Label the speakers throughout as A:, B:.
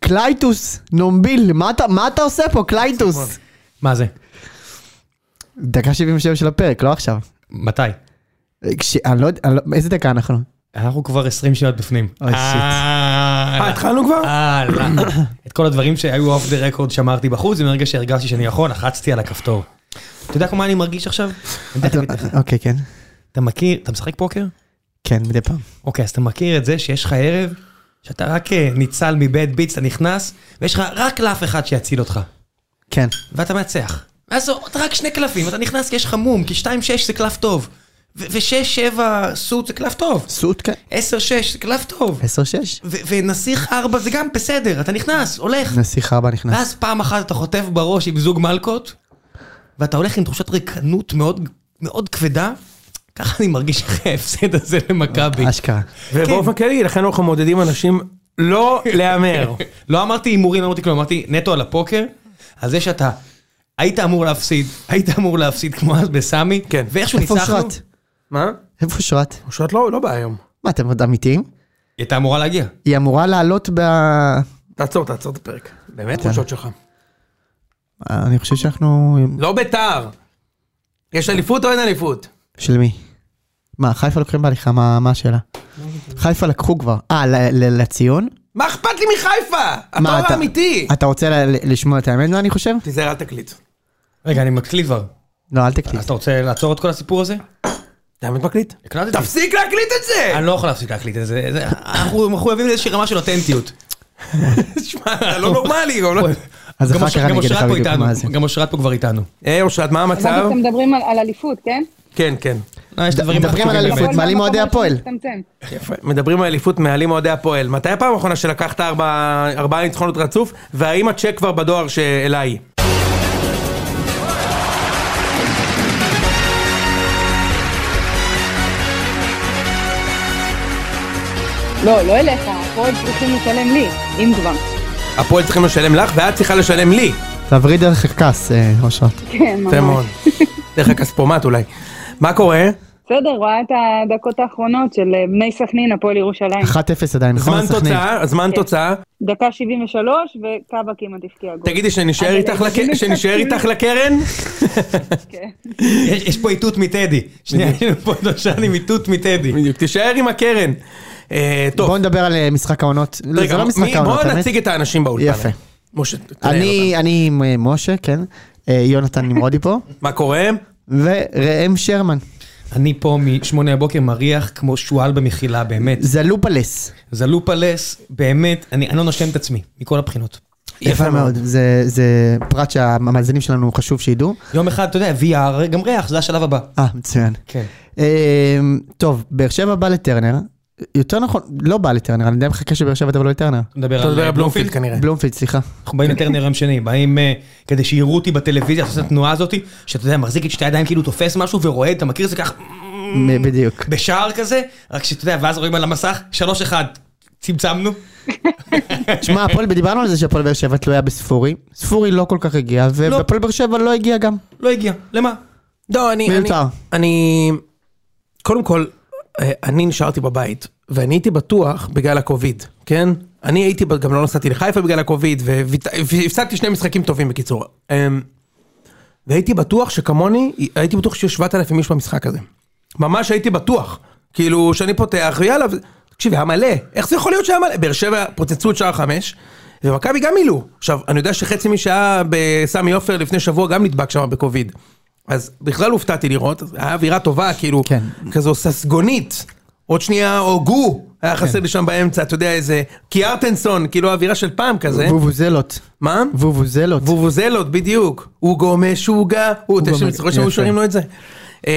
A: קלייטוס, נומביל, מה אתה- מה אתה עושה פה, קלייטוס?
B: מה זה?
A: דקה 77 של הפרק, לא עכשיו.
B: מתי?
A: כש- אני לא יודע, אני לא- איזה דקה אנחנו?
B: אנחנו כבר 20 שניות בפנים.
A: אוי, שיט.
B: אה,
C: אה, התחלנו כבר?
B: אה, לא. את כל הדברים שהיו אוף דה רקורד שמרתי בחוץ, ומרגע שהרגשתי שאני יכול, לחצתי על הכפתור. אתה יודע מה אני מרגיש עכשיו? אני תכף אגיד לך.
A: אתה- אוקיי, כן.
B: אתה מכיר, אתה משחק פוקר?
A: כן, מדי פעם.
B: אוקיי, אז אתה מכיר את זה שיש לך ערב, שאתה רק אה, ניצל מבית ביץ, אתה נכנס, ויש לך רק קלף אחד שיציל אותך,
A: כן.
B: ואתה מנצח. ואז עוד רק שני קלפים, אתה נכנס כי יש לך מום, כי 2-6 זה קלף טוב, ו-6-7 סוט זה קלף טוב,
A: סוט, כן.
B: 10-6 זה קלף טוב,
A: 10-6.
B: ו- ונסיך 4 זה גם בסדר, אתה נכנס, הולך.
A: נסיך ארבע
C: אה,
A: נכנס.
B: ואז פעם אחת אתה חוטף בראש עם זוג מלקות, ואתה הולך עם תחושת ריקנות מאוד, מאוד כבדה, ככה אני מרגיש אחרי ההפסד הזה למכבי.
A: אשכרה.
C: ובאופן כללי, לכן אנחנו מעודדים אנשים לא להמר.
B: לא אמרתי הימורים, לא אמרתי כלום, אמרתי נטו על הפוקר, על זה שאתה היית אמור להפסיד, היית אמור להפסיד כמו אז בסמי,
C: כן.
B: ואיכשהו
A: איפה
B: ניצחנו, היא
A: אושרת?
C: מה?
A: איפה אושרת?
C: אושרת לא לא באה היום.
A: מה, אתם עוד אמיתיים?
B: הייתה אמורה להגיע.
A: היא אמורה לעלות ב... אה,
C: תעצור, תעצור את הפרק. באמת כן.
A: יאללה.
C: חושות שלך.
A: אני חושב שאנחנו...
C: לא ביתר. יש אליפות או אין אליפות?
A: של מי? מה, חיפה לוקחים בהליכה? מה מה השאלה? חיפה לקחו כבר. אה, ל- ל- לציון?
C: מה אכפת לי מחיפה?
A: מה,
C: התואר
A: אתה-
C: האמיתי.
A: אתה רוצה ל- ל- לשמוע את האמת, מה אני חושב?
C: תיזהר, אל תקליט.
B: רגע, אני מקליט כבר.
A: לא, אל
B: אז
A: תקליט.
B: אתה רוצה לעצור את כל הסיפור הזה?
C: אתה באמת מקליט?
B: הקלטתי.
C: תפסיק להקליט את זה!
B: אני לא יכול להפסיק להקליט את זה, זה- אנחנו מחויבים לאיזושהי רמה של אותנטיות.
C: תשמע, אתה לא נורמלי. גם לא-
A: אז
B: גם
A: אחר
B: אוש-
A: כך אני
B: גם
A: אגיד לך
B: אושרת פה
A: בדיוק
B: איתנו,
A: מה זה.
B: גם אושרת פה כבר איתנו.
C: היי אה, אושרת, מה המצב?
D: עכשיו אתם מדברים על- על אליפות, כן?
C: כן, כן.
B: אה, יש את הדברים
A: מדברים על
B: החשובים
A: אליפות.
B: באמת.
D: הכל
A: מעלים אוהדי
D: מהמקום
A: הפועל.
D: הראשון מצטמצם.
C: יפה. מדברים על אליפות, מעלים אוהדי הפועל. מתי הפעם האחרונה שלקחת ארבע- ארבעה ניצחונות רצוף? והאם הצ'ק כבר בדואר שאליי?
D: לא, לא אליך, הפועל צריכים לשלם לי, אם כבר.
C: הפועל צריכים לשלם לך, ואת צריכה לשלם לי.
A: תעברי דרך הקרקס, אה, אושרת.
D: כן,
C: יפה
D: ממש.
C: מאוד. דרך הכספומט אולי. מה קורה?
D: בסדר, רואה את הדקות האחרונות של אה, בני סכנין, הפועל ירושלים.
A: 1-0 עדיין, נכון?
C: זמן
A: סכנין?
C: תוצאה, זמן תוצאה.
D: דקה 73, וקאבה כמעט הבקיע גול.
C: תגידי שנשאר
D: אבל
C: איתך
D: הילדים
C: לק- שנשאר
D: משחקים.
C: איתך לקרן?
D: כן.
B: יש יש פה איתות מטדי. שנייה, יש לנו פה דושן עם איתות מטדי.
C: בדיוק, תישאר עם הקרן. אה, טוב,
A: בואו נדבר על אה, משחק העונות. לא,
C: רגע,
A: זה לא משחק
C: מי-
A: העונות,
C: בואו
A: האמת.
C: נציג את האנשים באולפן.
A: יפה.
C: משה, תנהל
A: אני אני עם אה, משה, כן. אה, יונתן נמרודי פה.
C: אותנו. מה קורה?
A: וראם שרמן.
B: אני פה משמונה הבוקר מריח כמו שועל במחילה, באמת.
A: זה לופלס.
B: זה לופלס, באמת, אני, אני לא נושם את עצמי, מכל הבחינות.
A: יפה מאוד. זה- זה פרט שהמאזינים שלנו חשוב שידעו.
B: יום אחד, אתה יודע, VR, גם ריח, זה השלב הבא.
A: אה, מצוין.
B: כן.
A: אמ, טוב, באר שבע בא לטרנר. יותר נכון, לא בא לטרנר, אני די מחכה שבאר שבע תבוא לטרנר.
B: נדבר
C: אתה מדבר
B: אה,
C: על בלומפילד כן. כנראה.
A: בלומפילד, סליחה.
B: אנחנו באים לטרנר יום שני, באים אה, כדי שיראו אותי בטלוויזיה, אתה עושה את התנועה הזאת, שאתה יודע, מחזיק את שתי הידיים, כאילו תופס משהו ורועד, אתה מכיר את זה ככה,
A: מ- בדיוק.
B: בשער כזה, רק שאתה יודע, ואז רואים על המסך, שלוש אחד, צמצמנו.
A: שמע, הפועל, דיברנו על זה שהפועל באר שבע תלויה בספורי. ספורי לא כל כך הגיע, והפועל באר שבע לא הגיע גם.
B: לא הגיע, למה?
C: לא, אני...
A: מיותר.
C: אני- אני... קודם כל, אה, אני נשארתי בבית, ואני הייתי בטוח בגלל הקוביד, כן? אני הייתי, ב- גם לא נסעתי לחיפה בגלל הקוביד, ווית- והפסדתי שני משחקים טובים בקיצור. אמ, והייתי בטוח שכמוני, הייתי בטוח שיש 7,000 איש במשחק הזה. ממש הייתי בטוח. כאילו, שאני פותח, ויאללה, ו- תקשיב, היה מלא. איך זה יכול להיות שהיה מלא? באר שבע פוצצו את שער חמש, ומכבי גם מילאו. עכשיו, אני יודע שחצי מי שהיה בסמי עופר לפני שבוע גם נדבק שם בקוביד. אז בכלל הופתעתי לראות, אז היה אווירה טובה, כאילו,
A: כן.
C: כזו ססגונית. עוד שנייה, הוגו, היה חסר לי שם באמצע, אתה יודע, איזה קיארטנסון, כאילו האווירה של פעם כזה.
A: וובוזלות.
C: מה?
A: וובוזלות.
C: וובוזלות, בדיוק. אוגו משוגע, הוא, אתה
A: אוגו
C: יודע שאני
A: יפה.
C: שהיו שרים לו את זה. אמ,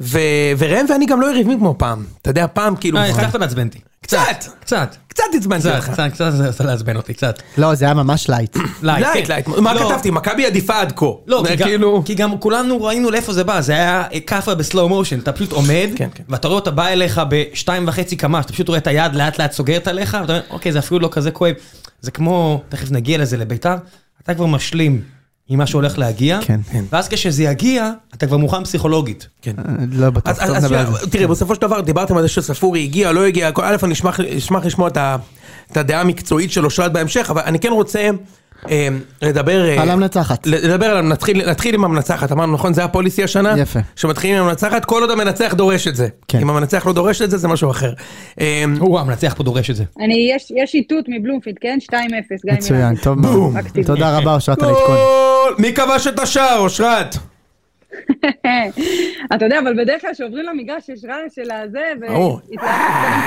C: ו- וראם ואני גם לא יריבים כמו פעם. אתה יודע, פעם כאילו...
B: אה,
C: משחק-
B: הצלחת לעצבן אותי.
C: קצת,
B: קצת.
C: קצת עצבנתי
B: קצת,
C: אותך.
B: קצת, קצת, קצת לעצבן אותי, קצת.
A: לא, זה היה ממש לייט.
C: לייט, לייט. מה
B: לא.
C: כתבתי? מכבי עדיפה עד כה.
B: לא,
C: זה
B: כי, כאילו...
C: כאילו-
B: גם, כי גם כולנו ראינו לאיפה זה בא, זה היה אה, כאפה בסלואו מושן, אתה פשוט עומד,
C: כן, כן.
B: ואתה רואה אותה באה אליך בשתיים וחצי קמ"ש, אתה פשוט רואה את היד לאט לאט סוגרת עליך, ואתה אומר, אוקיי, זה אפילו לא כזה כואב. זה כמו, תכף נגיע לזה לביתר, אתה כבר משלים עם מה שהולך להגיע,
A: כן, כן.
B: ואז כשזה יגיע, אתה כבר מוכן פסיכולוגית.
C: כן.
A: אה, לא בטוח,
C: אז, אז,
A: לא
C: אז
A: נדבר על
C: שנייה,
A: זה.
C: תראה, בסופו של דבר דיברתם על זה שספורי הגיע, לא הגיע, הכל. א', אני אשמח, אשמח לשמוע את, ה, את הדעה המקצועית שלו שרת בהמשך, אבל אני כן רוצה אה, לדבר... אה,
A: על המנצחת.
C: לדבר על המנצחת, נתחיל עם המנצחת, אמרנו נכון, זה הפוליסי השנה?
A: יפה.
C: שמתחילים עם המנצחת, כל עוד המנצח דורש את זה.
A: כן. אוקיי.
C: אם המנצח לא דורש את זה, זה משהו אחר. אה,
B: הוא המנצח פה דורש את זה.
D: אני, יש- יש איתות מבלומפילד, כן? 2-0, גיא מירן.
A: מצוין, טוב מאוד.
D: מקסים.
A: תודה רבה, אושרת על העדכון.
C: גול! מי כבש את השער, אושרת?
D: אתה יודע, אבל בדרך כלל כשעוברים למגרש יש רעש של הזה,
C: ברור.
D: והתלהבות קודם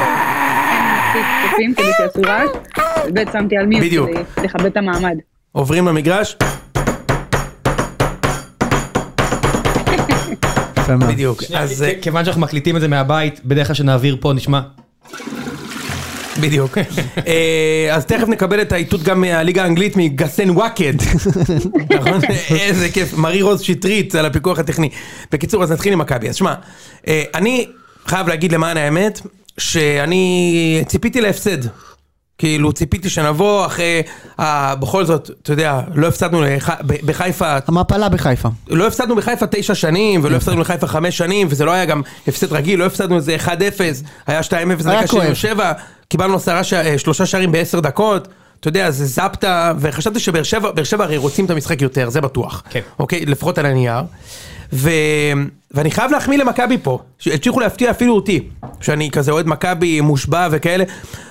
D: כל, אין מספיק צופים כדי שיעשו רעש, באמת שמתי על מיוט
C: בדיוק.
D: כדי לכבד את המעמד.
C: עוברים למגרש?
A: אה. יפה מאוד.
C: בדיוק. אז...
B: אז
C: אה,
B: כיוון שאנחנו מקליטים את זה מהבית, בדרך כלל שנעביר פה נשמע.
C: כן, בדיוק. אה, אז תכף נקבל את האיתות גם מהליגה האנגלית מגסן וואקד. נכון? איזה כיף. מארי רוז שטרית על הפיקוח הטכני. בקיצור, אז נתחיל עם מכבי. אז שמע, אה, אני חייב להגיד למען האמת, שאני ציפיתי להפסד. כאילו ציפיתי שנבוא אחרי, ה- בכל זאת, אתה יודע, לא הפסדנו לח- ב- בחיפה
A: המפלה בחיפה.
C: לא הפסדנו בחיפה תשע שנים, ולא הפסדנו בחיפה חמש שנים, וזה לא היה גם הפסד רגיל, לא הפסדנו איזה 1-0, היה 2-0,
A: היה
C: דקה
A: כואב.
C: 77, קיבלנו עשרה, ש... אה, שלושה שערים בעשר דקות, אתה יודע, זה זפטה, וחשבתי שבאר שבע, באר שבע הרי רוצים את המשחק יותר, זה בטוח.
B: כן.
C: אוקיי, לפחות על הנייר. ו... ואני חייב להחמיא למכבי פה, שהצליחו להפתיע אפילו אותי, שאני כזה אוהד מכבי מושבע וכאלה.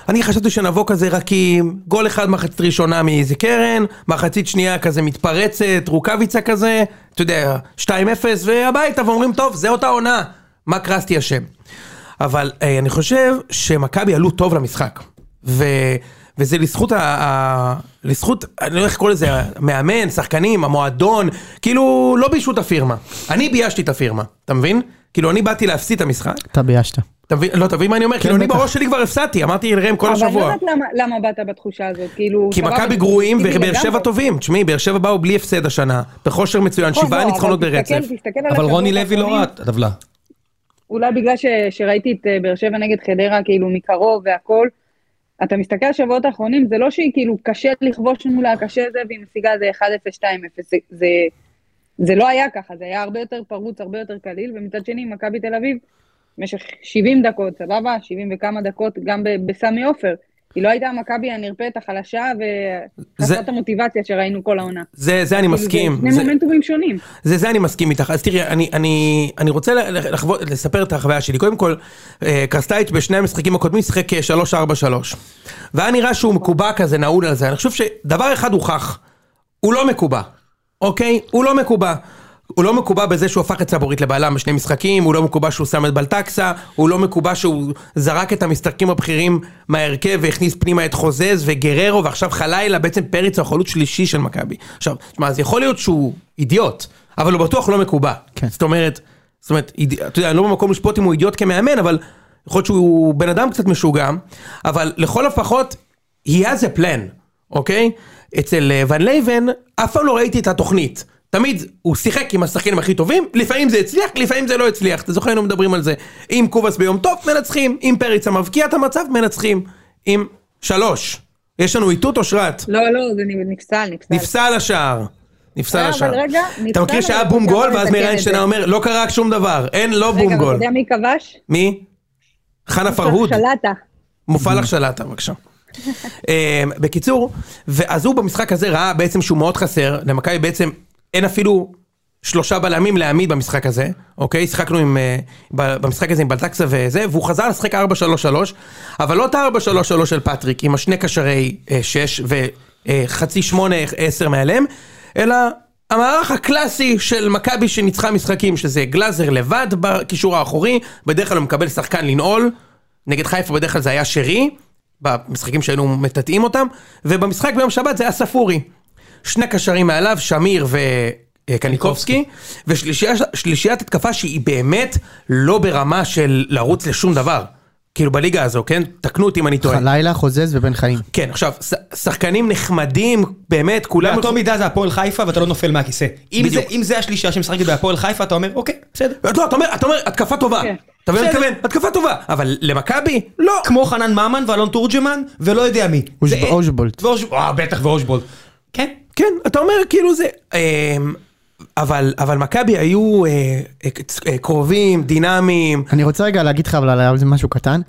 C: אני חשבתי שנבוא כזה רכים, גול אחד מחצית ראשונה מאיזה קרן, מחצית שנייה כזה מתפרצת, רוקאביצה כזה, אתה יודע, 2-0, והביתה ואומרים, טוב, זה אותה עונה, מה קרסתי השם. אבל אה, אני חושב שמכבי עלו טוב למשחק. ו... וזה לזכות, ה... ה... לזכות, אני לא יודע איך לקרוא לזה, המאמן, שחקנים, המועדון, כאילו לא ביישו את הפירמה. אני ביישתי את הפירמה, אתה מבין? כאילו אני באתי להפסיד את המשחק,
A: אתה ביישת.
C: אתה מבין? לא, אתה מבין מה אני אומר? כאילו אני
A: בטח.
C: בראש שלי כבר הפסדתי, אמרתי לראם כל
D: כן, אבל אני לא
C: השבוע.
D: יודעת למה- למה באת בתחושה הזאת, כאילו...
C: כי
D: סבבה,
C: מכבי
D: זה
C: גרועים
D: לגיטימי
C: ובאר שבע
D: לגמרי.
C: טובים. תשמעי, באר שבע באו בלי הפסד השנה, בכושר מצוין,
D: נכון,
C: שבעה
D: לא, אבל
C: ניצחונות
D: תסתכל-
C: ברצף.
D: תסתכל על
B: אבל
D: השבועות
B: רוני לוי לא
D: האחרונים.
B: ראה את הטבלה.
D: אולי בגלל ש, שראיתי את אה, באר שבע נגד חדרה כאילו מקרוב והכל, אתה מסתכל על השבועות האחרונים, זה לא שהיא כאילו קשה לכבוש מולה, קשה זה, והיא משיגה איזה 1-0, 2-0, זה, זה, זה לא היה ככה, זה היה הרבה יותר פרוץ, הרבה יותר קליל, ומצד שני, מכבי תל אביב, במשך 70 דקות, סבבה? 70 וכמה דקות, גם ב- בסמי עופר. היא לא הייתה המכבי הנרפית, החלשה,
C: זה-
D: וחסרת המוטיבציה שראינו כל העונה.
C: זה זה אני
D: כאילו,
C: מסכים.
D: זה
C: זה-
D: שני מומנטומים שונים.
C: זה, זה אני מסכים איתך. אז תראי, אני, אני, אני רוצה לח- לחוות, לספר את החוויה שלי. קודם כל, אה, קרסטייץ' בשני המשחקים הקודמים שיחק אה, 3-4-3. והיה נראה שהוא מקובע כזה, נעול על זה. אני חושב שדבר אחד הוכח, הוא לא מקובע, אוקיי? הוא לא מקובע. הוא לא מקובע בזה שהוא הפך את סבורית לבעלם בשני משחקים, הוא לא מקובע שהוא שם את בלטקסה, הוא לא מקובע שהוא זרק את המשחקים הבכירים מההרכב והכניס פנימה את חוזז וגררו, ועכשיו חלילה בעצם פריץ הוא החלוץ שלישי של מכבי. עכשיו, תשמע, אז יכול להיות שהוא אידיוט, אבל הוא בטוח לא מקובע.
A: כן.
C: זאת אומרת, זאת אומרת, איד- אתה יודע, אני לא במקום לשפוט אם הוא אידיוט כמאמן, אבל יכול להיות שהוא בן אדם קצת משוגע, אבל לכל הפחות, he has a plan, אוקיי? אצל אה, ון לייבן, אף פעם לא ראיתי את התוכנית. תמיד הוא שיחק עם השחקנים הכי טובים, לפעמים זה הצליח, לפעמים זה לא הצליח. אתה זוכר, היינו מדברים על זה. אם קובאס ביום טוב, מנצחים. אם פריצה מבקיע את המצב, מנצחים. אם שלוש. יש לנו איתות אושרת.
D: לא, לא, זה נפסל, נפסל.
C: נפסל השער. נפסל
D: אה, אבל
C: השער.
D: רגע,
C: אתה
D: נפסל,
C: מכיר שהיה
D: אבל
C: בום
D: אפשר
C: גול, ואז
D: לתקן
C: מאיר
D: את
C: איינשטיין
D: זה.
C: היה אומר, לא קרה שום דבר, אין, לא בום
D: רגע, ואתה
C: גול.
D: יודע מי כבש?
C: מי? חנה פרהוד.
D: שלטה.
C: מופע לך שלטה, בבקשה. אה, בקיצור, ואז הוא במשחק הזה ראה בעצם שהוא מאוד חסר, למכבי בעצם אין אפילו שלושה בלמים להעמיד במשחק הזה, אוקיי? שיחקנו עם, אה, ב- במשחק הזה עם בלטקסה וזה, והוא חזר לשחק 4-3-3, אבל לא את ה-4-3-3 של פטריק, עם השני קשרי אה, 6 וחצי 8-10 מעליהם, אלא... המערך הקלאסי של מכבי שניצחה משחקים, שזה גלאזר לבד בקישור האחורי, בדרך כלל הוא מקבל שחקן לנעול, נגד חיפה בדרך כלל זה היה שרי, במשחקים שהיינו מטאטאים אותם, ובמשחק ביום שבת זה היה ספורי. שני קשרים מעליו, שמיר אה, וקניקובסקי, ושלישיית התקפה שהיא באמת לא ברמה של לרוץ לשום דבר. כאילו בליגה הזו, כן? תקנו אותי אם אני טועה.
A: חלילה, חוזז ובן חיים.
C: כן, עכשיו, ש- שחקנים נחמדים, באמת, כולם...
B: באותו מידה זה הפועל חיפה ואתה לא נופל מהכיסא. אם
C: בדיוק.
B: זה- אם זה השלישה שמשחקת בהפועל חיפה, אתה אומר, אוקיי, בסדר.
C: לא, אתה אומר, אתה אומר, התקפה טובה.
D: כן.
C: אתה מבין מה אני
B: בסדר.
C: מתכוון? התקפה טובה. אבל למכבי, לא.
B: כמו חנן ממן ואלון תורג'מן, ולא יודע מי.
A: אוש-
B: זה-
A: אושבולט.
B: ואוש- אה, בטח ואושבולט. כן,
C: כן, אתה אומר כאילו זה... אמ, אבל, אבל מכבי היו אה, אה, אה, קרובים, דינמיים,
A: אני רוצה רגע להגיד לך אבל על זה משהו קטן.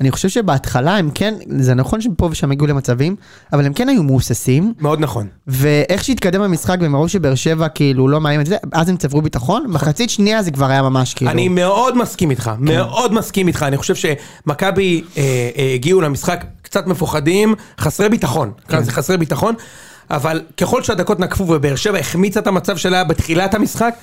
A: אני חושב שבהתחלה הם כן, זה נכון שהם פה ושם הגיעו למצבים, אבל הם כן היו מהוססים,
C: מאוד נכון.
A: ואיך שהתקדם המשחק ומרוב שבאר שבע כאילו לא מאיים את זה, אז הם צברו ביטחון, מחצית שנייה זה כבר היה ממש כאילו.
C: אני מאוד מסכים איתך,
B: כן.
C: מאוד מסכים איתך, אני חושב שמכבי אה, אה, הגיעו למשחק קצת מפוחדים, חסרי ביטחון,
B: כן.
C: כאן זה חסרי ביטחון, אבל ככל שהדקות נקפו ובאר שבע החמיצה את המצב שלה בתחילת המשחק,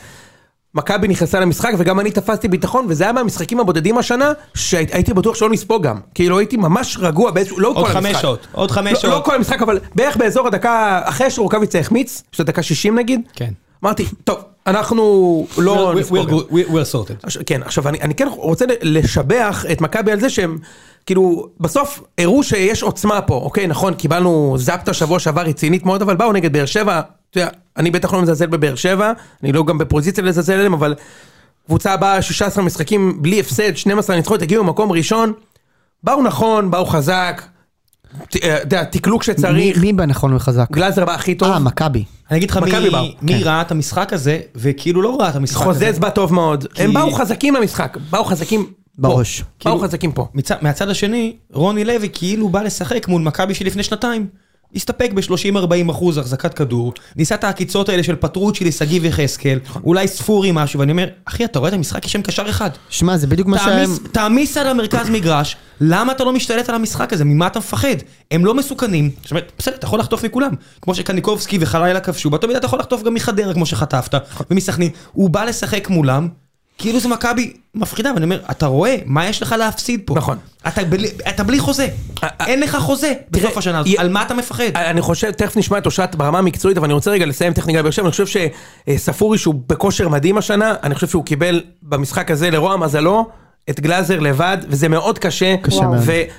C: מכבי נכנסה למשחק וגם אני תפסתי ביטחון, וזה היה מהמשחקים הבודדים השנה, שהייתי בטוח שלא נספוג גם, כאילו הייתי ממש רגוע באיזשהו, לא כל
B: עוד
C: המשחק.
B: חמש שעות, עוד חמש
C: לא- לא
B: שעות.
C: כל המשחק, אבל בערך באזור הדקה, אחרי שרוקאביצה החמיץ, שזו דקה 60 נגיד,
B: כן.
C: אמרתי, טוב, אנחנו לא
B: We're-
C: נספוג.
B: we're-
C: גם."
B: we're- we're sorted.
C: עכשיו- כן, עכשיו אני, אני כן רוצה לשבח את מכבי על זה שהם, כאילו, בסוף הראו שיש עוצמה פה, אוקיי, נכון, קיבלנו זפטה שבוע שעבר רצינית מאוד, אבל באו נגד באר שבע, אתה יודע, אני בטח לא מזלזל בבאר שבע, אני לא גם בפוזיציה לזלזל אליהם, אבל קבוצה הבאה 16 משחקים בלי הפסד, 12 ניצחונות, הגיעו ממקום ראשון, באו נכון, באו חזק, ת- אה, אתה יודע, תקלוק
A: מי-
C: שצריך,
A: מי בא נכון וחזק?
C: גלאזר בא הכי טוב,
A: אה, מכבי.
B: אני אגיד לך מי-
C: מכבי באו, כן.
B: מי ראה את המשחק הזה, וכאילו לא ראה את המשחק הזה.
C: חוזז בא טוב מאוד,
B: כי-
C: הם באו חזקים למשחק, באו חזקים פה.
A: בראש.
C: באו
B: כאילו-
C: חזקים פה.
B: מצ- מהצד השני, רוני לוי כאילו בא לשחק מול מכבי של לפני שנתיים. הסתפק ב-30-40 אחוז החזקת כדור, ניסה את העקיצות האלה של פטרוצ'ילי, שגיב יחזקאל, אולי ספורי משהו, ואני אומר, אחי, אתה רואה את המשחק? יש שם קשר אחד.
A: שמע, זה בדיוק מה שהם...
B: תעמיס- תעמיס על המרכז מגרש, למה אתה לא משתלט על המשחק הזה? ממה אתה מפחד? הם לא מסוכנים. זאת אומרת, בסדר, אתה יכול לחטוף מכולם. כמו שקניקובסקי וחלילה כבשו, באותה מידה אתה יכול לחטוף גם מחדרה כמו שחטפת, ומסכנין. הוא בא לשחק מולם, כאילו זה מכבי מפחידה, ואני אומר, אתה רואה, מה יש לך להפסיד פה?
C: נכון. אה,
B: אתה בלי, אתה בלי חוזה. אין לך חוזה
C: תראה, אה,
B: בסוף השנה הזאת,
C: י-
B: על מה אתה מפחד?
C: אני חושב, תכף נשמע את אושרת ברמה המקצועית, אבל אני רוצה רגע לסיים טכניקה באר שבע, אני חושב שספורי שהוא בכושר מדהים השנה, אני חושב שהוא קיבל במשחק הזה לרוע מזלו. את גלאזר לבד, וזה מאוד קשה,
A: קשה מאוד.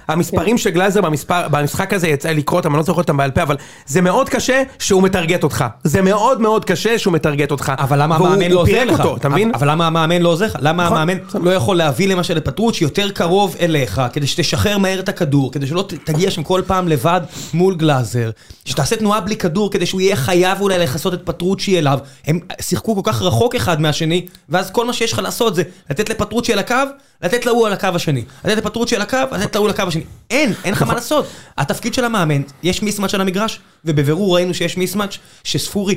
C: והמספרים של גלאזר במספר, במשחק הזה יצא לי לקרוא אותם, אני לא זוכר אותם בעל פה, אבל זה מאוד קשה שהוא מטרגט אותך. זה מאוד מאוד קשה שהוא מטרגט אותך.
B: אבל למה
C: והוא-
B: המאמן לא
C: הוא
B: עוזר
C: פירק
B: לך?
C: אותו, אתה מבין?
B: אבל- אבל למה המאמן לא עוזר לך? למה
C: נכון.
B: המאמן לא יכול להביא למשל לפטרוצ'י יותר קרוב אליך, כדי שתשחרר מהר את הכדור, כדי שלא ת- תגיע שם כל פעם לבד מול גלאזר, שתעשה תנועה בלי כדור כדי שהוא יהיה חייב אולי לכסות את פטרוצ'י אליו. הם שיחקו כל כך רחוק אחד מהשני, ואז כל מה שיש לך לעשות זה לתת לפטרוצ'י על הקו, לתת להוא על הקו השני. לתת לפטרוצ'י על הקו, לתת להוא על הקו השני. אין, אין לך מה לעשות. התפקיד של המאמן, יש מיסמצ' על המגרש, ובבירור ראינו שיש מיסמצ' שספורי,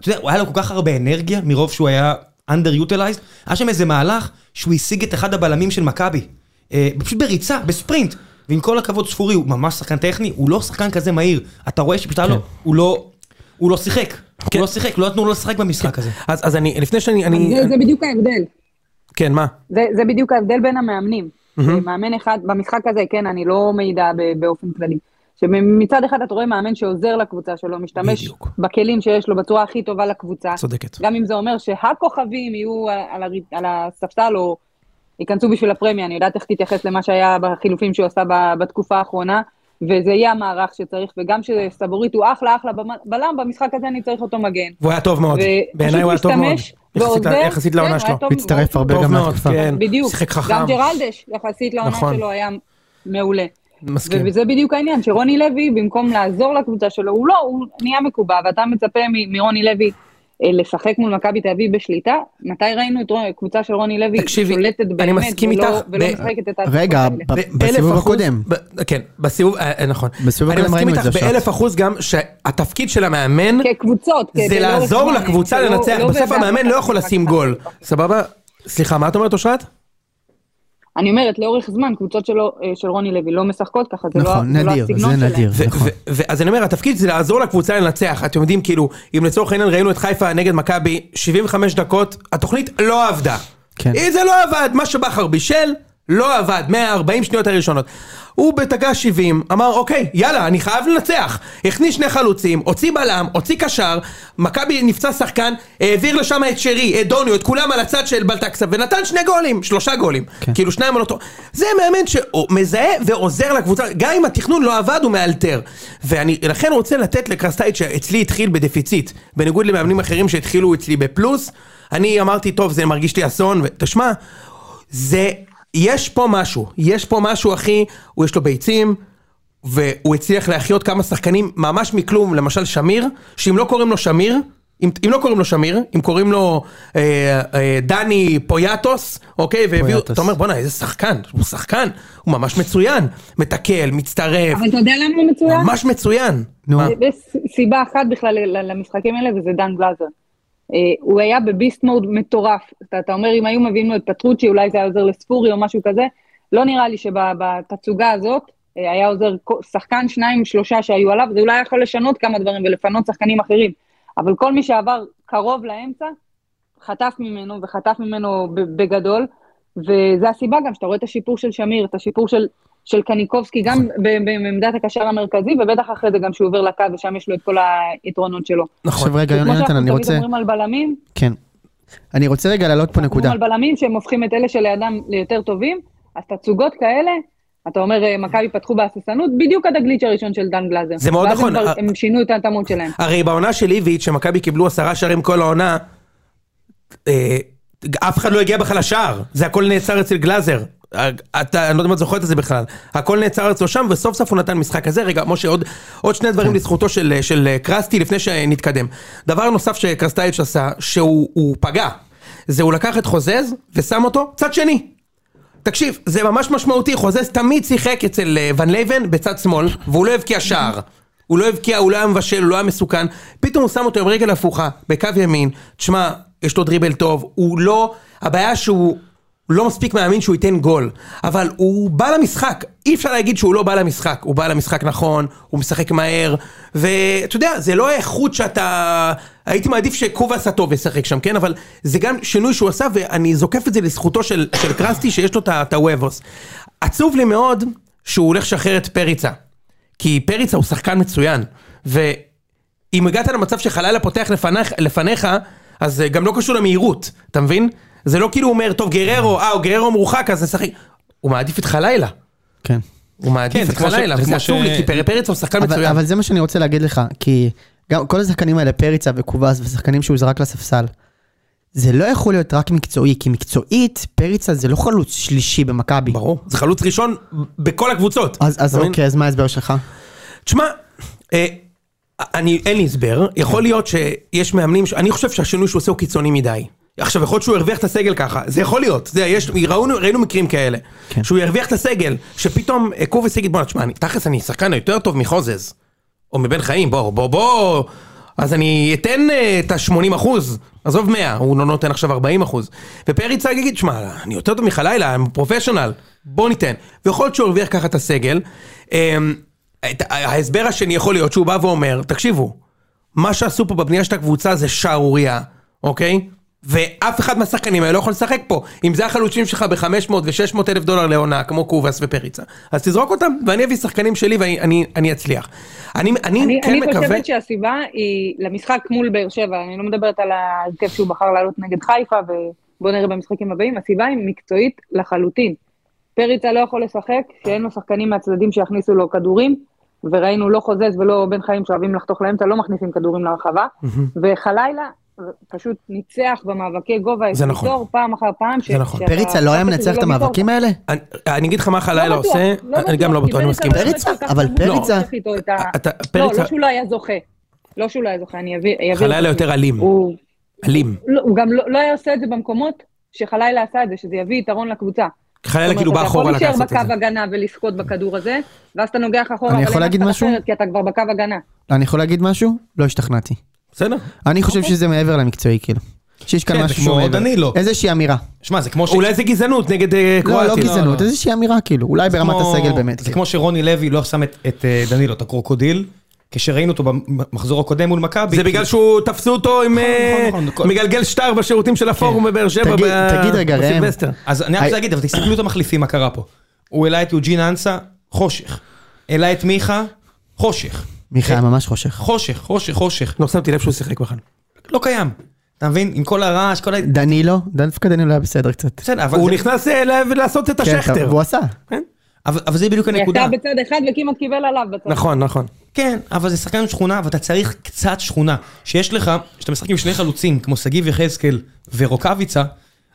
B: אתה יודע, הוא היה לו כל כך הרבה אנרגיה, מרוב שהוא היה underutilized, היה שם איזה מהלך שהוא השיג את אחד הבלמים של מכבי. אה, פשוט בריצה, בספרינט. ועם כל הכבוד, ספורי הוא ממש שחקן טכני, הוא לא שחקן כזה מהיר. אתה רואה שפשוט היה לו, הוא לא, הוא לא שיחק. הוא לא שיחק, לא נתנו לו לשחק במשחק הזה.
C: אז אז אני, לפני שאני, אני,
D: זה- זה בדיוק ההבדל.
C: כן, מה?
D: זה, זה בדיוק ההבדל בין המאמנים. אה, מאמן אחד, במשחק הזה, כן, אני לא מעידה ב- באופן כללי. שמצד אחד אתה רואה מאמן שעוזר לקבוצה שלו, משתמש
C: בדיוק.
D: בכלים שיש לו בצורה הכי טובה לקבוצה.
C: צודקת.
D: גם אם זה אומר שהכוכבים יהיו על, הר- על הספסל או ייכנסו בשביל הפרמיה, אני יודעת איך תתייחס למה שהיה בחילופים שהוא עשה ב- בתקופה האחרונה, וזה יהיה המערך שצריך, וגם שסבורית הוא אחלה אחלה במ- בלם, במשחק הזה אני צריך אותו מגן.
C: והוא היה טוב מאוד.
D: ופשוט
C: בעיניי הוא היה טוב מאוד.
D: משתמש
C: יחסית ל-
D: ועוזר.
C: יחסית לעונה
D: כן,
C: שלו.
D: הוא היה טוב
A: מצטרף הרבה
C: טוב
A: גם
C: מאוד,
A: להתקפה.
C: כן.
D: בדיוק.
C: שיחק חכם.
D: גם ג'רלדש, יחסית לעונה
C: נכון.
D: שלו, היה מעולה.
C: מסכים.
D: וזה בדיוק העניין, שרוני לוי, במקום לעזור לקבוצה שלו, הוא לא, הוא נהיה מקובע, ואתה מצפה מ- מרוני לוי אה, לשחק מול מכבי תל אביב בשליטה. מתי ראינו את רוני- קבוצה של רוני לוי
C: תקשיבי,
D: שולטת
C: אני
D: באמת,
C: מסכים
D: ולא-
C: איתך,
D: ולא
C: ב-
D: משחקת את ההתקפות
A: רגע,
D: האלה?
A: ב-
C: ב-
A: בסיבוב
C: אלף אחוז-
A: הקודם.
C: ב- כן, בסיבוב, אה, אה, נכון.
A: בסיבוב הקודם
C: אני
A: ראינו את
C: מסכים
A: זה,
C: איתך
A: שחר.
C: באלף אחוז גם שהתפקיד של המאמן
D: כקבוצות.
C: זה
D: כדי כן, לא-
C: לעזור לקבוצה
D: שלא-
C: לנצח.
D: לא
C: בסוף
D: בהכרח
C: המאמן לא יכול לשים גול. סבבה? סליחה, מה את אומרת אושרת?
D: אני אומרת, לאורך זמן, קבוצות שלו, אה, של רוני לוי לא משחקות ככה, זה לא
A: נכון,
D: זה לא
A: נדיר,
D: הסגנון
A: זה
D: שלהם.
A: נדיר,
C: ו-
A: נכון.
C: ו- ו- אז אני אומר, התפקיד זה לעזור לקבוצה לנצח. אתם יודעים, כאילו, אם לצורך העניין ראינו את חיפה נגד מכבי, 75 דקות, התוכנית לא עבדה.
A: כן.
C: אה, זה לא עבד, מה שבכר בישל, לא עבד, 140 שניות הראשונות. הוא בדקה 70, אמר, אוקיי, יאללה, אני חייב לנצח. הכניס שני חלוצים, הוציא בלם, הוציא קשר, מכבי נפצע שחקן, העביר לשם את שרי, את דוניו, את כולם על הצד של בלטקסה, ונתן שני גולים, שלושה גולים.
A: כן.
C: כאילו שניים על אותו... זה מאמן שמזהה ועוזר לקבוצה, גם אם התכנון לא עבד, הוא מאלתר. ואני לכן רוצה לתת לקרסטייט שאצלי התחיל בדפיציט, בניגוד למאמנים אחרים שהתחילו אצלי בפלוס, אני אמרתי, טוב, זה מרגיש לי אסון, ותשמע, זה, יש פה משהו, יש פה משהו אחי, הוא יש לו ביצים, והוא הצליח להחיות כמה שחקנים ממש מכלום, למשל שמיר, שאם לא קוראים לו שמיר, אם, אם לא קוראים לו שמיר, אם קוראים לו אה, אה, דני פויאטוס, אוקיי, והביאו,
A: פויאטוס.
C: אתה אומר בואנה איזה שחקן, הוא שחקן, הוא ממש מצוין, מתקל, מצטרף,
D: אבל אתה יודע למה הוא מצוין? אה,
C: ממש מצוין.
A: נו,
C: מה?
D: יש סיבה אחת בכלל ל- ל- למשחקים האלה, וזה דן גלאזר. אה, הוא היה בביסט מוד מטורף. אתה, אתה אומר, אם היו מביאים לו את פטרוצ'י, אולי זה היה עוזר לספורי או משהו כזה. לא נראה לי שבתצוגה הזאת אה, היה עוזר כל- שחקן, שניים, שלושה שהיו עליו, זה אולי יכול לשנות כמה דברים ולפנות שחקנים אחרים. אבל כל מי שעבר קרוב לאמצע, חטף ממנו, וחטף ממנו ב- בגדול, וזו הסיבה גם שאתה רואה את השיפור של שמיר, את השיפור של, של קניקובסקי, גם ב- בעמדת הקשר המרכזי, ובטח אחרי זה גם שהוא עובר לקו, ושם יש לו את כל היתרונות שלו.
C: נכון.
A: עכשיו רגע,
D: כמו
A: יונתן,
D: שאנחנו
A: אני
D: תמיד
A: רוצה...
D: אומרים על בלמים,
A: כן. אני רוצה רגע להעלות פה
D: אומרים
A: נקודה.
D: על בלמים שהם הופכים את אלה שלידם ליותר טובים, אז תצוגות כאלה, אתה אומר, אה, מכבי פתחו בהססנות, בדיוק עד הגליץ' הראשון של דן גלאזר.
C: זה מאוד
D: ואז הם
C: נכון,
D: כבר-
C: אה-
D: הם שינו את ההתאמות שלהם.
C: הרי בעונה של איביץ', שמכבי קיבלו עשרה שערים כל העונה, אה, אף אחד לא הגיע בכלל לשער, זה הכל נעצר אצל גלאזר. אה, אתה, אני לא יודע אם את זוכרת את זה בכלל. הכל נעצר אצלו שם, וסוף סוף הוא נתן משחק כזה. רגע, משה, עוד, עוד שני דברים לזכותו של, אה, של אה, קרסטי לפני שנתקדם. דבר נוסף שקרסטייץ' עשה, שהוא הוא פגע, זה הוא לקח את חוזז ושם אותו צד שני. תקשיב, זה ממש משמעותי, חוזז תמיד שיחק אצל אה, ון לייבן בצד שמאל, והוא לא הבקיע שער. הוא לא הבקיע, הוא לא היה מבשל, הוא לא היה מסוכן. פתאום הוא שם אותו עם רגל הפוכה, בקו ימין, תשמע, יש לו דריבל טוב, הוא לא... הבעיה שהוא לא מספיק מאמין שהוא ייתן גול, אבל הוא בא למשחק, אי אפשר להגיד שהוא לא בא למשחק. הוא בא למשחק נכון, הוא משחק מהר, ואתה יודע, זה לא האיכות שאתה... הייתי מעדיף שקובאס הטוב ישחק שם, כן? אבל זה גם שינוי שהוא עשה, ואני זוקף את זה לזכותו של, של קרסטי, שיש לו את ה- את הוובוס. עצוב לי מאוד שהוא הולך לשחרר את פריצה. כי פריצה הוא שחקן מצוין, ואם הגעת למצב שחלילה פותח לפניך, לפניך, אז זה גם לא קשור למהירות, אתה מבין? זה לא כאילו הוא אומר, טוב גררו, אה, הוא גררו מורחק, אז נשחק. הוא מעדיף את חלילה.
A: כן.
C: הוא
B: כן,
C: מעדיף
B: זה
C: את
B: כמו ש-
C: חלילה,
B: זה
C: וזה
B: כמו ש-
C: עצוב לי, כי פר- פריצה הוא שחקן
A: אבל,
C: מצוין.
A: אבל זה מה שאני רוצה להגיד לך, כי גם כל השחקנים האלה, פריצה וקובס ושחקנים שהוא זרק לספסל, זה לא יכול להיות רק מקצועי, כי מקצועית, פריצה זה לא חלוץ שלישי במכבי.
C: ברור, זה חלוץ ראשון בכל הקבוצות.
A: אז, אז
C: אתה מבין?
A: אוקיי, אז מה ההסבר שלך?
C: תשמע, אה, אני, אין לי הסבר, יכול להיות שיש מאמנים, ש- אני חושב שהשינוי שהוא עושה הוא קיצוני מדי. עכשיו, יכול להיות שהוא הרוויח את הסגל ככה, זה יכול להיות, זה, יש, ראינו, ראינו מקרים כאלה.
A: כן.
C: שהוא הרוויח את הסגל, שפתאום אה, קובס יגיד, בוא, תשמע, אני- תכלס אני שחקן יותר טוב מחוזז, או מבן חיים, בוא, בוא, בוא, אז אני אתן אה, את ה-80 אחוז, עזוב 100, הוא לא נותן עכשיו 40 אחוז. ופריצה יגיד, שמע, אני יותר טוב מחלילה, אני פרופשיונל, בוא ניתן. ויכול להיות שהוא הרוויח ככה את הסגל. אה, את- ההסבר השני יכול להיות שהוא בא ואומר, תקשיבו, מה שעשו פה בבנייה של הקבוצה זה שערורייה, אוקיי? ואף אחד מהשחקנים האלה לא יכול לשחק פה. אם זה החלוצים שלך ב-500 ו-600 אלף דולר לעונה, כמו קובאס ופריצה, אז תזרוק אותם, ואני אביא שחקנים שלי ואני אני, אני אצליח. אני, אני,
D: אני,
C: כן
D: אני
C: מקווה...
D: חושבת שהסיבה היא למשחק מול באר שבע, אני לא מדברת על ההרכב שהוא בחר לעלות נגד חיפה, ובואו נראה במשחקים הבאים, הסיבה היא מקצועית לחלוטין. פריצה לא יכול לשחק, שאין לו שחקנים מהצדדים שיכניסו לו כדורים, וראינו לא חוזז ולא בן חיים שאוהבים לחתוך לאמצע, לא מכניסים כדורים לרחבה, וחלילה פשוט ניצח במאבקי גובה,
C: זה
D: את
C: נכון.
D: ויטור פעם אחר פעם. ש-
C: זה נכון.
D: שאתה-
A: פריצה לא היה מנצח את
D: לא
A: המאבקים האלה?
C: אני, אני אגיד לך מה חלילה
D: לא בטוח,
C: עושה,
D: לא
C: אני גם לא
D: כי
C: בטוח, אני מסכים. אה,
D: לא
A: פריצה,
D: כל כך
A: אבל
D: טוב,
A: פריצה-
D: הוא לא צריך איתו את ה-
C: אתה-
D: לא,
C: פריצה-
D: לא שהוא לא היה זוכה. לא שהוא לא היה זוכה, אני אביא... אביא-
C: חלילה יותר אלים,
D: הוא
C: אלים.
D: לא- הוא גם לא לא היה עושה את זה במקומות שחלילה עשה את זה, שזה יביא יתרון לקבוצה.
C: חלילה כאילו בא אחורה
D: זאת אומרת,
C: לקחת
D: אתה
C: את
D: יכול
C: זה.
D: להישאר בקו הגנה ולסחוט בכדור הזה, ואז אתה נוגח אחורה,
A: אני
D: אבל
A: יכול
D: אין
A: להגיד
D: אף אחד
A: משהו?
D: אחרת, כי אתה כבר בקו הגנה.
A: אני יכול להגיד משהו? לא השתכנעתי.
C: בסדר.
A: אני חושב שזה מעבר למקצועי, כאילו. שיש כאן
B: כן,
A: משהו
B: כמו
A: שהוא מעבר.
B: דנילו.
A: איזושהי אמירה.
B: שמע, זה כמו ש...
C: אולי זה גזענות נגד אה,
A: לא, לא
C: קרואטיה.
A: גזענות,
B: לא.
A: איזושהי אמירה, כאילו. אולי
B: זה
A: ברמת
B: כמו-
A: הסגל באמת. כן.
B: זה כמו שרוני לוי לא שם את- את אה, דנילו, את הקרוקודיל, כשראינו אותו במחזור הקודם מול מכבי.
C: זה בגלל שהוא תפסו אותו עם אה,
B: נכון, נכון.
C: מגלגל שטר בשירותים של הפורום בבאר שבע
A: תגיד-
C: ב-
A: תגיד רגע, ראם.
C: בסילבסטר.
B: אז אני רק
A: היי.
B: רוצה להגיד, אבל תסתכלו את המחליפים, מה קרה פה. הוא העלה את יוג'ין אנסה, חושך. העלה את מיכה, חושך.
A: מיכאל ממש חושך.
B: חושך, חושך, חושך.
C: לא שמתי לב שהוא שיחק בכלל.
B: לא קיים. אתה מבין? עם כל הרעש, כל ה...
A: דנילו, דווקא דנילו היה בסדר קצת.
B: בסדר, אבל
C: הוא
B: זה-
C: נכנס אה, ל- לעשות את
A: כן,
C: השכטר.
A: והוא עשה.
B: אבל אבל זה בדיוק
D: הוא
B: הנקודה.
D: יצא בצד אחד וכמעט קיבל עליו בצד.
C: נכון, נכון.
B: כן, אבל זה שחקן שכונה, ואתה צריך קצת שכונה. שיש לך, כשאתה משחק עם שני חלוצים, כמו שגיב יחזקאל ורוקאביצה,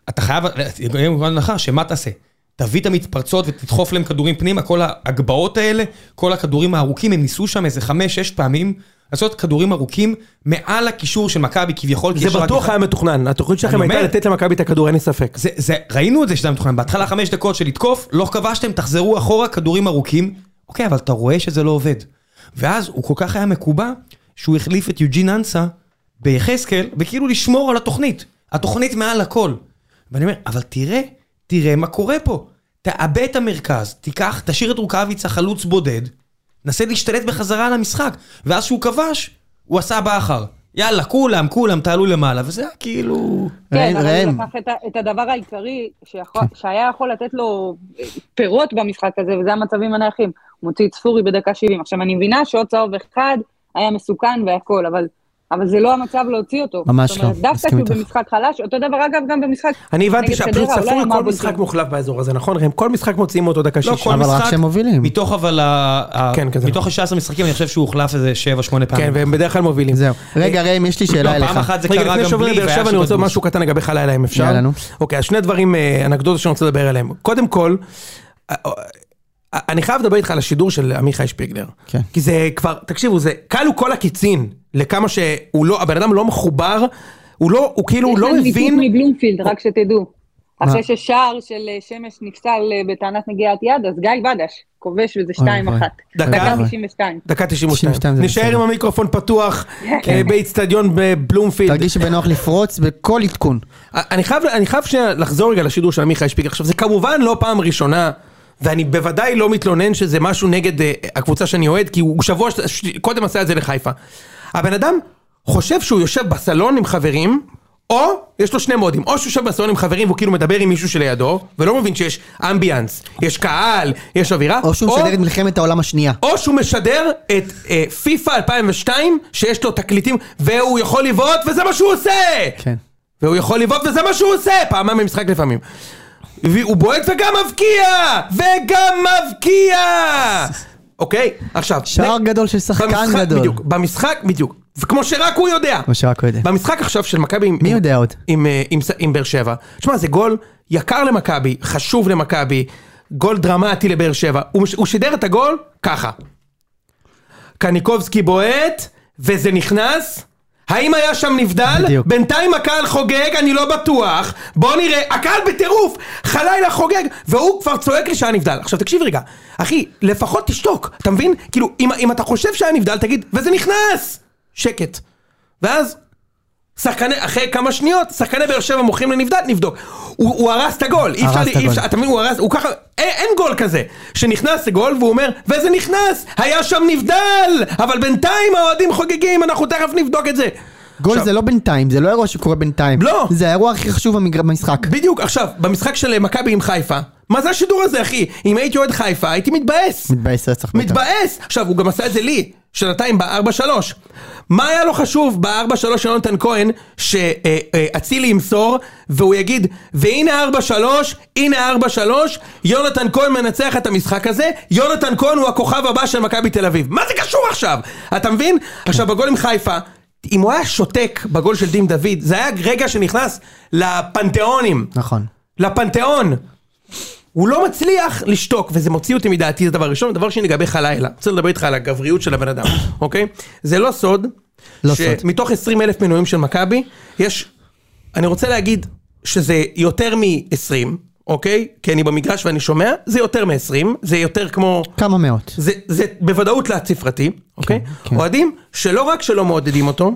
B: אתה חייב, תהיה מובן לך, שמה תעשה? אתה תביא את המתפרצות ותדחוף להם כדורים פנימה, כל ההגבהות האלה, כל הכדורים הארוכים, הם ניסו שם איזה חמש, שש פעמים לעשות כדורים ארוכים מעל הקישור של מכבי כביכול. כי
C: זה
B: יש רק
C: בטוח
B: אחד.
C: היה מתוכנן, התוכנית שלכם
B: אני
C: הייתה
B: אומר.
C: לתת למכבי את הכדור, אין לי ספק.
B: זה, זה, ראינו את זה שזה היה מתוכנן, בהתחלה חמש דקות של לתקוף, לא כבשתם, תחזרו אחורה, כדורים ארוכים. אוקיי, אבל אתה רואה שזה לא עובד. ואז הוא כל כך היה מקובע, שהוא החליף את יוג'ין אנסה ביחזקאל, וכאילו לשמור על התוכנית. התוכנית מעל הכל. ואני אומר, אבל תראה, תראה מה קורה פה. תעבה את המרכז, תיקח, תשאיר את רוקאביצה חלוץ בודד, נסה להשתלט בחזרה על המשחק. ואז שהוא כבש, הוא עשה בכר. יאללה, כולם, כולם, תעלו למעלה, וזה היה כאילו...
A: ראם,
D: כן, אבל
A: ראם.
D: הוא לקח את ה- את הדבר העיקרי שיכול- שהיה יכול לתת לו אה, פירות במשחק הזה, וזה המצבים הנייחים. הוא מוציא את ספורי בדקה 70. עכשיו, אני מבינה שעוד צהוב אחד היה מסוכן והכול, אבל... אבל זה לא המצב להוציא אותו.
A: ממש
D: זאת אומרת,
A: לא,
D: דווקא
A: מסכים
D: כשהוא
A: איתך.
D: במשחק חלש, אותו דבר אגב גם במשחק
C: אני הבנתי
D: נגד
C: שהפלוץ
D: חדרה,
C: צפורי
D: אולי
C: כל
D: אמר
C: משחק
D: בלתי.
C: מוחלף באזור הזה, נכון ראם? כל משחק מוציאים אותו דקה
B: לא
C: שישית.
B: כל
A: אבל רק
B: משחק,
A: שהם מובילים.
B: מתוך אבל, ה- ה-
C: כן, כזה.
B: מתוך ה-16 משחקים אני חושב שהוא הוחלף איזה 7-8 פעמים.
C: כן, והם בדרך כלל מובילים.
A: זהו. רגע, ראם, יש לי שאלה
B: לא,
A: אליך.
B: פעם אחת זה
C: רגע,
B: קרה
C: לפני
B: גם
C: שעוברים
B: בלי,
C: לבאר שבע, אני רוצה
B: שיבוש.
C: משהו קטן לגבי חלילה, אם אפשר.
A: יאללה, נו.
C: אוקיי, אז שני דברים, אה, אנקדוטות שאני רוצה לדבר עליהם. קודם כל, אה, אה, אני חייב לדבר איתך על השידור של עמיחי שפיגלר.
A: כן.
C: כי זה כבר, תקשיבו, זה, כלו כל הקיצין, לכמה שהוא לא, הבן אדם לא מחובר, הוא לא, הוא כאילו, הוא לא
D: יש להם
C: מבין.
D: ניתוק מבלומפילד, רק שתדעו. אחרי ששער של אה, שמש נפסל אה, בטענת נגיעת יד, אז גיא בדש כובש וזה 2-1.
A: אוי,
C: אוי.
D: דקה
C: אוי.
D: 92.
C: דקה 92.
A: 92 זה
C: נשאר
A: בסדר. כן.
C: עם המיקרופון פתוח אה, באיצטדיון בבלומפילד.
A: תרגיש שבנוח לפרוץ בכל עדכון.
C: אני חייב, אני חייב שנייה לחזור רגע לשידור של עמיחי שפיגל. עכשיו, זה כמובן לא פעם ראשונה, ואני בוודאי לא מתלונן שזה משהו נגד אה, הקבוצה שאני אוהד, כי הוא שבוע ש... ש... קודם עשה את זה לחיפה. הבן אדם חושב שהוא יושב בסלון עם חברים, או יש לו שני מודים, או שהוא יושב בסלון עם חברים והוא כאילו מדבר עם מישהו שלידו, ולא מבין שיש אמביאנס, יש קהל, יש אווירה,
A: או שהוא משדר את מלחמת העולם השנייה.
C: או שהוא משדר את אה, פיפא 2002, שיש לו תקליטים, והוא יכול לבעוט, וזה מה שהוא עושה!
A: כן.
C: והוא יכול לבעוט, וזה מה שהוא עושה! פעמיים במשחק לפעמים. והוא בועט וגם מבקיע! וגם מבקיע! אוקיי? עכשיו...
A: שער
C: נ-
A: גדול של שחקן
C: במשחק-
A: גדול.
C: בדיוק, במשחק, בדיוק. וכמו שרק הוא יודע.
A: כמו שרק הוא יודע.
C: במשחק עכשיו של מכבי עם...
A: מי יודע עוד?
C: עם, אה, עם, ס- עם באר שבע. שמע, זה גול יקר למכבי, חשוב למכבי, גול דרמטי לבאר שבע. הוא, מש- הוא שידר את הגול ככה. קניקובסקי בועט, וזה נכנס. האם היה שם נבדל?
A: בדיוק.
C: בינתיים הקהל חוגג, אני לא בטוח. בוא נראה. הקהל בטירוף! חלילה חוגג, והוא כבר צועק לי שהיה נבדל. עכשיו תקשיב רגע, אחי, לפחות תשתוק, אתה מבין? כאילו, אם, אם אתה חושב שהיה נבדל, תגיד, וזה נכנס! שקט. ואז שחקני, אחרי כמה שניות, שחקני באר שבע מוכרים לנבדל, נבדוק. הוא, הוא הרס את הגול, אי
A: הרס
C: אפשר,
A: את
C: לי- אי
A: הגול.
C: אפשר, אתה מבין, הוא הרס, הוא ככה, אין, אין גול כזה. שנכנס לגול והוא אומר, וזה נכנס, היה שם נבדל, אבל בינתיים האוהדים חוגגים, אנחנו תכף נבדוק את זה.
A: גול
C: עכשיו-
A: זה לא בינתיים, זה לא אירוע שקורה בינתיים.
C: לא.
A: זה האירוע הכי חשוב במגר- במשחק.
C: בדיוק, עכשיו, במשחק של אה, מכבי עם חיפה, מה זה השידור הזה, אחי? אם הייתי אוהד חיפה, הייתי מתבאס.
A: מתבאס רצח. בטח.
C: מתבאס! עכשיו, הוא גם עשה את זה לי, שנתיים ב-4-3. מה היה לו חשוב ב-4-3 של יונתן כהן, שאצילי ימסור, והוא יגיד, והנה 4-3, הנה 4-3, יונתן כהן מנצח את המשחק הזה, יונתן כהן הוא הכוכב הבא של מכבי תל אביב. מה זה קשור עכשיו? אתה מבין? עכשיו, בגול עם חיפה... אם הוא היה שותק בגול של דים דוד, זה היה רגע שנכנס לפנתיאונים.
A: נכון.
C: לפנתיאון. הוא לא מצליח לשתוק, וזה מוציא אותי מדעתי, זה דבר ראשון. דבר שני, לגבי חלילה, רוצה לדבר איתך על הגבריות של הבן אדם, אוקיי? זה לא סוד,
A: לא סוד.
C: שמתוך 20 אלף מנויים של מכבי, יש, אני רוצה להגיד שזה יותר מ-20, אוקיי? כי אני במגרש ואני שומע, זה יותר מ-20, זה יותר כמו...
A: כמה מאות.
C: זה, זה בוודאות תלת ספרתי, אוקיי?
A: כן.
C: אוהדים שלא רק שלא מעודדים אותו,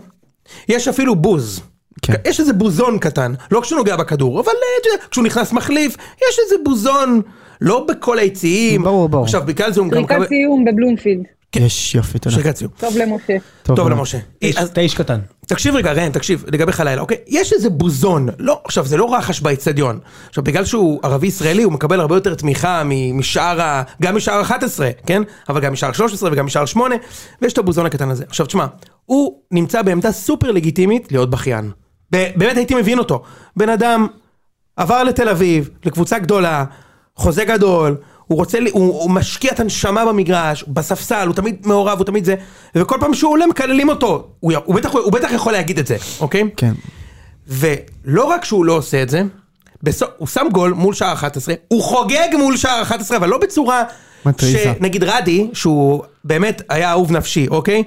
C: יש אפילו בוז.
A: כן.
C: יש איזה בוזון קטן, לא כשהוא נוגע בכדור, אבל אה, אתה יודע, כשהוא נכנס מחליף, יש איזה בוזון, לא בכל היציעים.
A: ברור, ברור.
C: עכשיו, בגלל זה הוא גם
D: פריקת סיום בבלומפילד.
C: כן.
A: יש, יופי, תודה.
C: שריקת סיום.
D: טוב למשה.
C: טוב
A: מאוד.
C: למשה. אה,
B: איש-
C: אז
B: אתה איש קטן.
C: תקשיב רגע, ראם, תקשיב, לגבי חלילה, אוקיי? יש איזה בוזון, לא, עכשיו, זה לא רחש באצטדיון. עכשיו, בגלל שהוא ערבי-ישראלי, הוא מקבל הרבה יותר תמיכה מ- משאר ה... גם משאר 11, כן? אבל גם משאר 13 וגם משאר 8, ויש את הבוזון הקטן הזה. עכשיו, תשמע, הוא נמצא בעמדה סופר לגיטימית להיות בכיין. ב- באמת הייתי מבין אותו. בן אדם עבר לתל אביב, לקבוצה גדולה, חוזה גדול, הוא רוצה, ל- הוא, הוא משקיע את הנשמה במגרש, בספסל, הוא תמיד מעורב, הוא תמיד זה, וכל פעם שהוא עולה מקללים אותו, הוא, י- הוא, בטח, הוא בטח יכול להגיד את זה, אוקיי?
A: כן.
C: ולא רק שהוא לא עושה את זה, בסוף, הוא שם גול מול שער 11, הוא חוגג מול שער 11, אבל לא בצורה...
A: מתריסה.
C: שנגיד רדי, שהוא באמת היה אהוב נפשי, אוקיי?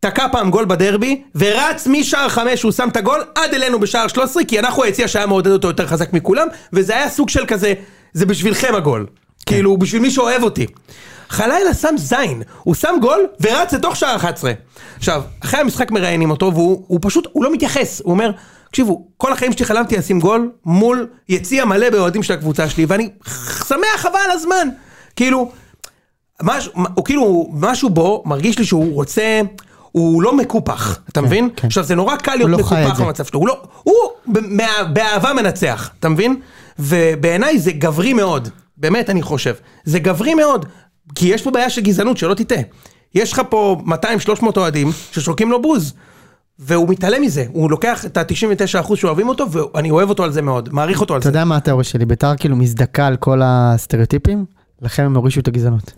C: תקע פעם גול בדרבי, ורץ משער חמש, הוא שם את הגול, עד אלינו בשער 13, כי אנחנו היציע שהיה מעודד אותו יותר חזק מכולם, וזה היה סוג של כזה, זה בשבילכם הגול. כאילו, הוא בשביל מי שאוהב אותי. חלילה שם זין, הוא שם גול ורץ לתוך שער 11. עכשיו, אחרי המשחק מראיינים אותו, והוא הוא פשוט, הוא לא מתייחס, הוא אומר, תקשיבו, כל החיים שלי חלמתי לשים גול מול יציע מלא באוהדים של הקבוצה שלי, ואני שמח חבל על הזמן. כאילו, מש, הוא כאילו, משהו בו מרגיש לי שהוא רוצה, הוא לא מקופח, אתה מבין?
A: כן.
C: עכשיו זה נורא קל
A: הוא
C: להיות
A: לא חי את
C: מקופח
A: זה.
C: במצב שלו, הוא לא, הוא ב- מה- באהבה מנצח, אתה מבין? ובעיניי זה גברי מאוד, באמת אני חושב, זה גברי מאוד, כי יש פה בעיה של גזענות, שלא תטעה. יש לך פה 200-300 אוהדים ששורקים לו בוז. והוא מתעלם מזה, הוא לוקח את ה-99% שאוהבים אותו, ואני אוהב אותו על זה מאוד, מעריך אותו על
A: אתה
C: זה.
A: יודע מה התיאוריה שלי? ביתר כאילו מזדכה על כל הסטריאוטיפים, לכן הם הורישו את הגזענות.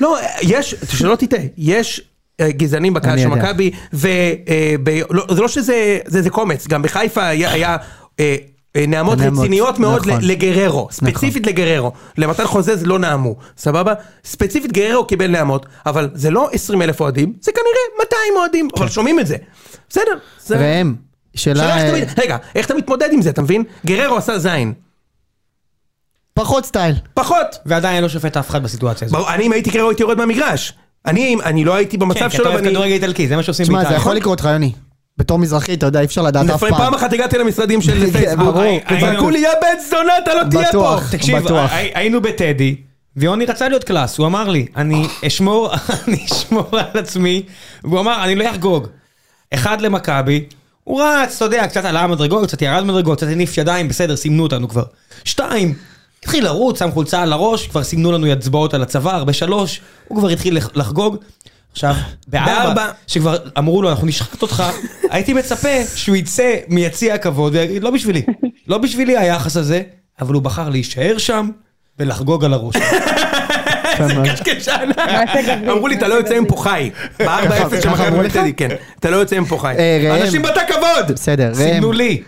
C: לא, יש, שלא תטעה, יש אה, גזענים בקהל
A: אני
C: של
A: יודע.
C: מכבי, וזה לא שזה, זה זה קומץ, גם בחיפה היה- היה אה, אה, נעמות
A: נעמות,
C: רציניות מאוד
A: נכון.
C: ל- לגררו,
A: נכון.
C: ספציפית לגררו, למתן חוזז לא נעמו, סבבה? ספציפית גררו קיבל נעמות, אבל זה לא 20 אלף אוהדים, זה כנראה 200 אוהדים,
A: כן.
C: אבל שומעים את זה. בסדר, זה...
A: ראם, שאלה...
C: שאלה איך אתה
A: אה,
C: מת- רגע, איך אתה מתמודד עם זה, אתה מבין? גררו עשה זין,
A: פחות סטייל.
C: פחות.
B: ועדיין לא שופט אף אחד בסיטואציה הזאת.
C: ברור, אני אם הייתי גררו הייתי יורד מהמגרש. אני, אני לא הייתי
B: כן,
C: במצב
B: כי אתה
C: שלו
B: אוהב
C: ואני...
B: כדורגל איטלקי, זה מה שעושים
A: תשמע, זה
B: באיטליה.
A: יכול לקרות לך, יוני. בתור מזרחי, אתה יודע, אי אפשר לדעת אף
C: נכון? לפעמים פעם
A: פעם. כן,
C: אחת הגעתי למשרדים של פייסבוק,
A: ברור.
C: זרקו לי יא בן זונה אתה לא תהיה פה.
A: בטוח.
B: תקשיב,
A: בטוח.
B: הי- היינו בטדי, ויוני רצה להיות קלאס, הוא אמר לי, אני אשמור, אני אשמור על עצמי, והוא אמר, אני לא אחגוג. אחד למכבי, הוא רץ, אתה יודע, קצת עלה מדרגות, קצת ירד מדרגות, קצת הניף ידיים, בסדר, סימנו אותנו כבר. שתיים, התחיל לרוץ, שם חולצה על הראש, כבר סימנו לנו אצבעות על הצוואר, בשלוש, הוא כבר התחיל לח- לחגוג. עכשיו,
C: בארבע.
B: בארבע, שכבר אמרו לו, אנחנו נשחט אותך, הייתי מצפה שהוא יצא מיציע הכבוד ויגיד, לא בשבילי, לא בשבילי היחס הזה, אבל הוא בחר להישאר שם ולחגוג על הראש.
A: כן, מאוד.
C: קשקשן.
D: מעשה גברי,
C: אמרו לי אתה לא
D: מעשה
C: יוצא מפה חי. ב-4-0 של
A: ככה אמרו
C: מכבי
A: לך?
C: טדי, כן. אתה לא יוצא מפה חי.
A: אה, ראם.
C: אנשים בתא כבוד.
A: בסדר, ראם.
B: סימנו לי.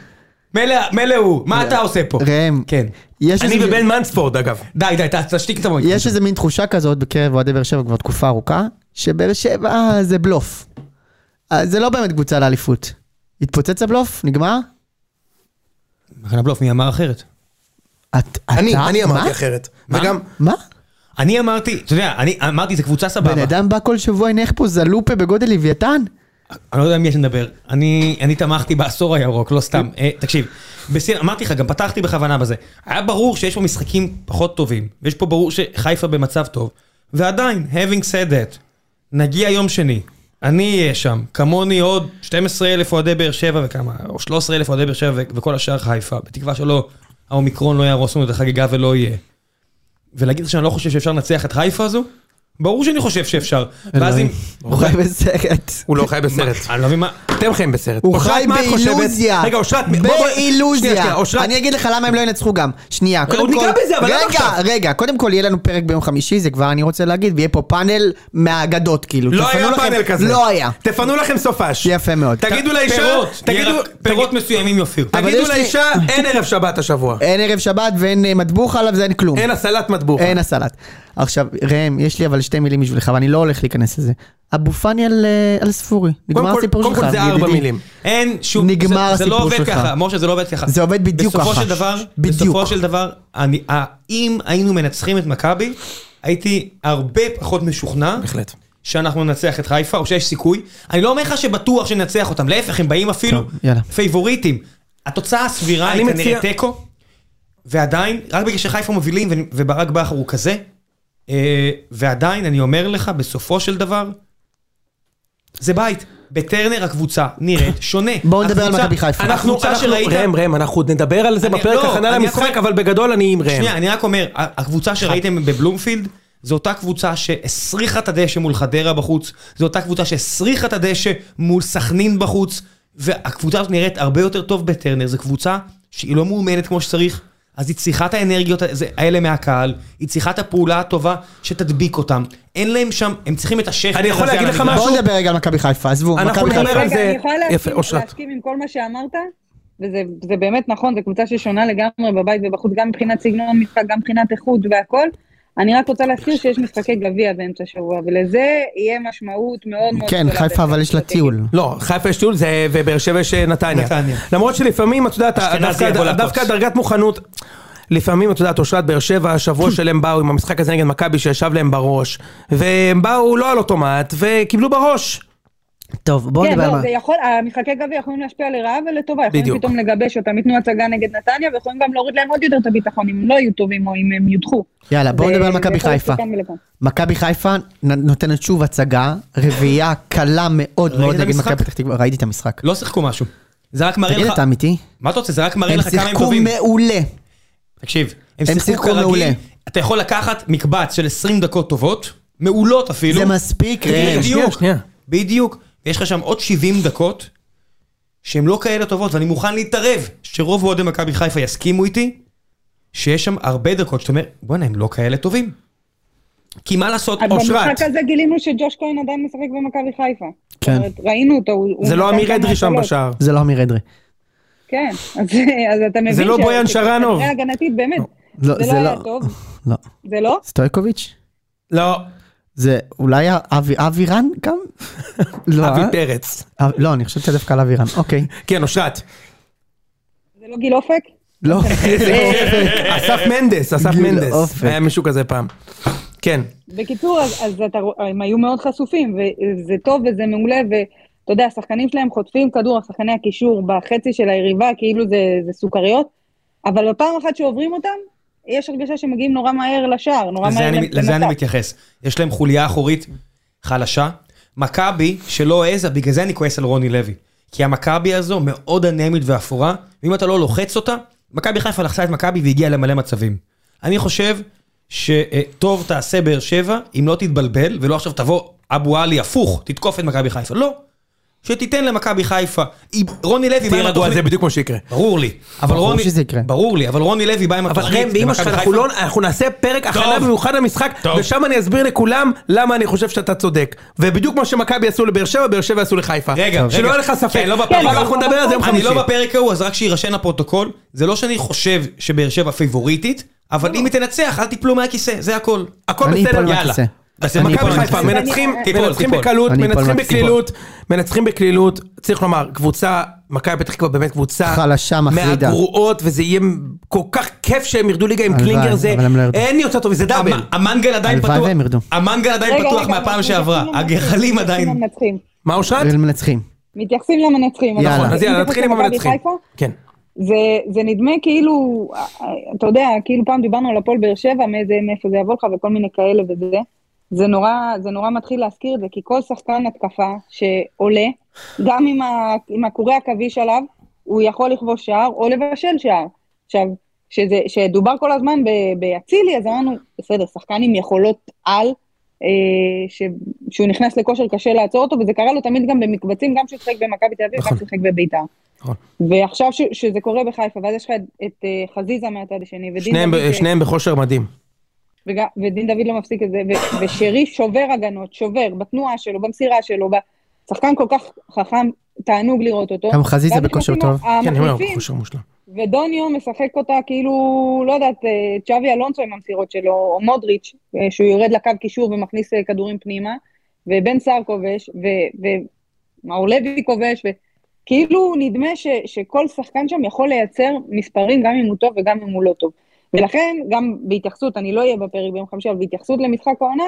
B: מילא מילא הוא, מה אתה עושה פה?
A: ראם.
B: כן.
A: יש
C: אני
A: איזה-
C: ובן מנספורד אגב.
B: די, די, ת- תשתיק את המועד.
A: יש איזה מין תחושה כזאת בקרב אוהדי באר שבע כבר תקופה ארוכה, שבאר שבע אה, זה בלוף. אה, זה לא באמת קבוצה לאליפות. התפוצץ הבלוף? נגמר?
B: מחנה בלוף, מי אמר אחרת?
A: את- אתה- מה?
C: אחרת.
B: מה?
A: מה?
B: אני אמרתי, אתה יודע, אני אמרתי, זה קבוצה
A: בן
B: סבבה.
A: אדם בא כל שבוע, הנה איך פה זלופה בגודל לוויתן?
B: אני לא יודע עם מי אתה מדבר. אני, אני תמכתי בעשור הירוק, לא סתם. אה, תקשיב, בסין, אמרתי לך, גם פתחתי בכוונה בזה. היה ברור שיש פה משחקים פחות טובים, ויש פה ברור שחיפה במצב טוב, ועדיין, having said that, נגיע יום שני, אני אהיה שם, כמוני עוד 12 אלף אוהדי באר שבע וכמה, או 13 אלף אוהדי באר שבע ו- וכל השאר חיפה, בתקווה שלא, האומיקרון לא יהרוס לנו את החגיגה ולא יהיה. ולהגיד לך שאני לא חושב שאפשר לנצח את חיפה הזו? ברור שאני חושב שאפשר. ואז אם...
A: אלוהים. הוא
C: אוקיי.
A: חי בסרט.
C: הוא לא חי בסרט.
B: אני לא מבין מה...
C: אתם חיים בסרט.
A: הוא
C: אושרת,
A: חי
C: מה את חושבת?
A: באילוזיה.
C: רגע אושרת. בוא, בוא, שנייה,
A: באילוזיה.
C: שנייה, אושרת.
A: אני אגיד לך למה הם לא ינצחו גם. שנייה,
C: עוד
A: קודם כל...
C: ניגע בזה, אבל למה עכשיו?
A: רגע, רגע, קודם כל יהיה לנו פרק ביום חמישי, זה כבר אני רוצה להגיד, ויהיה פה פאנל מהאגדות, כאילו.
C: לא
A: תפנו
C: היה
A: לכם-
C: פאנל כזה.
A: לא היה.
C: תפנו לכם סופש.
A: יפה מאוד.
C: תגידו לאישה,
B: פירות,
C: תגידו,
B: ירק, פירות מסוימים יופיעו.
A: אבל
C: תגידו
A: יש לי-
C: לאישה, אין ערב שבת השבוע.
A: אין ערב שבת ואין אה, מטבוח עליו, זה אין כלום.
C: אין הסלט מטבוחה.
A: אין הסלט. עכשיו, ראם, יש לי אבל שתי מילים בשבילך, ואני לא הולך להיכנס לזה. אבו פאני על, אה, על ספורי. נגמר
C: קודם כל-
A: הסיפור
C: קודם
A: שלך,
C: כל זה ארבע
A: ידידי.
C: מילים.
B: אין שום...
A: נגמר
B: זה, זה לא
A: הסיפור
B: עובד
A: שלך.
B: ככה, משה, זה לא עובד ככה.
A: זה עובד בדיוק
B: בסופו
A: ככה.
B: של דבר,
A: בדיוק.
B: בסופו של דבר, אני, אה, אם היינו מנצחים את מכבי, הייתי הרבה פחות משוכנע.
C: בהחלט.
B: שאנחנו ננצח את חיפה, או שיש סיכוי. אני לא אומר לך שבטוח שננצח אותם, להפך, הם באים אפילו
A: טוב, יאללה.
B: פייבוריטים. התוצאה הסבירה היא
C: אני
B: כנראה
C: מציע-
B: תיקו, ועדיין, רק בגלל שחיפה מובילים ו- וברק בכר הוא כזה, אה, ועדיין, אני אומר לך, בסופו של דבר, זה בית. בטרנר הקבוצה נראית שונה.
A: בואו נדבר על
B: הקבוצה-
A: מכבי חיפה.
C: אנחנו,
B: הקבוצה
C: אנחנו,
B: שראית...
C: ראם, ראם, אנחנו עוד נדבר על זה
B: אני-
C: בפרק
B: לא,
C: הכנה
B: אני
C: למשחק,
B: יכול-
C: אבל בגדול אני עם ראם.
B: שנייה, אני רק אומר, ה- הקבוצה שראיתם בבלומפילד, זו אותה קבוצה שהסריחה את הדשא מול חדרה בחוץ, זו אותה קבוצה שהסריחה את הדשא מול סכנין בחוץ, והקבוצה הזאת נראית הרבה יותר טוב בטרנר, זו קבוצה שהיא לא מאומנת כמו שצריך, אז היא צריכה את האנרגיות הזה- האלה מהקהל, היא צריכה את הפעולה הטובה שתדביק אותם. אין להם שם, הם צריכים את השכר.
C: אני יכול
B: הזה על
C: להגיד לך
B: המגרש.
A: בואו
C: משהו?
A: נדבר רגע על מכבי חיפה, עזבו,
C: אנחנו
A: מכבי
C: נדבר
A: חיפה.
C: על
D: רגע,
C: זה-
D: אני יכולה
C: יפה,
D: להסכים-
C: אושרת.
D: להסכים עם כל מה שאמרת? וזה זה באמת נכון, זו קבוצה ששונה לגמרי בבית ובחוץ, גם מבחינת סגנון משחק, גם מבחינת איכות והכל. אני רק רוצה להזכיר שיש משחקי גביע באמצע השבוע, ולזה יהיה משמעות מאוד מאוד
A: כן,
D: גדולה
A: חיפה אבל
D: באמצע
A: יש לה
D: השבוע.
A: טיול.
C: לא, חיפה יש טיול, זה- ובאר שבע יש אה, נתניה.
B: נתניה.
C: למרות שלפעמים, את יודעת,
B: אשכנזי
C: דווקא-
B: יבוא לכוס.
C: דווקא דרגת מוכנות, לפעמים, את יודעת, אושרת באר שבע, השבוע שלהם באו עם המשחק הזה נגד מכבי שישב להם בראש, והם באו לא על אוטומט, וקיבלו בראש.
A: טוב, בואו
D: כן,
A: נדבר על
D: לא,
A: מה.
D: זה יכול, המשחקי גביע יכולים להשפיע לרעה ולטובה,
C: בדיוק.
D: יכולים פתאום לגבש אותם, ייתנו הצגה נגד נתניה, ויכולים גם להוריד להם עוד יותר את הביטחון, אם הם לא יהיו טובים או אם הם יודחו.
A: יאללה, בואו
D: זה-
A: נדבר על
D: זה
A: מכבי
D: יכול להיות
A: חיפה.
D: לכאן ולכאן.
A: מכבי חיפה נ- נותנת שוב הצגה, רביעייה קלה מאוד
B: ראית
A: מאוד
B: את
A: נגד מכבי
B: המשחק?
A: פתח תקווה, ראיתי את המשחק.
B: לא שיחקו משהו. זה רק מראה
A: תגיד,
B: לך...
A: אתה אמיתי?
B: מה אתה רוצה? זה רק מראה
A: הם
B: לך כמה הם
A: שיחקו
B: טובים.
A: מעולה.
B: תקשיב,
A: הם שיחקו מעולה.
B: אתה יכול לקחת מקבץ של 20 דקות טובות, מעולות אפילו.
C: כאילו-
B: כן,
A: זה מספיק, כן, ראם.
C: שנייה,
B: בדיוק,
C: שנייה.
B: בדיוק. ויש לך שם עוד 70 דקות שהן לא כאלה טובות, ואני מוכן להתערב שרוב אוהדי מכבי חיפה יסכימו איתי שיש שם הרבה דקות שאתה אומר, בואנה, הם לא כאלה טובים. כי מה לעשות,
D: אז
B: אושרת,
D: במשחק הזה גילינו שג'וש כהן עדיין משחק במכבי חיפה.
A: כן.
D: זאת אומרת, ראינו אותו, הוא... הוא
C: זה לא
D: נתן
C: אמיר
D: כמה
C: אדרי שם
D: הקלות.
C: בשער.
A: זה לא אמיר אדרי.
D: כן, אז אז אתה מבין...
C: זה לא
D: ש-
C: בויאן
D: ש-
C: שרנוב.
D: כנראה הגנתית, באמת.
A: לא,
D: זה לא היה טוב.
A: לא.
D: זה לא?
A: סטויקוביץ'?
C: לא,
A: זה אולי אבי אבי רן גם? לא, אה?
C: אבי פרץ.
A: אב- לא, אני חושבת שדווקא על אבי רן. אוקיי.
C: כן, אושרת.
D: זה לא גיל אופק?
A: לא.
C: אסף מנדס, אסף
A: גיל
C: מנדס.
A: אופק.
C: היה מישהו כזה פעם. כן.
D: בקיצור, אז, אז אתה, רוא- הם היו מאוד חשופים, וזה טוב וזה מעולה, ואתה יודע, השחקנים שלהם חוטפים כדור, שחקני הקישור, בחצי של היריבה, כאילו זה, זה סוכריות, אבל בפעם אחת שעוברים אותם, יש הרגשה שמגיעים נורא מהר לשער, נורא
B: לזה
D: מהר
B: אני- לזה אני
D: למצב.
B: מתייחס. יש להם חוליה אחורית חלשה. מכבי שלא העזה, בגלל זה אני כועס על רוני לוי. כי המכבי הזו מאוד אנמית ואפורה, ואם אתה לא לוחץ אותה, מכבי חיפה לחצה את מכבי והגיעה למלא מצבים. אני חושב שטוב תעשה באר שבע אם לא תתבלבל, ולא עכשיו תבוא אבו עלי הפוך, תתקוף את מכבי חיפה. לא. שתיתן למכבי חיפה. אם- רוני לוי בא עם
C: תהיה רגוע,
B: התוכנית-
C: זה בדיוק מה שיקרה.
B: ברור לי. אבל
A: ברור
B: רוני...
A: שזה יקרה.
B: ברור לי, אבל רוני לוי בא עם
C: אבל
B: התוכנית.
C: ראם, באמא
B: למכבי
C: שלך, אנחנו
B: חיפה.
C: לא- אנחנו נעשה פרק הכנה
B: טוב.
C: במיוחד למשחק,
B: טוב.
C: ושם אני אסביר לכולם למה אני חושב שאתה צודק. ובדיוק מה שמכבי עשו לבאר שבע, באר שבע עשו לחיפה.
B: רגע, רגע.
C: שלא יהיה לך ספק.
B: כן, לא בפרק
C: אבל
B: ההוא.
C: אנחנו נדבר על זה יום
B: אני
C: חמישי.
B: לא בפרק ההוא, אז רק שיירשם לפרוטוקול, זה לא שאני חושב שבאר שבע פיבוריטית, אבל אם היא תנצח, אל תיפלו מהכיסא, זה הכל.
C: לא. הכל
A: אני
C: בסדר,
A: אפול
C: יאללה.
A: מהכיסא.
B: אז
A: אני
B: מכבי
C: מכבי
A: אפול
C: חיפה,
A: מהכיסא.
C: מנצחים,
B: תיפול,
C: מנצחים
B: תיפול.
C: בקלות,
A: אני
C: מנצחים
A: אפול,
C: בקלילות, מנצחים בקלילות, צריך לומר, קבוצה, מכבי פתח תקווה באמת קבוצה,
A: חלשה, מחרידה.
C: מהגרועות, וזה יהיה כל כך כיף שהם ירדו ליגה עם
A: הלוואי,
C: קלינגר זה,
A: אבל הם לא ירדו.
C: אין יותר טוב, זה דאבל.
B: המ- אמ, המנגל עדיין
A: הלוואי
B: פתוח,
A: והם ירדו.
B: המנגל עדיין
D: רגע,
B: פתוח
D: רגע,
B: מהפעם
D: אנחנו
B: שעברה,
D: מתייחסים
B: הגחלים
D: למנצחים,
B: עדיין,
D: למנצחים.
C: מה אושרת?
A: הם מנצחים.
D: מתייחסים למנצחים. אבל
A: יאללה.
D: אם
C: אז יאללה,
D: זה חוץ
C: נתחיל עם
D: למכבי
C: המנצחים.
D: חיפה,
C: כן.
D: זה, זה נדמה כאילו, אתה יודע, כאילו פעם דיברנו על הפועל באר שבע, מאיזה, מאיפה זה יבוא לך וכל מיני כאלה וזה. זה נורא, זה נורא מתחיל להזכיר את זה, כי כל שחקן התקפה שעולה, גם עם, ה, עם הקורי עכביש עליו, הוא יכול לכבוש שער או לבשל שער. עכשיו, שזה, שדובר כל הזמן ב- באצילי, אז אמרנו, בסדר, שחקן עם יכולות על, אה, ש, שהוא נכנס לכושר קשה לעצור אותו, וזה קרה לו תמיד גם במקבצים, גם כשהוא שיחק במכבי תל אביב, גם
C: נכון.
D: כשהוא שיחק בביתר.
C: נכון.
D: ועכשיו ש, שזה קורה בחיפה, ואז יש לך את, את אה, חזיזה מהצד השני, ודין
C: שניהם ב-
D: דוד, ש-
C: שניהם בכושר מדהים.
D: וג, ודין דוד לא מפסיק את זה, ו, ושרי שובר הגנות, שובר, בתנועה שלו, במסירה שלו, ב... שחקן כל כך חכם, תענוג לראות אותו.
A: גם חזיזה
D: ואז
A: בכושר
D: נכנסים
A: טוב.
C: כן, אני אומר,
D: המחליפים,
C: כושר מושלם.
D: ודוניו משחק אותה כאילו, לא יודעת, אה, צ'אבי אלונסו עם המסירות שלו, או מודריץ', אה, שהוא יורד לקו קישור ומכניס אה, כדורים פנימה, ובן סער כובש, ו- ומאור לוי כובש, וכאילו נדמה ש, שכל שחקן שם יכול לייצר מספרים גם אם הוא טוב וגם אם הוא לא טוב. ולכן, גם בהתייחסות, אני לא אהיה בפרק ביום חמישי, אבל בהתייחסות למשחק העונה,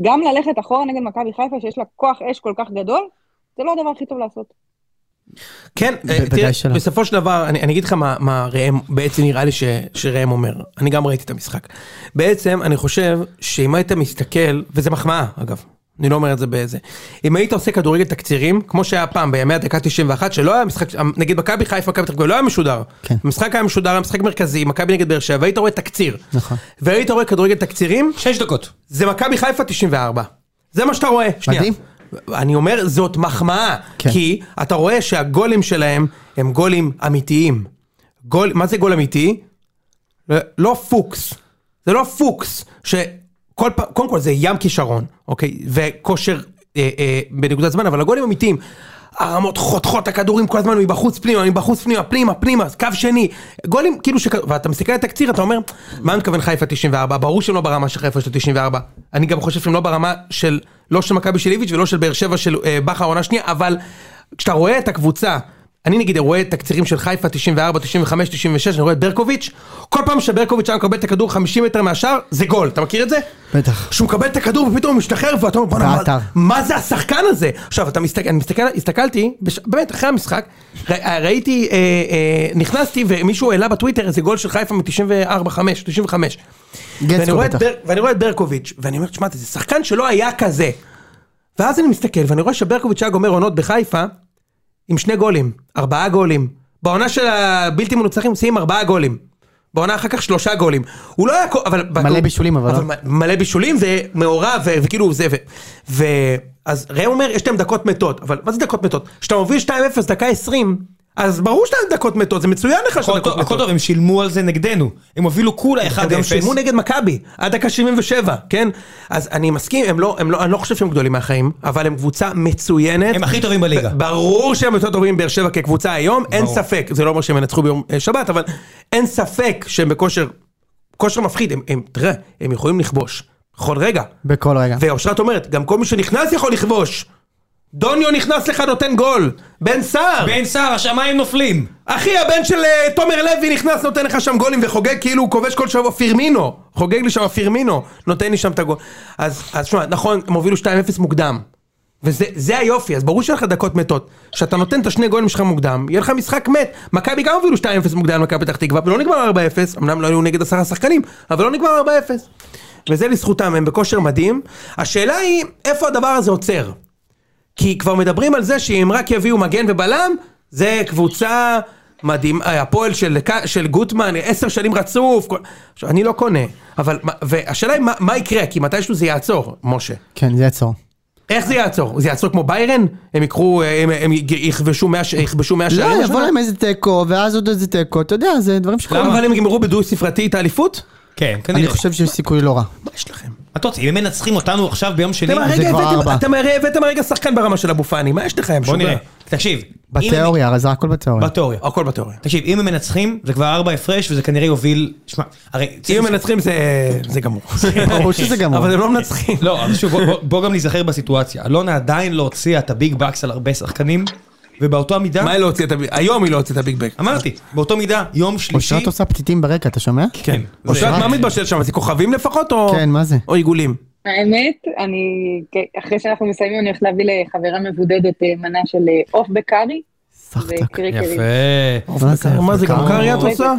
D: גם ללכת אחורה נגד מכבי חיפה, שיש לה כוח אש כל כך גדול, זה לא הדבר הכי טוב לעשות.
C: כן, אה,
A: בוודאי
C: תראה,
A: שלא.
C: בסופו של דבר, אני, אני אגיד לך מה, מה ראם, בעצם נראה לי ש, שראם אומר, אני גם ראיתי את המשחק. בעצם, אני חושב שאם היית מסתכל, וזה מחמאה אגב, אני לא אומר את זה באיזה, אם היית עושה כדורגל תקצירים, כמו שהיה פעם בימי הדקה 91, שלא היה משחק, אה, נגיד מכבי חיפה, מכבי תל אביב, לא היה משודר.
A: כן.
C: המשחק היה משודר, היה משחק מרכזי, מכבי נגד באר שבע, היית רואה תקציר.
A: נכון.
C: והיית רואה כדורגל תקצירים,
B: שש דקות.
C: זה מכבי חיפה 94. זה מה שאתה רואה. שנייה.
A: מדהים.
C: אני אומר, זאת מחמאה.
A: כן.
C: כן. כי אתה רואה שהגולים שלהם הם גולים אמיתיים. גול, מה זה גול אמיתי? לא- לא פוקס. זה לא פוקס. שכל פעם, קודם כל זה ים כישרון, אוקיי? וכושר אה, אה, בנקודת זמן, אבל הגולים אמיתיים. הרמות חותכות את הכדורים כל הזמן מבחוץ פנימה, מבחוץ פנימה, פנימה, פנימה, קו שני. גולים, כאילו ש... ואתה מסתכל על התקציר, אתה אומר, מה מתכוון חיפה 94? ברור שהם לא ברמה של חיפה של 94. אני גם חושב שהם לא ברמה של, לא של מכבי של איביץ' ולא של באר שבע של אה, בכר עונה שנייה, אבל כשאתה רואה את הקבוצה, אני נגיד רואה תקצירים של חיפה 94, 95, 96, אני רואה את ברקוביץ', כל פעם שברקוביץ' היה מקבל את הכדור 50 מטר מהשאר, זה גול, אתה מכיר את זה?
A: בטח.
C: שהוא מקבל את הכדור ופתאום הוא משתחרר ואתה אומר בואנה מה,
A: ועטר."
C: מה זה השחקן הזה? עכשיו אתה מסתכל, אני מסתכל, הסתכלתי, בש, באמת אחרי המשחק, ר, ראיתי, אה, אה, נכנסתי ומישהו העלה בטוויטר איזה גול של חיפה מ-94-5, 95. ואני
A: גצקו
C: רואה את
A: בטח.
C: בר- ואני רואה את ברקוביץ' ואני אומר, תשמע, זה שחקן שלא היה כזה. ואז אני מסתכל ואני רואה שברקוביץ' היה גומר עונות בחיפה עם שני גולים, ארבעה גולים. בעונה של הבלתי מנוצחים עושים ארבעה גולים. בעונה אחר כך שלושה גולים. הוא לא היה... כל- אבל...
A: מלא בישולים, אבל לא.
C: אבל מ- מלא בישולים ומעורב ו- וכאילו זה ו... ו... אז ראם אומר יש להם דקות מתות, אבל מה זה דקות מתות? כשאתה מוביל 2-0 דקה 20, אז ברור שאתה עם דקות מתות, זה מצוין לך שאתה
B: הכל
C: עם דקות
B: טוב, הכל
C: מתות.
B: טוב, הם שילמו על זה נגדנו. הם הובילו כולה 1-0.
C: הם גם שילמו נגד מכבי, עד דקה 77, כן? אז אני מסכים, הם לא, הם לא, אני לא חושב שהם גדולים מהחיים, אבל הם קבוצה מצוינת.
B: הם הכי טובים בליגה.
C: ברור שהם יותר טובים מבאר שבע כקבוצה היום, אין
B: ברור.
C: ספק, זה לא אומר שהם ינצחו ביום אה, שבת, אבל אין ספק שהם בכושר, כושר מפחיד, הם, הם, תראה, הם יכולים לכבוש, בכל רגע.
A: בכל רגע.
C: ואושרת אומרת, גם כל מי שנכנס יכול לכבוש. דוניו נכנס לך, נותן גול. בן סער.
B: בן סער, השמיים נופלים.
C: אחי, הבן של אה, תומר לוי נכנס, נותן לך שם גולים וחוגג כאילו הוא כובש כל שבוע פירמינו. חוגג לי שם פירמינו, נותן לי שם את הגול. אז, אז שמע, נכון, הם הובילו 2-0 מוקדם. וזה זה היופי, אז ברור שיהיה לך דקות מתות. כשאתה נותן את השני גולים שלך מוקדם, יהיה לך משחק מת. מכבי גם הובילו 2-0 מוקדם למכבי פתח תקווה, ולא נגמר 4-0, אמנם לא היו נגד עשרה שחקנים, אבל לא נגמר 4-0. וזה לזכותם, הם בכושר מדהים. השאלה היא, איפה הדבר הזה עוצר? כי כבר מדברים על זה שאם רק יביאו מגן ובלם, זה קבוצה מדהים, אה, הפועל של, ק- של גוטמן, עשר שנים רצוף, כל... עכשיו, אני לא קונה, אבל, מה- והשאלה היא מה, מה יקרה, כי מתישהו זה יעצור, משה.
A: כן, זה יעצור.
C: איך זה יעצור? זה יעצור כמו ביירן? הם יקחו, אה, הם, הם י- יכבשו מאה ש- יכבשו מאה שערים?
A: לא,
C: השנה?
A: יבוא להם איזה תיקו, ואז עוד איזה תיקו, אתה יודע, זה דברים שקורים.
C: למה אבל הם יגמרו בדו ספרתי את האליפות?
B: כן,
A: אני
B: כנראה.
A: חושב שיש סיכוי לא רע.
C: מה יש לכם?
B: אתה רוצה, אם הם מנצחים אותנו עכשיו ביום שני,
C: אתם הרגע
A: כבר
C: הבאתם-
A: ארבע.
C: אתם הרי הבאתם הרגע שחקן ברמה של אבו פאני, מה יש לך הם
B: בוא נראה. תקשיב. אם הם-
A: בתיאוריה, הרי זה הכל בתיאוריה.
B: בתיאוריה.
C: הכל בתיאוריה.
B: תקשיב, אם הם מנצחים, זה כבר ארבע הפרש, וזה כנראה יוביל... שמע, הרי...
C: אם הם מנצחים זה- זה גמור.
A: ברור שזה גמור.
C: אבל הם לא מנצחים.
B: לא, אבל שוב, בוא- בוא- בוא גם להיזכר בסיטואציה. אלונה עדיין לא הוציאה את הביג בקס על הרבה שחקנים, ובאותו המידה...
C: מה היא לא הוציאה את הביג היום היא לא הוציאה את הביג בק.
B: אמרתי, באותו מידה, יום שלישי...
A: אושרת עושה פתיתים ברקע, אתה שומע?
B: כן. זה-
C: אושרת, מה מתבשל שם? זה כוכבים לפחות או...
A: כן, מה זה?
C: או עיגולים.
D: האמת, אני, כן, אחרי שאנחנו מסיימים, אני הולכת להביא לחברה מבודדת אה, מנה של אה, עוף בקארי
A: סחטק.
D: וקריקרים.
B: יפה.
A: מה זה?
C: מה זה, גם
A: כמה-
C: קריה את עושה?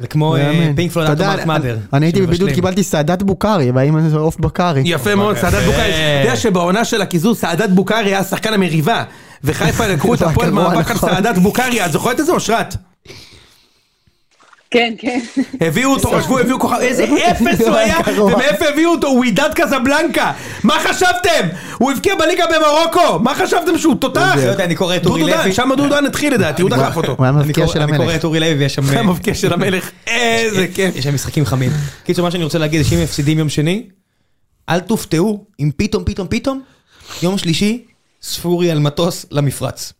B: זה כמו
A: לא
B: אה,
A: יאמן.
B: פינק פלויד
A: אתה יודע,
B: אטומאט
A: אני-
B: מאדר.
A: אני הייתי בבידוד, קיבלתי סעדת בוקארי, והאם זה עוף בקארי.
C: יפה מאוד, סעדת בוקארי. אתה יודע שבעונה של הקיזוז סעדת בוקארי היה שחקן המריבה. וחיפה לקחו את הפועל
A: גרוע,
C: מאבק על
A: נכון.
C: סעדת בוקארי, את זוכרת את זה אושרת?
D: כן, כן.
C: הביאו אותו, חשבו, הביאו כוכב, איזה אפס הוא היה,
A: גרוע.
C: ומאיפה הביאו אותו? הוא עידת קזבלנקה. מה חשבתם? הוא הבקיע בליגה במרוקו, מה חשבתם שהוא תותח?
B: לא יודע, אני קורא את אורי
C: דודו דן,
B: לוי.
C: שם דודו דן התחיל לדעתי, הוא דחף אותו.
A: הוא היה
B: אני
A: מבקיע
B: קורא-
A: של
B: אני קורא
A: המלך.
B: את אורי לוי ויש שם... אה,
C: המבקיע של המלך, איזה כיף.
B: יש שם משחקים חמים. קיצור, מה שאני רוצה להגיד, זה שאם הם מפסידים יום שני, אל תופתעו אם פתאום, פתאום, פתאום, יום שלישי, ספורי על מטוס למפרץ.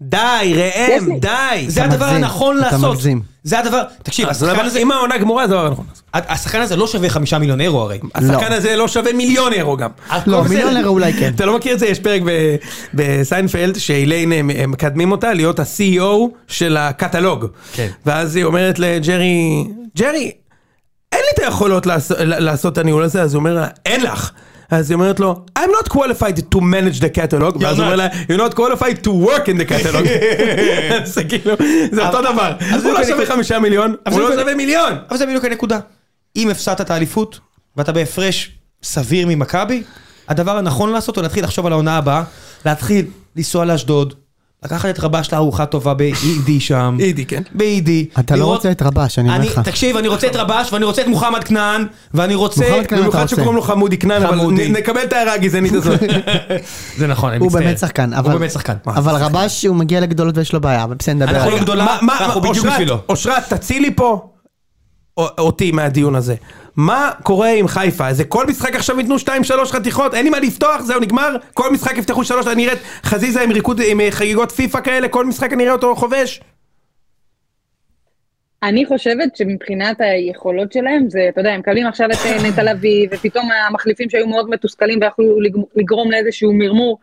C: די,
D: יש
C: ראם,
D: לי-
C: די.
B: זה הדבר
A: מגזים,
B: הנכון
A: אתה
B: לעשות.
A: מגזים.
B: אה, זה הדבר... תקשיב,
C: אז
B: השחקן הזה-
C: אם העונה גמורה זה הדבר הנכון.
B: השחקן הזה לא שווה חמישה מיליון אירו הרי.
C: השחקן הזה לא שווה מיליון אירו גם.
A: לא,
C: הכל בסדר.
A: מיליון אירו אולי כן.
C: אתה לא מכיר את זה? יש פרק ב- בסיינפלד שאיליין הם- הם מקדמים אותה להיות ה-CEO של הקטלוג.
B: כן.
C: ואז היא אומרת לג'רי, ג'רי, אין לי את היכולות לעשות- לעשות את הניהול הזה, אז הוא אומר לה, אין לך. אז היא אומרת לו, I'm not qualified to manage the catalog, ואז הוא אומר לה, you're not qualified to work in the catalog. זה כאילו, זה אותו דבר.
B: אז
C: הוא
B: זה
C: לא
B: כאילו-
C: שווה חמישה מיליון,
B: אז
C: הוא
B: זה
C: לא
B: כאילו-
C: שווה מיליון.
B: אבל זה בדיוק הנקודה. אם הפסדת את האליפות, ואתה בהפרש סביר ממכבי, הדבר הנכון לעשות הוא להתחיל לחשוב על העונה הבאה, להתחיל לנסוע לאשדוד, לקחת את רבש לארוחה טובה ב-ED שם.
C: אידי, כן.
B: ב-ED.
A: אתה לא
B: לראות-
A: רוצה את רבש, אני אומר לך.
B: תקשיב, אני רוצה את רבש, ואני רוצה את מוחמד כנען, ואני רוצה...
A: נכון. מוחמד כנען. אתה
C: במיוחד
A: רוצה?
C: שקוראים לו חמודי כנען, אבל
B: חמודי.
C: נ- נקבל את ההערה הגזענית הזאת.
B: זה נכון, אני
A: הוא
B: מצטער.
A: באמת שחקן, אבל...
B: הוא באמת שחקן.
A: אבל רבש, הוא מגיע לגדולות ויש לו בעיה, אבל בסדר, נדבר
B: אנחנו
A: על
B: לא
A: זה.
B: גדולה,
C: מה- מה-
B: אנחנו בדיוק
C: אושרת,
B: בשבילו.
C: אושרת, תצילי פה א- אותי מהדיון הזה. מה קורה עם חיפה? זה כל משחק עכשיו ייתנו 2-3 חתיכות, אין לי מה לפתוח, זהו נגמר, כל משחק יפתחו 3, אני אראה את חזיזה עם ריקוד, עם אה, חגיגות פיפא כאלה, כל משחק אני אראה אותו חובש.
D: אני חושבת שמבחינת היכולות שלהם, זה, אתה יודע, הם מקבלים עכשיו את אה, נטע לביא, ופתאום המחליפים שהיו מאוד מתוסכלים ויכלו לגמ- לגרום לאיזשהו מרמור,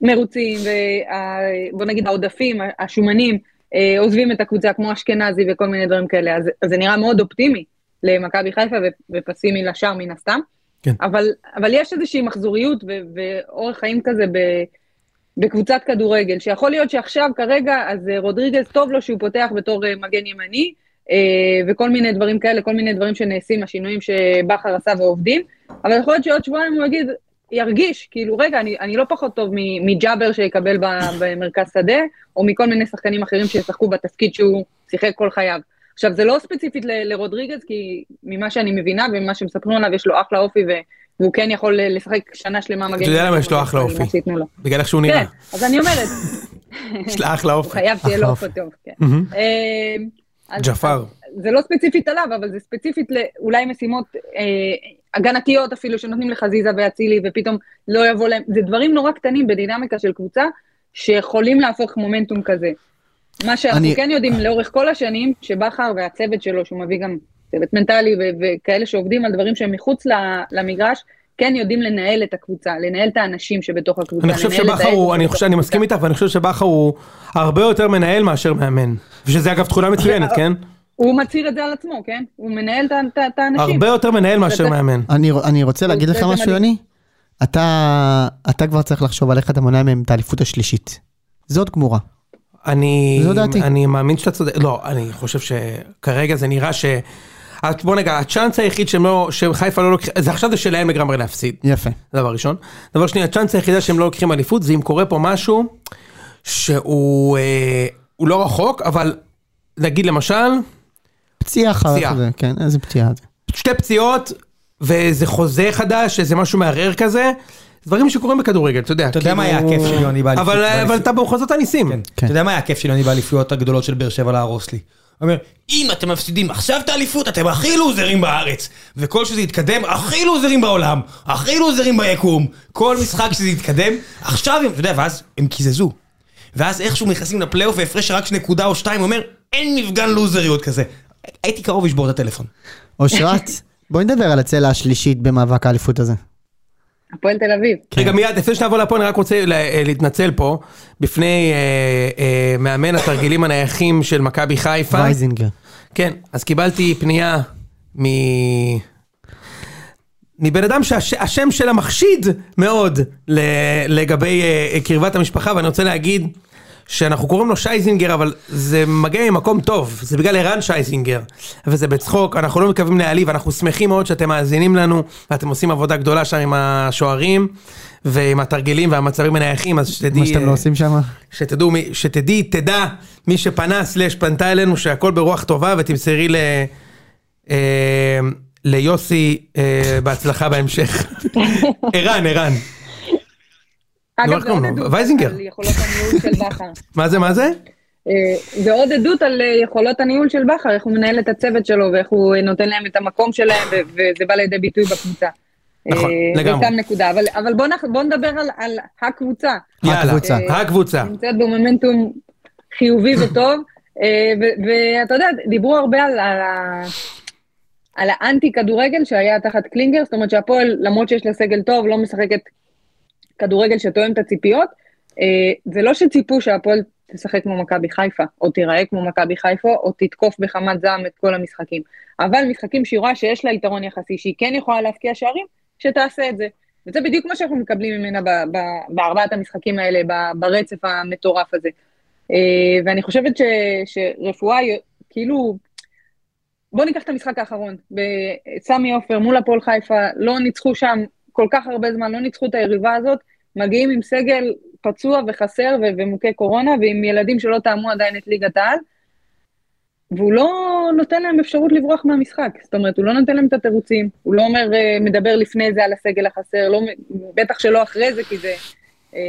D: מרוצים, ובוא נגיד העודפים, השומנים, אה, עוזבים את הקבוצה כמו אשכנזי וכל מיני דברים כאלה, אז, אז זה נראה מאוד אופטימי למכבי חיפה ו- ופסימי לשאר מן הסתם.
C: כן.
D: אבל, אבל יש איזושהי מחזוריות ו- ואורח חיים כזה ב- בקבוצת כדורגל, שיכול להיות שעכשיו, כרגע, אז אה, רודריגז טוב לו שהוא פותח בתור אה, מגן ימני, אה, וכל מיני דברים כאלה, כל מיני דברים שנעשים, השינויים שבכר עשה ועובדים, אבל יכול להיות שעוד שבועיים הוא יגיד, ירגיש, כאילו, רגע, אני, אני לא פחות טוב מ- מג'אבר שיקבל ב- במרכז שדה, או מכל מיני שחקנים אחרים שישחקו בתפקיד שהוא שיחק כל חייו. עכשיו, זה לא ספציפית ל- לרודריגז, כי ממה שאני מבינה וממה שמספרים עליו, יש לו אחלה אופי, ו- והוא כן יכול אה, לשחק שנה שלמה מגן.
C: אתה יודע למה יש לו
D: ימני,
C: אחלה
D: מה
C: אופי?
D: שייתנו לו.
C: בגלל איך שהוא נראה.
D: כן, אז אני אומרת,
C: יש לה אחלה
D: הוא
C: אופי.
D: חייב שיהיה לו
A: אחלה
D: אופו
A: אופי.
D: טוב, כן.
C: מהמם.
D: אה, אז-
C: ג'פר.
D: זה לא ספציפית עליו, אבל זה ספציפית לאולי משימות אה, הגנתיות אפילו, שנותנים לחזיזה ואצילי, ופתאום לא יבוא להם, זה דברים נורא קטנים בדינמיקה של קבוצה, שיכולים להפוך מומנטום כזה. מה שאנחנו
A: אני-
D: כן יודעים לאורך כל השנים, שבכר והצוות שלו, שהוא מביא גם צוות מנטלי ו- וכאלה שעובדים על דברים שהם מחוץ ל- למגרש, כן יודעים לנהל את הקבוצה, לנהל את האנשים שבתוך הקבוצה,
C: אני חושב
D: לנהל את
C: שבכר הוא,
D: האגו
C: אני
D: בתוך
C: חושב, אני
D: הקבוצה.
C: מסכים איתך, ואני חושב שבכר הוא הרבה יותר מנהל מאשר מאמן. ושזה אגב תכונה מצוינת, כן?
D: הוא מצהיר את זה על עצמו, כן? הוא מנהל את ה- את ה- את האנשים.
C: הרבה יותר מנהל מאשר
D: זה-
C: מאמן.
A: אני, אני רוצה
D: הוא
A: להגיד לך
D: עושה את זה
A: משהו,
D: מדהים.
A: יוני? אתה, אתה כבר צריך לחשוב על איך אתה מונע מהם את האליפות השלישית. זאת גמורה.
C: אני,
A: זו דעתי.
C: אני מאמין שאתה צודק, לא, אני חושב שכרגע זה נראה ש... אז בוא נגע, הצ'אנס היחיד שהם לא, שחיפה לא לוקחים, זה עכשיו זה שלהם לגמרי להפסיד,
A: יפה.
C: זה דבר ראשון. דבר שני, הצ'אנס היחידה שהם לא לוקחים אליפות זה אם קורה פה משהו שהוא אה, הוא לא רחוק, אבל נגיד למשל,
A: פציעה אחר
C: פציעה.
A: זה, כן, איזה פציעה זה.
C: שתי פציעות ואיזה חוזה חדש, איזה משהו מערער כזה, דברים שקורים בכדורגל, אתה יודע. כאילו-
B: אתה יודע מה היה הכיף של יוני באליפות?
C: אבל, אבל
B: באליפות.
C: אתה במחוזות הניסים.
B: כן. אתה יודע מה היה הכיף של יוני באליפויות הגדולות של באר שבע להרוס לי? הוא אומר, אם אתם מפסידים עכשיו את האליפות, אתם הכי לוזרים בארץ. וכל שזה יתקדם, הכי לוזרים בעולם. הכי לוזרים ביקום. כל משחק שזה יתקדם, עכשיו הם, אתה יודע, ואז הם קיזזו. ואז איכשהו נכנסים לפלייאוף והפרש רק של נקודה או שתיים, הוא אומר, אין מפגן לוזריות כזה. הייתי קרוב לשבור את הטלפון.
A: אושרת, בואי נדבר על הצלע השלישית במאבק האליפות הזה.
D: הפועל תל אביב.
C: כן. רגע מיד לפני שנעבור לפה אני רק רוצה לה- אה, להתנצל פה בפני אה, אה, מאמן התרגילים הנייחים של מכבי חיפה.
A: וייזינגר.
C: כן, אז קיבלתי פנייה מ... מבן אדם שהשם שלה מחשיד מאוד ל... לגבי אה, קרבת המשפחה ואני רוצה להגיד שאנחנו קוראים לו שייזינגר אבל זה מגיע ממקום טוב זה בגלל ערן שייזינגר וזה בצחוק אנחנו לא מקווים להעליב אנחנו שמחים מאוד שאתם מאזינים לנו ואתם עושים עבודה גדולה שם עם השוערים ועם התרגילים והמצבים הנייחים אז שתדעי
A: מה שאתם
C: אה,
A: לא עושים שם?
C: שתדעו, מי- שתדעי, תדע, מי שפנה סלש פנתה אלינו שהכל ברוח טובה ותמסרי ל... אה, ליוסי אה, בהצלחה בהמשך. ערן, ערן.
D: אגב,
C: איך
D: זה עוד
C: קוראים לו?
D: עדות
C: לא נכון, וייזינגר.
D: על יכולות הניהול של בכר.
C: מה זה, מה זה?
D: אה, זה עוד עדות על אה, יכולות הניהול של בכר, איך הוא מנהל את הצוות שלו, ואיך הוא אה, נותן להם את המקום שלהם, ו- וזה בא לידי ביטוי בקבוצה.
C: נכון,
D: אה,
C: לגמרי.
D: זה סתם נקודה, אבל- אבל בוא נח- בוא נדבר על- על הקבוצה.
C: יאללה,
A: הקבוצה.
C: הקבוצה.
D: נמצאת במומנטום חיובי וטוב, אה, ו- ואתה יודע, דיברו הרבה על ה... על האנטי כדורגל שהיה תחת קלינגר, זאת אומרת שהפועל, למרות שיש לה סגל טוב, לא משחקת כדורגל שתואם את הציפיות. אה, זה לא שציפו שהפועל תשחק כמו מכבי חיפה, או תיראה כמו מכבי חיפה, או תתקוף בחמת זעם את כל המשחקים. אבל משחקים שהיא רואה שיש לה יתרון יחסי, שהיא כן יכולה להבקיע שערים, שתעשה את זה. וזה בדיוק מה שאנחנו מקבלים ממנה ב- ב- בארבעת המשחקים האלה, ב- ברצף המטורף הזה. אה, ואני חושבת ש, שרפואה, היא- כאילו, בואו ניקח את המשחק האחרון, בסמי עופר מול הפועל חיפה, לא ניצחו שם כל כך הרבה זמן, לא ניצחו את היריבה הזאת, מגיעים עם סגל פצוע וחסר ו- ומוכה קורונה, ועם ילדים שלא טעמו עדיין את ליגת העל, והוא לא נותן להם אפשרות לברוח מהמשחק. זאת אומרת, הוא לא נותן להם את התירוצים, הוא לא אומר, אה, מדבר לפני זה על הסגל החסר, לא, מ- בטח שלא אחרי זה, כי זה, אה,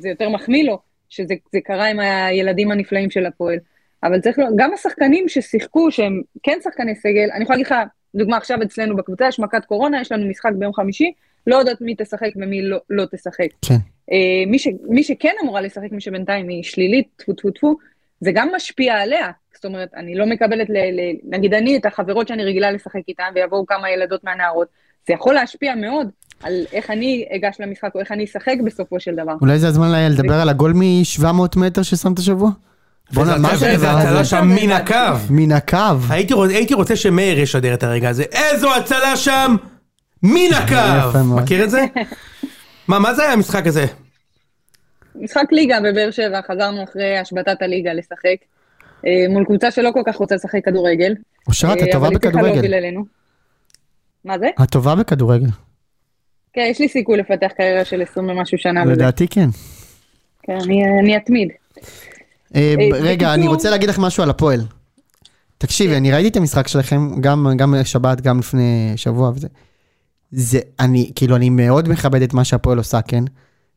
D: זה יותר מחמיא לו, שזה זה קרה עם הילדים הנפלאים של הפועל. אבל צריך, לא, גם השחקנים ששיחקו, שהם כן שחקני סגל, אני יכולה להגיד לך, דוגמה עכשיו אצלנו בקבוצה יש מכת קורונה, יש לנו משחק ביום חמישי, לא יודעת מי תשחק ומי לא, לא תשחק.
A: כן.
D: אה, מי, ש, מי שכן אמורה לשחק, מי שבינתיים היא שלילית, טפו טפו טפו, זה גם משפיע עליה. זאת אומרת, אני לא מקבלת, ל, ל, נגיד אני, את החברות שאני רגילה לשחק איתן, ויבואו כמה ילדות מהנערות, זה יכול להשפיע מאוד על איך אני אגש למשחק, או איך אני אשחק בסופו של דבר.
A: אולי זה הזמן ל- לדבר על הגול מ-700 מטר ששמת השבוע? בואנה, מה זה הדבר
C: הצלה
A: הזה?
C: שם מן הקו.
A: מן הקו.
C: הייתי רוצ- הייתי רוצה שמאיר ישדר את הרגע הזה. איזו הצלה שם! מן הקו!
A: יפה מאוד.
C: מכיר את זה? מה, מה זה היה המשחק הזה?
D: משחק ליגה בבאר שבע, חזרנו אחרי השבתת הליגה לשחק, אה, מול קבוצה שלא כל כך רוצה לשחק כדורגל.
A: אושרת,
D: אה,
A: את טובה
D: אבל הצליחה להוביל
A: בכדורגל.
D: אלינו. מה זה?
A: את טובה בכדורגל.
D: כן, יש לי סיכוי לפתח קריירה של 20 ומשהו שנה בזה.
A: לדעתי כן.
D: כן, אני- אני אתמיד.
A: אה, ב- רגע,
D: בקיצור-
A: אני רוצה להגיד לך משהו על הפועל. תקשיבי, אני ראיתי את המשחק שלכם, גם, גם שבת, גם לפני שבוע וזה. זה, אני, כאילו, אני מאוד מכבד את מה שהפועל עושה, כן?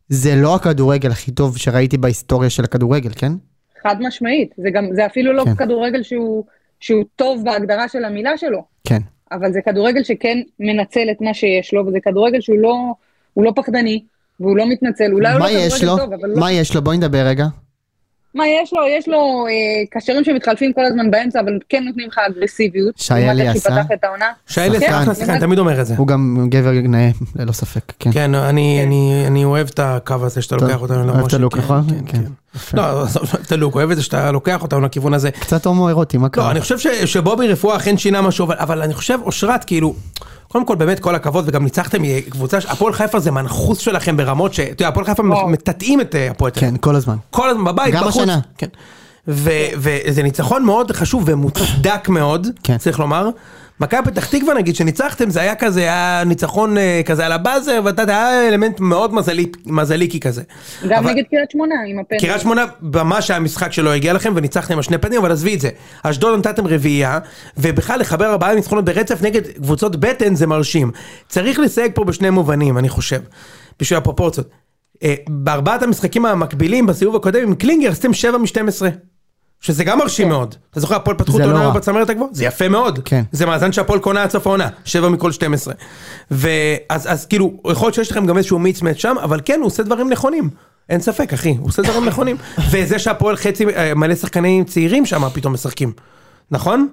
A: זה לא הכדורגל הכי טוב שראיתי בהיסטוריה של הכדורגל, כן?
D: חד משמעית. זה גם, זה אפילו לא
A: כן.
D: כדורגל שהוא- שהוא טוב בהגדרה של המילה שלו,
A: כן.
D: אבל זה כדורגל שכן מנצל את מה שיש לו, וזה כדורגל שהוא לא- הוא לא פחדני, והוא לא מתנצל. אולי הוא לא
A: מה יש לו?
D: כדורגל טוב, אבל לא
A: מה יש לו? בואי נדבר רגע.
D: מה יש לו? יש לו אה, קשרים שמתחלפים כל הזמן באמצע, אבל כן נותנים לך אגרסיביות.
A: שי
D: לעומת
A: אלי
D: איך
A: עשה?
D: שפתח את העונה.
C: שיילה
A: שחקן.
C: אחלה שחקן, תמיד אומר את זה.
A: הוא גם גבר נאה, ללא ספק, כן.
C: כן, אני- אני- אני אוהב את הקו הזה שאתה
A: טוב,
C: לוקח אותנו
A: אוהב את הלוק,
C: כן,
A: נכון?
C: כן,
A: כן.
C: כן. לא, עזוב, את הלוק, אוהב את זה שאתה לוקח אותנו לכיוון הזה.
A: קצת הומואירוטי, מה
C: לא,
A: קרה?
C: אני חושב ש- שבובי רפואה אכן שינה משהו, אבל- אבל אני חושב, אושרת, כאילו, קודם כל באמת כל הכבוד, וגם ניצחתם אה, קבוצה, ש- הפועל חיפה זה מנחוס שלכם ברמות ש... אתה יודע, הפועל חיפה
D: וואו.
C: מטאטאים את אה, הפועל תל אביב.
A: כן, כל הזמן.
C: כל הזמן בבית,
A: גם
C: בחוץ.
A: השנה.
C: כן. ו- וזה ניצחון מאוד חשוב ומוצדק מאוד,
A: כן.
C: צריך לומר. מכבי פתח תקווה נגיד, שניצחתם, זה היה כזה, היה ניצחון אה, כזה על הבאזר, ואתה יודע, היה אלמנט מאוד מזלי- מזליקי כזה.
D: גם
C: אבל-
D: נגד קריית שמונה עם הפנדל.
C: קריית שמונה, ממש היה משחק שלא הגיע לכם, וניצחתם עם השני פנים, אבל עזבי את זה. אשדוד נתתם רביעייה, ובכלל לחבר ארבעה ניצחונות ברצף נגד קבוצות בטן זה מרשים. צריך לסייג פה בשני מובנים, אני חושב, בשביל הפרופורציות. אה, בארבעת המשחקים המקבילים בסיבוב הקודם עם קלינגר עשיתם 7 מ-12. שזה גם מרשים מאוד. אתה זוכר, הפועל פתחו את
A: כן. זה לא
C: העונה
A: רע.
C: בצמרת הגבוהה? זה יפה מאוד.
A: כן.
C: זה מאזן שהפועל קונה עד סוף העונה, 7 מכל 12. ואז אז כאילו, יכול להיות שיש לכם גם איזשהו מיצמט שם, אבל כן, הוא עושה דברים נכונים. אין ספק, אחי, הוא עושה דברים נכונים. וזה שהפועל חצי, אה, מלא שחקנים צעירים שם פתאום משחקים. נכון?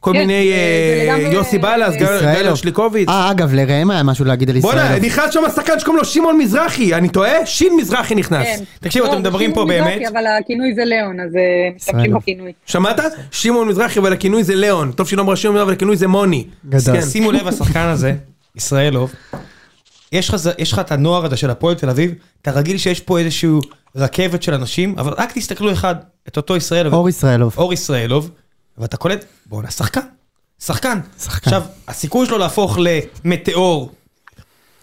C: כל
D: כן,
C: מיני
D: זה-
C: אה,
D: זה לגמרי-
C: יוסי בלס, גל- גלעד
A: ישראלוב.
C: שליקוביץ.
A: אה, אגב, לראם היה משהו להגיד על
C: בואנה,
A: ישראלוב.
C: נכנס שם שחקן שקוראים לו שמעון מזרחי, אני טועה? שין מזרחי נכנס.
D: כן.
B: תקשיבו,
D: לא,
B: אתם מדברים
D: זה
B: פה
D: שיר מזרחי,
B: באמת?
D: אבל הכינוי זה ליאון, אז אה, משתמשים
A: ישראלי.
D: בכינוי.
C: שמעת? שמעון מזרחי, אבל הכינוי זה ליאון. טוב שלא אמר שמעון, אבל הכינוי זה מוני. כן,
A: גדול.
C: מסכן.
B: כן, שימו לב, השחקן הזה, ישראלוב, יש לך זה- יש לך את הנוער הזה של הפועל תל אביב, אתה רגיל שיש פה איזשהו רכבת של אנשים, אבל רק תסתכלו אחד, את אותו ישראלוב,
A: אור ישראלוב.
B: אור ישראלוב, ואתה קולט, בואנה, שחקן. שחקן.
A: שחקן.
B: עכשיו, הסיכוי שלו להפוך למטאור,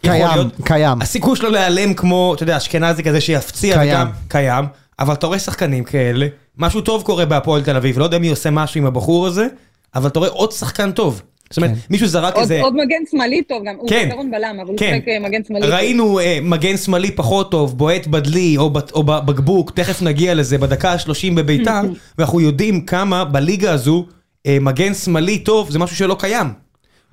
B: יכול
A: קיים,
B: להיות.
A: קיים.
B: הסיכוי שלו להיעלם כמו, אתה יודע, אשכנזי כזה שיפציע
A: קיים.
B: וגם קיים, אבל אתה רואה שחקנים כאלה, משהו טוב קורה בהפועל תל אביב, לא יודע מי עושה משהו עם הבחור הזה, אבל אתה רואה עוד שחקן טוב. זאת אומרת,
A: כן.
B: מישהו זרק
D: עוד-
B: איזה...
D: עוד מגן שמאלי טוב גם, הוא
B: כן.
D: בעיקרון בלם, אבל הוא
B: כן.
D: משחק אה, מגן שמאלי. טוב.
B: ראינו אה, מגן שמאלי פחות טוב, בועט בדלי או, בת, או בבקבוק, תכף נגיע לזה, בדקה ה-30 בביתר, ואנחנו יודעים כמה בליגה הזו אה, מגן שמאלי טוב זה משהו שלא קיים.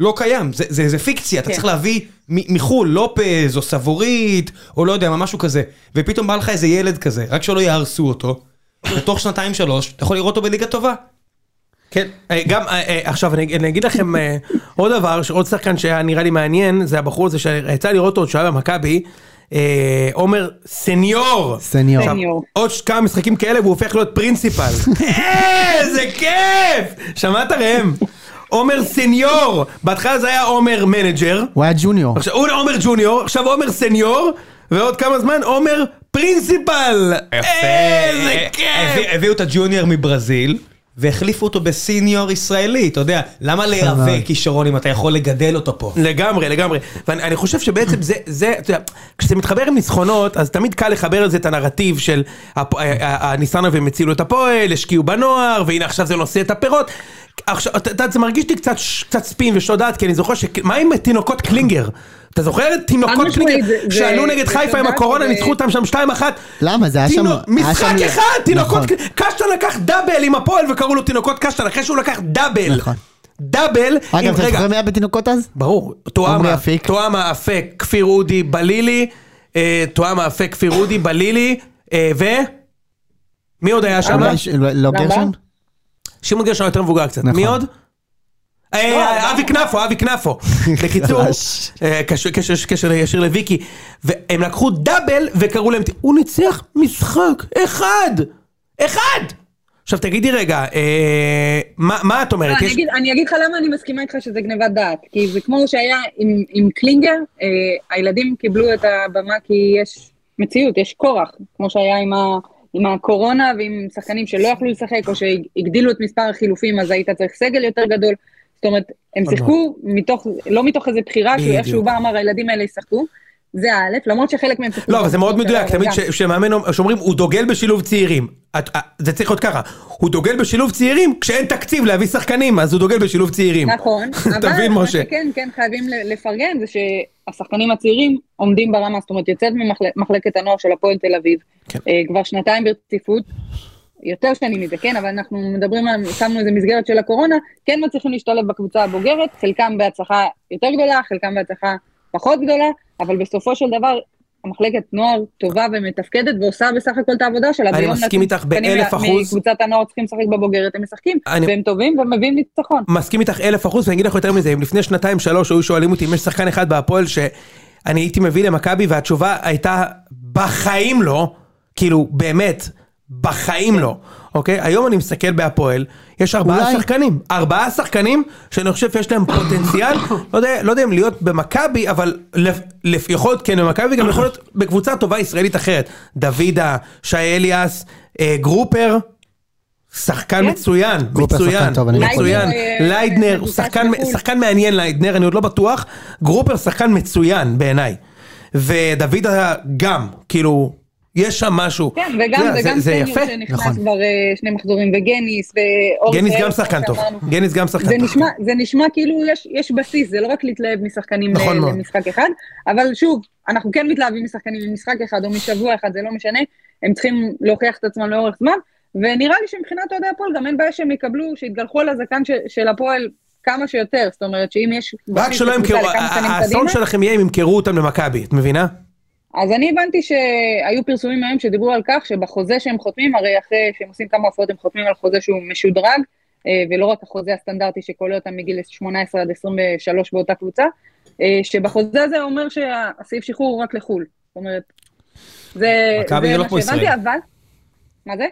B: לא קיים, זה, זה, זה פיקציה, אתה
D: כן.
B: צריך להביא מ- מחו"ל, לופז או סבורית, או לא יודע, מה, משהו כזה. ופתאום בא לך איזה ילד כזה, רק שלא יהרסו אותו, ותוך שנתיים שלוש, אתה יכול לראות אותו בליגה טובה.
C: כן, אה, גם אה, אה, עכשיו אני אני אגיד לכם אה, עוד דבר, ש- עוד שחקן שהיה נראה לי מעניין, זה הבחור הזה שיצא לראות אותו עוד שהיה במכבי, אה, עומר סניור.
A: סניור.
C: עכשיו,
D: סניור.
C: עוד ש- כמה משחקים כאלה והוא הופך להיות פרינסיפל. איזה כיף! שמעת ראם? עומר סניור. בהתחלה זה היה עומר מנג'ר.
A: הוא היה ג'וניור.
C: עכשיו הוא עומר ג'וניור, עכשיו עומר סניור, ועוד כמה זמן עומר פרינסיפל. איזה כיף!
B: הביא- אה, הביאו את הג'וניור מברזיל, והחליפו אותו בסיניור ישראלי, אתה יודע, למה לייבא
A: מאוד.
B: כישרון אם אתה יכול לגדל אותו פה?
C: לגמרי, לגמרי. ואני אני חושב שבעצם זה, זה, אתה יודע, כשזה מתחבר עם ניצחונות, אז תמיד קל לחבר על זה את הנרטיב של הפ- אה, ה- ה- הניסנובים הצילו את הפועל, השקיעו בנוער, והנה עכשיו זה נושא את הפירות. עכשיו, אתה יודע, זה מרגיש לי קצת, ש- קצת ספין ושוד דעת, כי אני זוכר ש... מה עם תינוקות קלינגר? אתה זוכר את תינוקות
D: משמעית,
C: קלינגר
D: זה- זה-
C: שעלו נגד
D: זה
C: חיפה עם
D: שוד דעת,
C: הקורונה,
D: זה-
C: ניצחו אותם שם 2-1?
A: למה? זה היה שם-
C: תינו-
A: היה
C: משחק
A: שם-
C: אחד, תינוקות
A: נכון.
C: קלינגר. קשטן לקח דאבל עם הפועל וקראו לו תינוקות קשטן, אחרי שהוא לקח דאבל.
A: נכון.
C: דאבל, עם-
A: אגב, אתה
C: רגע,
A: זוכר מי היה בתינוקות אז?
C: ברור,
A: עמרי
C: תואמה,
A: אפיק.
C: תואמה אפק, כפיר אודי, בלילי, אה, תואמה אפק, כפיר אודי, בלילי, אה, ו... מי עוד היה שם?
A: אולי ש- לא- לא
D: למה?
A: גרשון?
C: שמעון גרשון יותר מבוגר קצת,
A: נכון.
C: מי עוד? אה,
D: לא,
C: אה, אבי כנפו, אבי כנפו. בקיצור,
A: ממש.
C: אה, קשר- קשר- קשר ישיר לוויקי. והם לקחו דאבל וקראו להם, הוא ניצח משחק, אחד! אחד! עכשיו תגידי רגע, אה, מה מה את אומרת?
D: לא, אני
C: יש-
D: אגיד- אני אגיד לך למה אני מסכימה איתך שזה גניבת דעת, כי זה כמו שהיה עם- עם קלינגר, אה, הילדים קיבלו את הבמה כי יש מציאות, יש כורח, כמו שהיה עם ה- עם הקורונה ועם שחקנים שלא יכלו לשחק, או שהגדילו את מספר החילופים, אז היית צריך סגל יותר גדול. זאת אומרת, הם שיחקו מתוך, לא מתוך איזו בחירה, כי
C: נכון. בדיוק.
D: איכשהו בא אמר, הילדים האלה ישחקו. זה האלף, למרות שחלק מהם שיחקו.
C: לא, אבל זה מאוד
D: בסדר,
C: מדויק,
D: אבל
C: תמיד
D: גם.
C: ש- שמאמן, אומר- שאומרים, הוא דוגל בשילוב צעירים. את- אה, זה צריך להיות ככה, הוא דוגל בשילוב צעירים כשאין תקציב להביא שחקנים, אז הוא דוגל בשילוב צעירים.
D: נכון, אבל
C: תבין,
D: מה
C: משה.
D: שכן, כן חייבים ל- לפרגן זה שהשחקנים הצעירים עומדים ברמה, זאת אומרת יוצאת ממחלקת הנוער של הפועל תל אביב,
C: כן.
D: אה, כבר שנתיים ברציפות, יותר שנים מזה, כן, אבל אנחנו מדברים, על- שמנו איזה מסגרת של הקורונה, כן מצליחים להשתלב בקבוצה הבוגרת, חלקם בהצלחה יותר גדולה, חלקם בהצלחה פחות גדולה, אבל בסופו של דבר... המחלקת נוער טובה ומתפקדת ועושה בסך הכל את העבודה שלה.
C: אני
D: ביום
C: מסכים
D: נתון
C: איתך
D: שחקנים
C: באלף
D: מה-
C: אחוז.
D: מקבוצת הנוער צריכים לשחק בבוגרת, הם משחקים,
C: אני-
D: והם טובים ומביאים ניצחון.
C: מסכים איתך אלף אחוז, ואני אגיד לך יותר מזה, אם לפני שנתיים שלוש היו שואלים אותי אם יש שחקן אחד בהפועל שאני הייתי מביא למכבי, והתשובה הייתה בחיים לא, כאילו באמת, בחיים לא, אוקיי? היום אני מסתכל בהפועל, יש ארבעה
A: אולי.
C: שחקנים, ארבעה שחקנים שאני חושב שיש להם פוטנציאל, לא יודע, לא יודע אם להיות במכבי, אבל לפ- לפ- יכול להיות כן במכבי, גם יכול להיות בקבוצה טובה ישראלית אחרת, דוידה, שי אליאס, אה, גרופר. שחקן
D: כן.
C: מצוין,
A: גרופר שחקן
C: מצוין,
A: טוב, אני לא
C: מצוין,
D: חולק. ליידנר,
C: ליידנר, הוא
D: מבוקש
C: שחקן-
D: בחו"ל.
C: שחקן מעניין ליידנר, אני עוד לא בטוח, גרופר שחקן מצוין בעיניי, ודוידה גם, כאילו, יש שם משהו,
D: כן,
C: אתה
D: וגם,
C: יודע,
D: וגם
C: זה יפה,
D: סניור שנכנס
A: נכון.
D: כבר אה, שני מחזורים, וגניס, ואורס.
C: גניס גם
D: ארז, כמו
C: שחקן טוב,
D: שאמרנו.
C: גניס גם שחקן
D: זה
C: טוב, כן.
D: נשמע, זה נשמע כאילו יש, יש בסיס, זה לא רק להתלהב משחקנים
C: נכון
D: נכון
C: מאוד.
D: למשחק אחד, אבל שוב, אנחנו כן מתלהבים משחקנים ממשחק אחד או משבוע אחד, זה לא משנה, הם צריכים להוכיח את עצמם לאורך זמן, ונראה לי שמבחינת אוהדי הפועל גם אין בעיה שהם יקבלו, שיתגלחו על הזקן של, של הפועל כמה שיותר, זאת אומרת שאם יש...
C: רק
D: בסיס
C: שלא
D: לקבוצה
C: ימכרו,
D: לכמה
C: ה-
D: שנים
C: האסון
D: קדימה,
C: שלכם יהיה אם ימכרו אותם למכבי, את מבינה?
D: אז אני הבנתי שהיו פרסומים היום שדיברו על כך שבחוזה שהם חותמים, הרי אחרי שהם עושים כמה הופעות הם חותמים על חוזה שהוא משודרג, אה, ולא רק החוזה הסטנדרטי שכולל אותם מגיל 18 עד 23 באותה קבוצה, אה, שבחוזה הזה אומר שהסעיף שחרור הוא רק לחו"ל. זאת אומרת, זה,
B: מכבי זה לא כמו ישראל.
D: אבל... מה זה?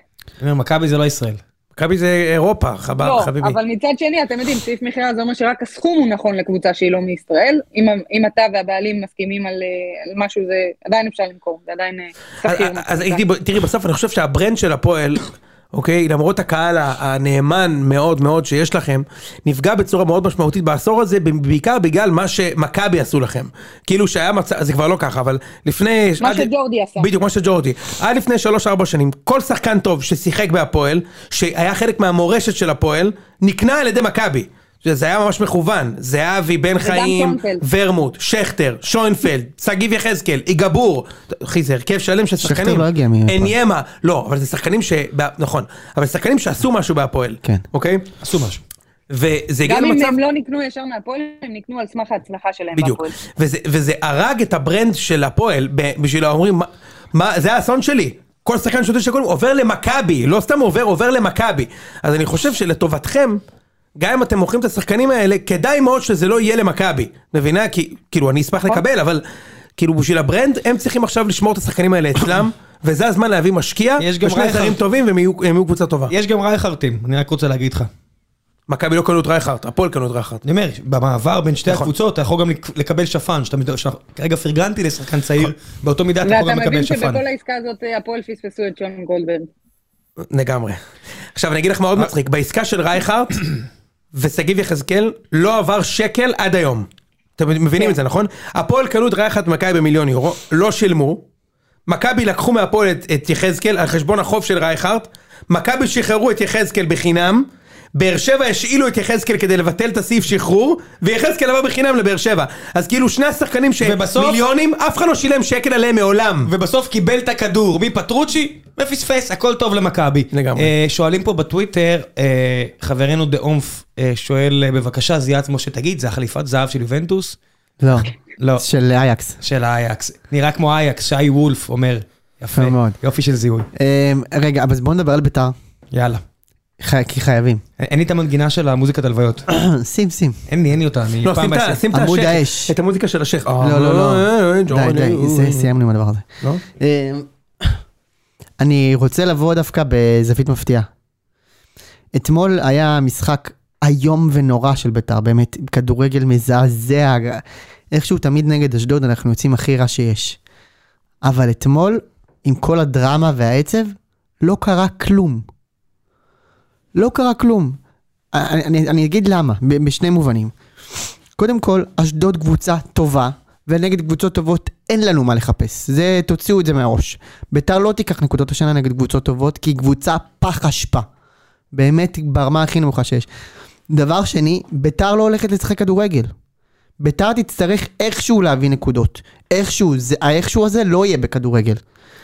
B: אני אומר, מכבי זה לא ישראל.
C: מכבי זה אירופה, חבר-
D: לא,
C: חביבי.
D: אבל מצד שני, אתם יודעים, סעיף מכירה זה אומר שרק הסכום הוא נכון לקבוצה שהיא לא מישראל. אם, אם אתה והבעלים מסכימים על, אה, על משהו, זה עדיין אפשר למכור, זה עדיין אה,
C: אז-
D: שכיר. מה
C: אז
D: שנקרא.
C: הייתי, תראי, בסוף אני חושב שהברנד של הפועל, אוקיי, למרות הקהל ה- הנאמן מאוד מאוד שיש לכם, נפגע בצורה מאוד משמעותית בעשור הזה, ב- בעיקר בגלל מה שמכבי עשו לכם. כאילו שהיה מצב, זה כבר לא ככה, אבל לפני...
D: מה
C: עד-
D: שג'ורדי עשה.
C: בדיוק, מה שג'ורדי. עד לפני 3-4 שנים, כל שחקן טוב ששיחק בהפועל, שהיה חלק מהמורשת של הפועל, נקנה על ידי מכבי. זה היה ממש מכוון, זהבי, בן חיים,
D: קלונפלד.
C: ורמוט, שכטר, שוינפלד, שגיב יחזקאל, איגבור, אחי זה הרכב שלם של
A: שכטר
C: שחקנים,
A: לא הגיע מהפועל.
C: עניימה, לא, אבל זה שחקנים ש... בה- נכון, אבל שחקנים שעשו משהו בהפועל,
A: כן.
C: אוקיי?
B: עשו משהו.
C: וזה הגיע
D: גם אם
C: למצב...
D: הם לא נקנו ישר מהפועל, הם נקנו על סמך ההצלחה שלהם
C: בדיוק.
D: בהפועל.
C: וזה, וזה הרג את הברנד של הפועל, ב- בשביל האומרים, מה, מה, זה האסון שלי. כל שחקן שוטה שקוראים, עובר למכבי, לא סתם עובר, עובר למכבי. אז אני חושב שלטובתכם, גם אם אתם מוכרים את השחקנים האלה, כדאי מאוד שזה לא יהיה למכבי. מבינה? כי, כאילו, אני אשמח לקבל, אבל כאילו בשביל הברנד, הם צריכים עכשיו לשמור את השחקנים האלה אצלם, וזה הזמן להביא משקיע,
B: יש גם
C: ושני
B: רייכרד.
C: זרים טובים, והם יהיו, הם יהיו קבוצה טובה.
B: יש גם רייכרטים, אני רק רוצה להגיד לך.
C: מכבי לא קנו את רייכרד, הפועל קנו את רייכרד.
B: אני אומר, במעבר בין שתי
C: נכון.
B: הקבוצות, אתה יכול גם לק- לקבל שפן, שאתה מד- שאתה- כרגע פרגנתי לשחקן צעיר, באותו מידה אתה יכול
D: ואתה
B: גם לקבל
D: לא, מבין
B: שפן.
D: שבכל העסקה הזאת אה, הפועל פספסו את שון גולדברג.
C: לגמרי. עכשיו אני אגיד לך מה עוד מצחיק, בעסקה של רייכרט ושגיב יחזקאל לא עבר שקל עד היום. אתם מבינים את זה נכון? הפועל קנו את רייכרט מכבי במיליון יורו, לא שילמו. מכבי לקחו מהפועל את, את יחזקאל על חשבון החוב של רייכרט. מכבי שחררו את יחזקאל בחינם. באר שבע השאילו את יחזקאל כדי לבטל את הסעיף שחרור, ויחזקאל עבר בחינם לבאר שבע. אז כאילו שני השחקנים
B: ובסוף-
C: שמיליונים, אף אחד לא שילם שקל עליהם מעולם.
B: ובסוף קיבל את הכדור מפטרוצ'י ופספס, הכל טוב למכבי.
C: לגמרי.
B: אה, שואלים פה בטוויטר, אה, חברנו דה אומף אה, שואל, אה, בבקשה זיאת, כמו שתגיד, זה החליפת זהב של יובנטוס?
A: לא,
B: לא,
A: של אייקס.
B: של אייקס. נראה כמו אייקס, שי וולף אומר. יפה,
A: יפה מאוד.
B: יופי של זיהוי.
A: אמ, רגע, אז בואו נדבר על ביתר,
B: יאללה.
A: חי- כי חייבים.
B: אין אין לי את המנגינה של המוזיקת הלוויות.
A: שים, שים.
B: אין לי, אין לי אותה, אני
C: לא,
B: פעם
C: שים את ה-
B: בעשר.
C: שים את
A: עמוד
C: השייח,
A: האש.
C: את המוזיקה של אה, השייח.
A: לא, לא, לא. די, די,
C: אה,
A: זה- סיימנו עם הדבר הזה.
C: לא?
A: אמ, אני רוצה לבוא דווקא בזווית מפתיעה. אתמול היה משחק איום ונורא של ביתר, באמת, עם כדורגל מזעזע. איכשהו תמיד נגד אשדוד אנחנו יוצאים הכי רע שיש. אבל אתמול, עם כל הדרמה והעצב, לא קרה כלום. לא קרה כלום. אני, אני, אני אגיד למה, ב- בשני מובנים. קודם כל, אשדוד קבוצה טובה, ונגד קבוצות טובות אין לנו מה לחפש. זה, תוציאו את זה מהראש. ביתר לא תיקח נקודות השנה נגד קבוצות טובות, כי היא קבוצה פח אשפה. באמת ברמה הכי נמוכה שיש. דבר שני, ביתר לא הולכת לשחק כדורגל. ביתר תצטרך איכשהו להביא נקודות. איכשהו, זה, האיכשהו הזה לא יהיה בכדורגל.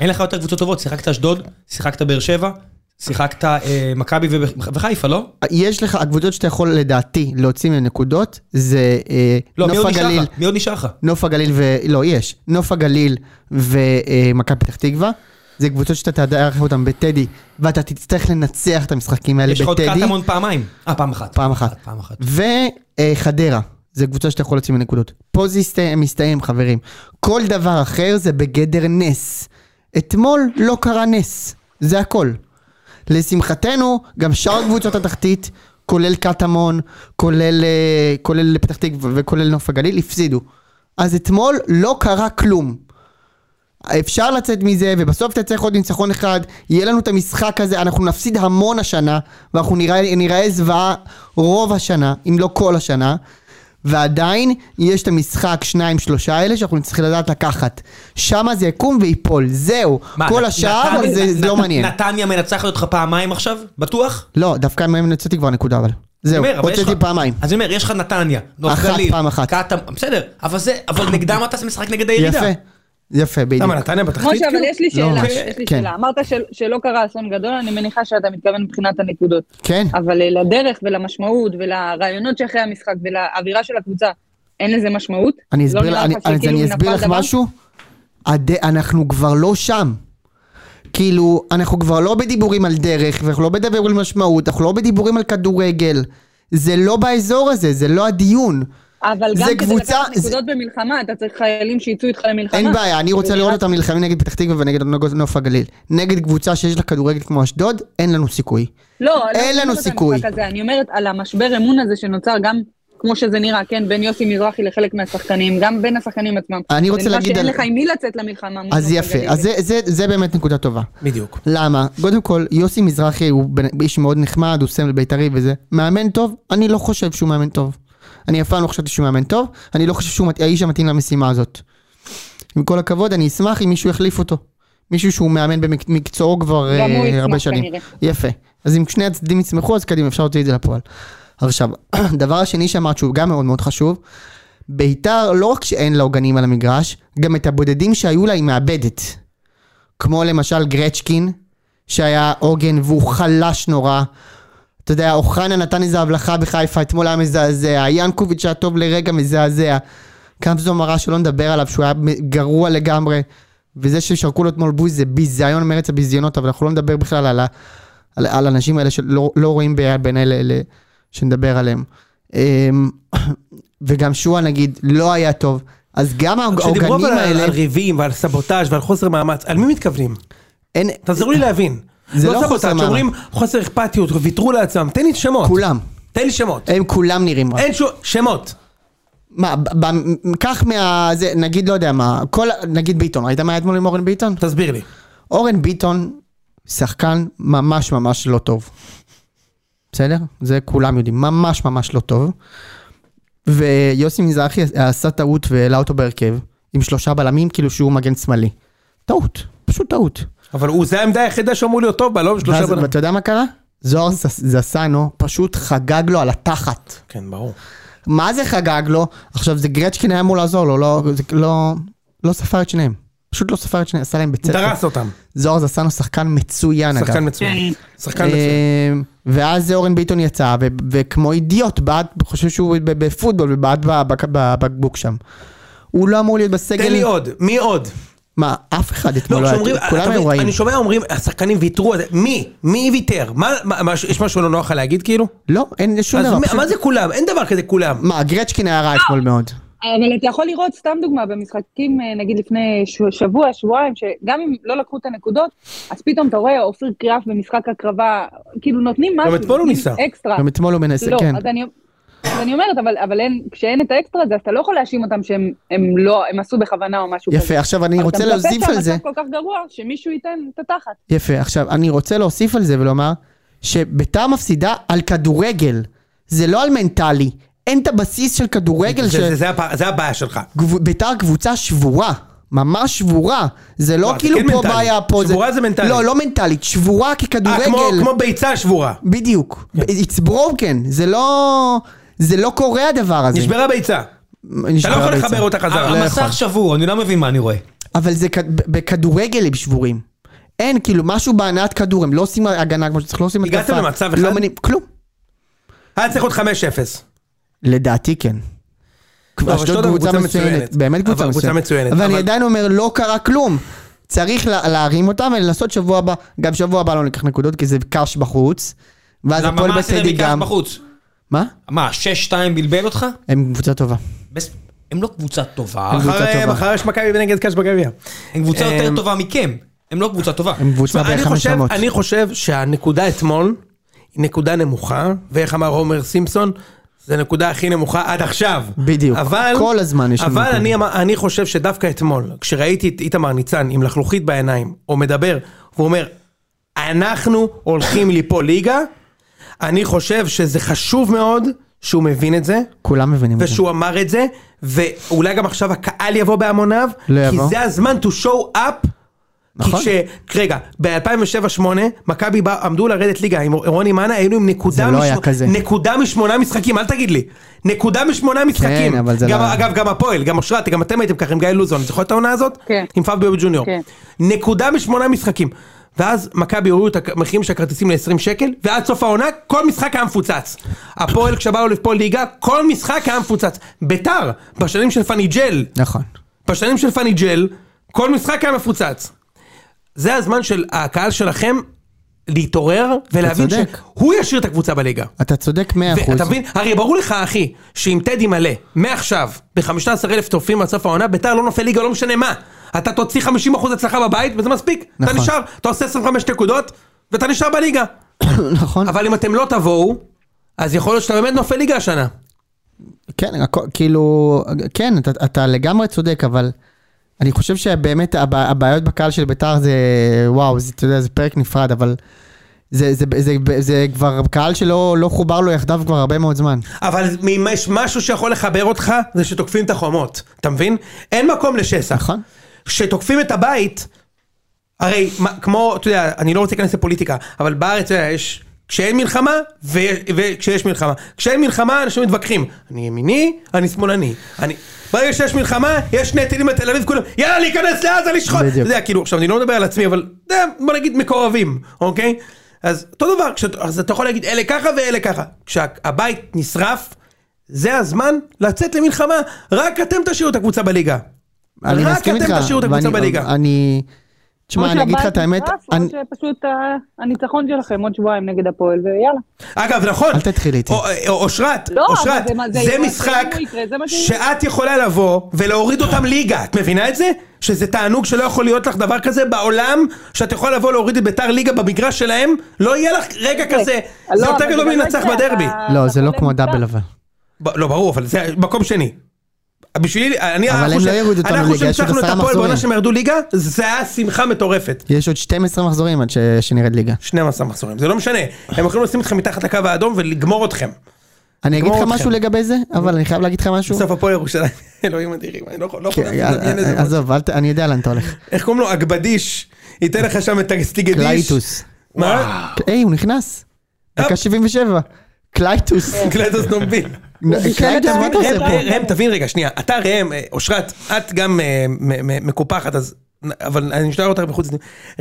B: אין לך יותר קבוצות טובות, שיחקת אשדוד, שיחקת באר שבע, שיחקת אה, מכבי וב- וחיפה, לא?
A: יש לך, הקבוצות שאתה יכול לדעתי להוציא מהן נקודות, זה אה,
B: לא, מי
A: נוף
B: עוד נשאר
A: הגליל,
B: לך? מי עוד נשאר לך?
A: נוף הגליל ו... לא, יש. נוף הגליל ומכבי פתח תקווה. זה קבוצות שאתה תארח אותן בטדי, ואתה תצטרך לנצח את המשחקים האלה
B: יש לך עוד
A: בטדי.
B: קטמון פעמיים. אה, פעם אחת.
A: פעם אחת.
B: פעם אחת.
A: וחדרה, זה קבוצה שאתה יכול להוציא מנקודות. פה זה הסתיים, מסתיים, חברים. כל דבר אחר זה בגדר נס. אתמול לא קרה נס, זה הכל. לשמחתנו, גם שאר קבוצות התחתית, כולל קטמון, כולל, אה, כולל פתח תקווה וכולל נוף הגליל, הפסידו. אז אתמול לא קרה כלום. אפשר לצאת מזה, ובסוף תצטרך עוד ניצחון אחד, יהיה לנו את המשחק הזה, אנחנו נפסיד המון השנה, ואנחנו נראה, נראה זוועה רוב השנה, אם לא כל השנה, ועדיין יש את המשחק שניים שלושה האלה שאנחנו נצטרך לדעת לקחת. שמה זה יקום וייפול, זהו.
B: מה,
A: כל
B: נ-
A: השאר
B: נתניה-
A: זה, זה
B: נ-
A: לא
B: נ-
A: מעניין.
B: נתניה מנצחת אותך פעמיים עכשיו? בטוח?
A: לא, דווקא מהם יצאתי כבר נקודה אבל. זהו,
B: אומר, אבל יש
A: הוצאתי
B: לך-
A: פעמיים.
B: אז אני אומר, יש לך נתניה, נוף
A: אחת,
B: גליל,
A: פעם אחת.
B: קטמון, בסדר, אבל זה, אבל נגדם אתה עושה משחק נגד הירידה.
A: יפה, יפה, בדיוק.
C: למה, נתניה בתחתית?
D: משה, אבל יש לי
A: לא,
D: שאלה,
A: ממש.
D: יש לי
A: כן.
D: שאלה. אמרת של- שלא קרה אסון גדול, אני מניחה שאתה מתכוון מבחינת הנקודות.
A: כן,
D: אבל אה, לדרך ולמשמעות ולרעיונות שאחרי המשחק ולאווירה של הקבוצה, אין לזה משמעות?
A: אני
D: לא
A: אסביר,
D: נראה
A: לה-
D: לך
A: אני, אז
D: שכאילו
A: אני אסביר
D: נפל
A: לך
D: דבר?
A: משהו. הד... אנחנו כבר לא שם. כאילו, אנחנו כבר לא בדיבורים על דרך, ואנחנו לא בדיבורים על משמעות, אנחנו לא בדיבורים על כדורגל. זה לא באזור הזה, זה לא הדיון.
D: אבל גם
A: זה
D: כדי
A: קבוצה-
D: לקחת
A: זה-
D: נקודות במלחמה, אתה צריך חיילים שיצאו איתך למלחמה. אה,
A: אין בעיה, אני רוצה
D: זה
A: לראות
D: נראה-
A: אותם נלחמים נגד פתח תקווה ונגד נוף הגליל. נגד קבוצה שיש לה כדורגל כמו אשדוד, אין לנו סיכוי.
D: לא, לא
A: אין
D: אני
A: לנו
D: אומרת על
A: סיכוי.
D: המשחק הזה, אני אומרת על המשבר אמון הזה שנוצר גם, כמו שזה נראה, כן, בין יוסי מזרחי לחלק מהשחקנים, גם בין השחקנים עצמם.
A: אני רוצה
D: זה נראה
A: להגיד
D: שאין
A: על-
D: לך עם מי לצאת למלחמה. מול
A: אז
D: מכבי
A: יפה,
D: גליל.
A: אז זה, זה, זה באמת נקודה טובה.
C: בדיוק.
A: למה? קודם כל, יוסי מזרחי הוא בן- איש מאוד נחמד, הוא סמל בית"רי וזה. מאמן טוב? אני לא חושב שהוא מאמן טוב. אני אף פעם לא חשבתי שהוא מאמן טוב, אני לא חושב שהוא מת- האיש המתאים למשימה הזאת. עם כל הכבוד, אני אשמח אם מישהו יחליף אותו. מישהו שהוא מאמן במקצועו כבר
D: גם הוא
A: אה,
D: ישמח כן.
A: הרבה שנים.
D: כנראה.
A: יפה. אז אם שני הצדדים יצמחו, אז קדימה, אפשר להוציא את זה לפועל. עכשיו, דבר השני שאמרת שהוא גם מאוד מאוד חשוב, ביתר לא רק שאין לה עוגנים על המגרש, גם את הבודדים שהיו לה היא מאבדת. כמו למשל גרצ'קין, שהיה עוגן והוא חלש נורא. אתה יודע, אוחנה נתן איזו הבלחה בחיפה, אתמול היה מזעזע, ינקוביץ' היה טוב לרגע מזעזע. קמזו מרה שלא נדבר עליו, שהוא היה גרוע לגמרי. וזה ששרקו לו אתמול בוז זה ביזיון מארץ הביזיונות, אבל אנחנו לא נדבר בכלל על, ה, על, על האנשים האלה שלא לא רואים בעיה בין אלה, אלה שנדבר עליהם. אמ, וגם שועה נגיד לא היה טוב, אז גם
C: כשדיברו
A: העוגנים
C: אבל על-
A: האלה,
C: על ריבים ועל סבוטאג' ועל חוסר מאמץ, על מי מתכוונים?
A: אין,
C: תעזרו לי להבין.
A: זה לא חוסר מאמץ.
C: שאומרים חוסר אכפתיות, ויתרו לעצמם, תן לי שמות.
A: כולם, אה.
C: תן לי שמות.
A: הם כולם נראים רע.
C: אין שום... שמות.
A: מה, ב- ב- קח מה... זה, נגיד, לא יודע מה, כל... נגיד ביטון, ראית מה היה אתמול עם אורן ביטון?
C: תסביר לי.
A: אורן ביטון, שחקן ממש ממש לא טוב. בסדר? זה כולם יודעים, ממש ממש לא טוב. ויוסי מזרחי עשה טעות והעלה אותו בהרכב, עם שלושה בלמים, כאילו שהוא מגן שמאלי. טעות, פשוט טעות.
C: אבל הוא, זה העמדה היחידה שאמור להיות טוב בה, לא בשלושה
A: ואז,
C: בנ...
A: ואתה יודע מה קרה? זוהר זס- זסנו פשוט חגג לו על התחת.
C: כן, ברור.
A: מה זה חגג לו? עכשיו זה גרצ'קין היה אמור לעזור לו, לא, זה לא, לא ספר את שניהם. פשוט לא ספר את שניהם, עשה להם בצדק.
C: דרס אותם.
A: זוהר זסנו שחקן מצוין אגב.
C: שחקן מצוין.
D: כן.
C: שחקן מצוין.
A: כן, אה, ואז אורן ביטון יצא, ו- וכמו אידיוט בעט, חושב שהוא ב- בפוטבול ובעט בבק- בבקבוק שם. הוא לא אמור להיות בסגל.
C: תן לי עוד, מי עוד?
A: מה, אף אחד
C: לא,
A: אתמול לא
C: כשאומרים-
A: היה, כולם
C: אתה
A: היו
C: מבין,
A: רעים.
C: אני שומע אומרים, השחקנים ויתרו, על זה." מי? מי ויתר? מה- מה- מה- יש משהו לא נוח לך להגיד כאילו?
A: לא, אין שום
C: אז
A: דבר.
C: מה-
A: פשוט-
C: מה זה כולם? אין דבר כזה כולם.
A: מה, גרצ'קין היה רע אתמול מאוד.
D: אבל אתה יכול לראות, סתם דוגמה, במשחקים, אה, נגיד לפני ש- שבוע, שבועיים, שגם אם לא לקחו את הנקודות, אז פתאום אתה רואה אופיר קריאף במשחק הקרבה, כאילו נותנים משהו,
C: אתמול הוא
D: נותנים
C: ניסה.
D: אקסטרה.
A: גם אתמול הוא מנסה,
D: לא,
A: כן.
D: אז אני... אז אני אומרת, אבל, אבל אין, כשאין את האקסטרה הזה, אז אתה לא יכול להאשים אותם שהם הם לא, הם עשו בכוונה או משהו כזה.
A: יפה, עכשיו אני רוצה להוסיף על זה.
D: אתה מצפה שהמצב כל כך גרוע, שמישהו ייתן את התחת.
A: יפה, עכשיו אני רוצה להוסיף על זה ולומר שביתר מפסידה על כדורגל, זה לא על מנטלי, אין את הבסיס של כדורגל, ש...
C: זה- זה- זה הפ- זה הבעיה שלך. אה,
A: גב- ביתר קבוצה שבורה, ממש שבורה, זה לא
C: לא, זה
A: כאילו
C: כן
A: פה
C: מנטלי.
A: בעיה, פה
C: שבורה זה מנטלי.
A: לא, לא מנטלית, שבורה
C: אה,
A: ככדורגל,
C: כמו- כמו ביצה שבורה.
A: בדיוק, it's broken, זה לא, זה לא קורה הדבר הזה,
C: נשברה ביצה. אתה
A: נשברה
C: לא יכול
A: בעצם.
C: לחבר אותה חזרה.
A: לא
B: המסך
A: יכול.
B: שבור, אני לא מבין מה אני רואה.
A: אבל זה כ- ב- בכדורגל הם שבורים. אין, כאילו, משהו בהנעת כדור, הם לא עושים הגנה כמו שצריך, לא עושים
C: הגעתם למצב אחד?
A: לא מנים, כלום.
C: היה צריך עוד 5-0.
A: לדעתי כן.
C: לא, אבל אשדוד
A: אשדוד
C: אבל
A: קבוצה
C: קבוצה
A: מצוינת,
C: מצוינת.
A: באמת
C: אבל
A: קבוצה מצוינת.
C: קבוצה מצוינת,
A: אבל אני
C: אבל-
A: עדיין אומר, לא קרה כלום. צריך לה- להרים אותה ולנסות שבוע הבא, גם שבוע הבא לא ניקח נקודות, כי זה קרש בחוץ. ואז
B: למה,
A: הפועל
B: מה עשית
A: בסדי
B: בקרב
A: גם.
B: בחוץ?
A: מה?
B: מה, 6-2 בלבל אותך?
A: הם קבוצה טובה.
B: בס- הם לא קבוצה טובה,
A: הם קבוצה
C: מחר-
A: טובה.
C: מחר יש מכבי נגד קאש בגביע.
B: הם קבוצה יותר
C: אמ,
B: טובה מכם. הם לא קבוצה טובה.
A: הם קבוצה
C: תשמע, אני
A: ב-500.
C: חושב- אני חושב שהנקודה אתמול היא נקודה נמוכה, ואיך אמר עומר סימפסון, זו הנקודה הכי נמוכה עד עכשיו.
A: בדיוק.
C: אבל,
A: כל הזמן יש לנו
C: אבל
A: נקודה.
C: אני, אמר- אני חושב שדווקא אתמול, כשראיתי את איתמר ניצן עם לחלוכית בעיניים, הוא מדבר, והוא אומר, אנחנו הולכים ליפול ליגה, אני חושב שזה חשוב מאוד שהוא מבין את זה,
A: כולם מבינים את זה.
C: ושהוא אמר את זה, ואולי גם עכשיו הקהל יבוא בהמוניו,
A: לא
C: כי
A: יבוא.
C: זה הזמן to show up.
A: נכון.
C: כי כש... רגע, ב-2007-2008, מכבי בא- עמדו לרדת ליגה עם רוני מאנה, היינו עם נקודה,
A: זה לא היה כזה. כן,
C: נקודה משמונה משחקים, אל תגיד לי. נקודה משמונה משחקים.
A: אבל זה
C: גם,
A: לא-
C: אגב, גם הפועל, גם אושרת, גם אתם הייתם ככה עם גיא לוזון, זוכר את העונה הזאת?
D: כן.
C: עם פאביו ג'וניור.
D: כן.
C: נקודה משמונה משחקים. ואז מכבי הורידו את הכ- המחירים של הכרטיסים ל-20 שקל, ועד סוף העונה כל משחק היה מפוצץ. הפועל כשבאו לפה ליגה, כל משחק היה מפוצץ. ביתר, בשנים של פאני ג'ל,
A: נכון.
C: בשנים של פאני ג'ל, כל משחק היה מפוצץ. זה הזמן של הקהל שלכם להתעורר ולהבין
A: צודק.
C: שהוא ישאיר את הקבוצה בליגה.
A: אתה צודק 100%.
C: ואתה מבין? הרי ברור לך, אחי, שאם טדי מלא, מעכשיו, ב-15,000 צופים עד סוף העונה, ביתר לא נופל ליגה, לא משנה מה. אתה תוציא 50% הצלחה בבית, וזה מספיק. אתה
A: נכון.
C: נשאר, אתה עושה 25 נקודות, ואתה נשאר בליגה.
A: נכון.
C: אבל אם אתם לא תבואו, אז יכול להיות שאתה באמת נופל ליגה השנה.
A: כן, הכל, כאילו, כן, אתה, אתה לגמרי צודק, אבל אני חושב שבאמת הבע- הבעיות בקהל של ביתר זה, וואו, זה, אתה יודע, זה פרק נפרד, אבל זה, זה, זה, זה, זה כבר קהל שלא לא חובר לו יחדיו כבר הרבה מאוד זמן.
C: אבל אם יש משהו שיכול לחבר אותך, זה שתוקפים את החומות. אתה מבין? אין מקום לשסע.
A: נכון.
C: כשתוקפים את הבית, הרי מה, כמו, אתה יודע, אני לא רוצה להיכנס לפוליטיקה, אבל בארץ, אתה יודע, יש... כשאין מלחמה, ו- וכשיש מלחמה. כשאין מלחמה, אנשים מתווכחים. אני ימיני, אני שמאלני. אני... ברגע שיש מלחמה, יש שני טילים בתל אביב, כולם, יאללה, להיכנס לעזה, לשחוט.
A: בדיוק.
C: אתה יודע, כאילו, עכשיו, אני לא מדבר על עצמי, אבל, אתה יודע, בוא נגיד מקורבים, אוקיי? אז אותו דבר, כשאת, אז אתה יכול להגיד, אלה ככה ואלה ככה. כשהבית נשרף, זה הזמן לצאת למלחמה. רק אתם תשאירו את הקבוצה בליגה.
A: אני
C: רק
A: מסכים
C: אתם
A: איתך.
C: תשאירו את הקבוצה
A: ואני- אה,
C: בליגה.
A: אני... תשמע, אני אגיד לך את האמת, אני,
D: או שפשוט אה, הניצחון שלכם עוד שבועיים נגד הפועל, ויאללה.
C: אגב, נכון.
A: אל תתחיל איתי.
C: או- או- אושרת,
D: לא, אבל
C: אושרת,
D: זה מה- זה
C: זה
D: יקרה,
C: משחק
D: זה יקרה, זה מה שיקרה.
C: שאת יכולה לבוא ולהוריד אותם ליגה. את מבינה את זה? שזה תענוג שלא יכול להיות לך דבר כזה בעולם, שאת יכולה לבוא להוריד את ביתר ליגה במגרש שלהם, לא יהיה לך רגע כזה. זה
D: לא,
C: יותר
D: אבל
C: גדול
D: גם לא
C: מלנצח
D: יקרה,
C: בדרבי.
D: אתה-
A: לא,
D: אתה
A: זה לא
D: חולה
A: כמו
D: מוצלח.
A: דאבל אבל.
C: ב- לא, ברור, אבל זה מקום שני. בשבילי, אני...
A: אבל
C: אנחנו
A: הם לא
C: ש-
A: יורידו אותנו
C: אנחנו
A: ליגה, יש עוד
C: שניצחנו את
A: עשרה
C: הפועל בעונה
A: מחזורים.
C: שהם ירדו ליגה, זה היה שמחה מטורפת.
A: יש עוד 12 מחזורים עד ש- שנרד ליגה.
C: 12 מחזורים, זה לא משנה. הם יכולים לשים אתכם מתחת לקו האדום ולגמור אתכם.
A: אני אגיד לך
C: אתכם.
A: משהו לגבי זה, אבל אני חייב להגיד לך משהו.
C: בסוף הפועל ירושלים, אלוהים אדירים, אני לא יכול לא יכול
A: כן,
C: לדמיין את זה.
A: עזוב, אל ת- אני יודע לאן אתה הולך.
C: איך קוראים לו? אגבדיש, ייתן לך שם את הסטיגדיש.
A: קלייטוס.
C: מה?
A: היי, הוא נכנס. דקה 77. קלייטוס.
D: כן.
C: גלדוס נומבין.
A: קלייטוס, מה אתה עושה
C: ראם,
A: פה?
C: ראם, תבין רגע, שנייה. אתה ראם, אה, אושרת, את גם אה, מ- מ- מקופחת, אז... אבל אני משתער אותך בחוץ.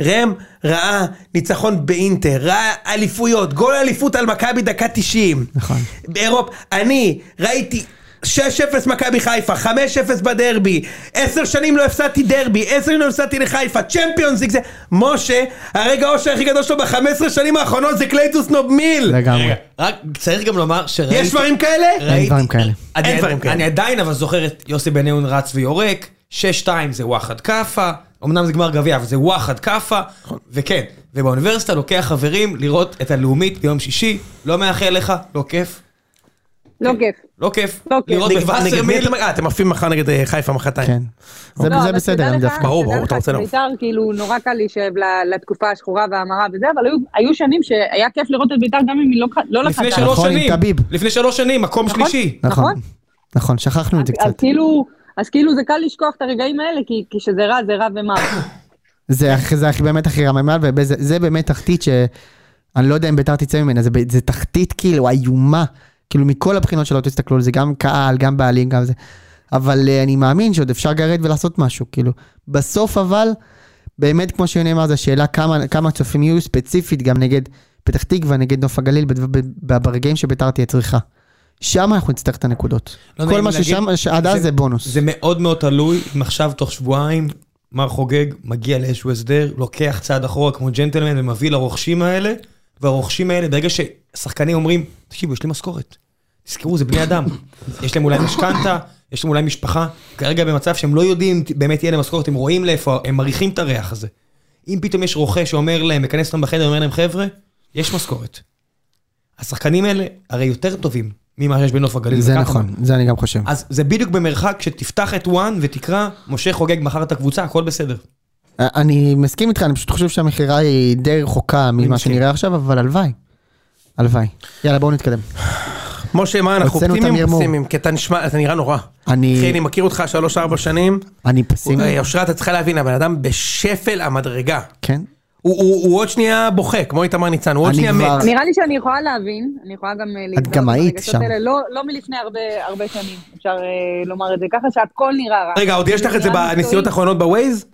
C: ראם ראה ניצחון באינטר, ראה אליפויות, גול אליפות על מכבי דקה 90.
A: נכון.
C: באירופ, אני ראיתי 6-0 מכבי חיפה, 5-0 בדרבי, 10 שנים לא הפסדתי דרבי, 10 שנים לא הפסדתי לחיפה, צ'מפיונס ליג זה... משה, הרגע האושר הכי גדול שלו ב-15 שנים האחרונות זה קלייטוס נובמיל.
A: לגמרי.
B: רגע, רק צריך גם לומר שראיתי...
C: יש דברים כאלה?
B: ראיתי-
A: דברים כאלה.
B: אני-
C: אין דברים כאלה.
B: אני עדיין אבל זוכר את יוסי בניון רץ ויורק, 6-2 זה וואחד כאפה, אמנם זה גמר גביע, אבל זה וואחד כאפה, וכן, ובאוניברסיטה לוקח חברים לראות את הלאומית ביום שישי, לא מאחל לך, לא כיף,
D: לא כיף.
B: לא כיף,
D: לא כיף.
B: לראות
C: נגד- נגד מי
B: בווסרמיל,
C: אתם- אה, אתם עפים מחר נגד אה, חיפה מחרתיים.
A: כן. זה-
D: לא,
A: זה
D: אבל
A: בסדר,
D: תדע
A: הם
D: לך-
A: דווקא.
C: ברור, ברור,
D: תדע
C: אתה
D: לך
C: רוצה לעוף.
D: שבית"ר, כאילו, נורא קל להישאב ל- לתקופה השחורה והמרה וזה, אבל היו- היו שנים שהיה כיף לראות את בית"ר גם אם היא לא ח- לא לקחה
B: לפני
D: את
B: שלוש
A: נכון, עם
B: שנים,
A: טביב.
B: לפני שלוש שנים, מקום
D: נכון.
B: שלישי.
A: נכון.
D: נכון?
A: נכון, שכחנו את זה
D: אז- אז
A: קצת.
D: כאילו, אז כאילו זה קל לשכוח את הרגעים האלה, כי כי כשזה רע, זה רע ומה.
A: זה הכי- זה הכי- באמת הכי רמה מעל, וזה באמת תחתית ש... אני לא יודע אם ביתר תצא ממנה, זה ב- זה תחתית כאילו איומה. כאילו מכל הבחינות שלא תסתכלו על זה, גם קהל, גם בעלים, גם זה. אבל אה, אני מאמין שעוד אפשר לגרד ולעשות משהו, כאילו. בסוף אבל, באמת כמו שיוני אמר, זו השאלה כמה, כמה צופים יהיו ספציפית גם נגד פתח תקווה, נגד נוף הגליל, בד- ב- ב- ברגעים שביתר תהיה צריכה. שם אנחנו נצטרך את הנקודות.
B: לא
A: כל
B: נעים
A: מה
B: להגיד,
A: ששם, שעד אז זה בונוס.
B: זה מאוד מאוד תלוי, אם עכשיו תוך שבועיים, מר חוגג מגיע לאיזשהו הסדר, לוקח צעד אחורה כמו ג'נטלמן ומביא לרוכשים האלה, והרוכשים האלה, ברגע ששחקנים אומרים, תקשיבו, יש לי משכורת. תזכרו, זה בני אדם. יש להם אולי משכנתה, יש להם אולי משפחה. כרגע במצב שהם לא יודעים אם באמת תהיה להם משכורת, הם רואים לאיפה, הם מריחים את הריח הזה. אם פתאום יש רוכש שאומר להם, מכנס אותם בחדר, אומר להם, חבר'ה, יש משכורת. השחקנים האלה הרי יותר טובים ממה שיש בנוף הגליל.
A: זה
B: וככה-
A: נכון, זה אני גם חושב.
B: אז זה בדיוק במרחק שתפתח את וואן ותקרא, משה חוגג מכר את הקבוצה, הכל בסדר.
A: אני מסכים איתך, אני פשוט חושב שהמכירה היא די רחוקה ממה
B: מסכים.
A: שנראה עכשיו, אבל הלוואי. הלוואי. יאללה, בואו נתקדם.
C: משה, מה אנחנו
A: הוצאנו את
C: אופטימיים
A: אמיר
C: או
A: מור.
C: פסימיים? כי אתה נשמע, אתה נראה נורא.
A: אני-
C: אחי, אני מכיר אותך שלוש-ארבע שנים.
A: אני פסימי,
C: אה, אושרת, את צריכה להבין, הבן אדם בשפל המדרגה.
A: כן?
C: הוא- הוא הוא עוד שנייה בוכה, כמו איתמר ניצן, הוא עוד
A: אני
C: שנייה
A: כבר-
C: מת.
D: נראה לי שאני יכולה להבין, אני יכולה גם אה, להזדהות
A: גם היית
D: ברגשות
A: שם.
D: האלה, לא- לא מלפני הרבה- הרבה שנים, אפשר אה, לומר את זה ככה, שהכל נראה רע.
C: רגע, עוד יש לך את זה
D: נראה
C: בנסיעות
D: מקצועי.
C: האחרונות בווייז?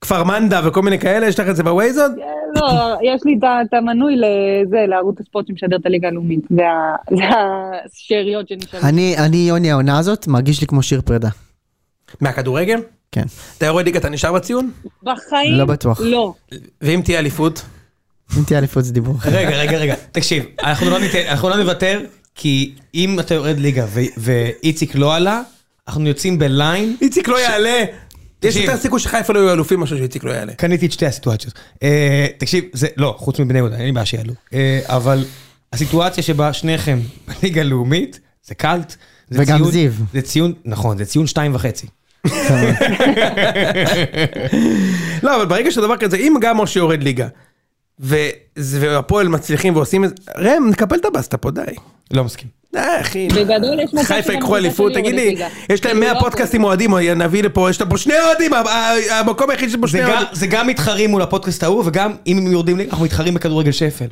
C: כפר מנדה וכל מיני כאלה, יש לך את זה בווייז עוד?
D: לא, יש לי את ה- את המנוי לזה, לערוץ הספורט שמשדר את הליגה הלאומית. זה ה- זה השאריות שנשארו.
A: אני, אני יוני העונה הזאת, מרגיש לי כמו שיר פרידה.
C: מהכדורגל?
A: כן.
C: אתה יורד ליגה, אתה נשאר בציון?
D: בחיים
A: לא בטוח.
D: לא.
C: ואם תהיה אליפות?
A: אם תהיה אליפות זה דיבור אחר.
B: רגע, רגע, רגע, תקשיב, אנחנו לא, ניתן, אנחנו לא נוותר, כי אם אתה יורד ליגה ו- ואיציק לא עלה, אנחנו יוצאים בליין,
C: איציק לא יעלה! יש
B: תקשיב.
C: יותר סיכוי שחיפה לא יהיו אלופים מאשר שאיציק לא יעלה.
B: קניתי את שתי הסיטואציות. אה, תקשיב, זה, לא, חוץ מבני יהודה, אין לי בעיה שיעלו, אה, אבל הסיטואציה שבה שניכם בליגה הלאומית, זה קאלט. זה
A: וגם
B: ציון-
A: זיו.
B: זה ציון, נכון, זה ציון שתיים וחצי.
C: לא, אבל ברגע שדבר כזה, אם גם משה יורד ליגה, וזה- והפועל מצליחים ועושים את זה, ראם, נקפל את הבאסטה פה, די.
B: לא מסכים.
C: די, אה, אחי.
D: בגדול יש מצב
C: חיפה יקחו
D: שגם הקבוצה
C: אליפות,
D: שלי
C: תגיד לי,
D: יורדת ליגה.
C: יש להם
D: כאילו,
C: 100
D: לא
C: פודקאסטים אוהדים, אה, נביא לפה, יש לפה שני אוהדים, ה- ה- המקום היחיד שבו
B: זה
C: שני
B: גם-
C: אוהדים.
B: זה גם מתחרים מול הפודקאסט ההוא, וגם אם הם יורדים ליגה, אנחנו מתחרים בכדורגל שפל.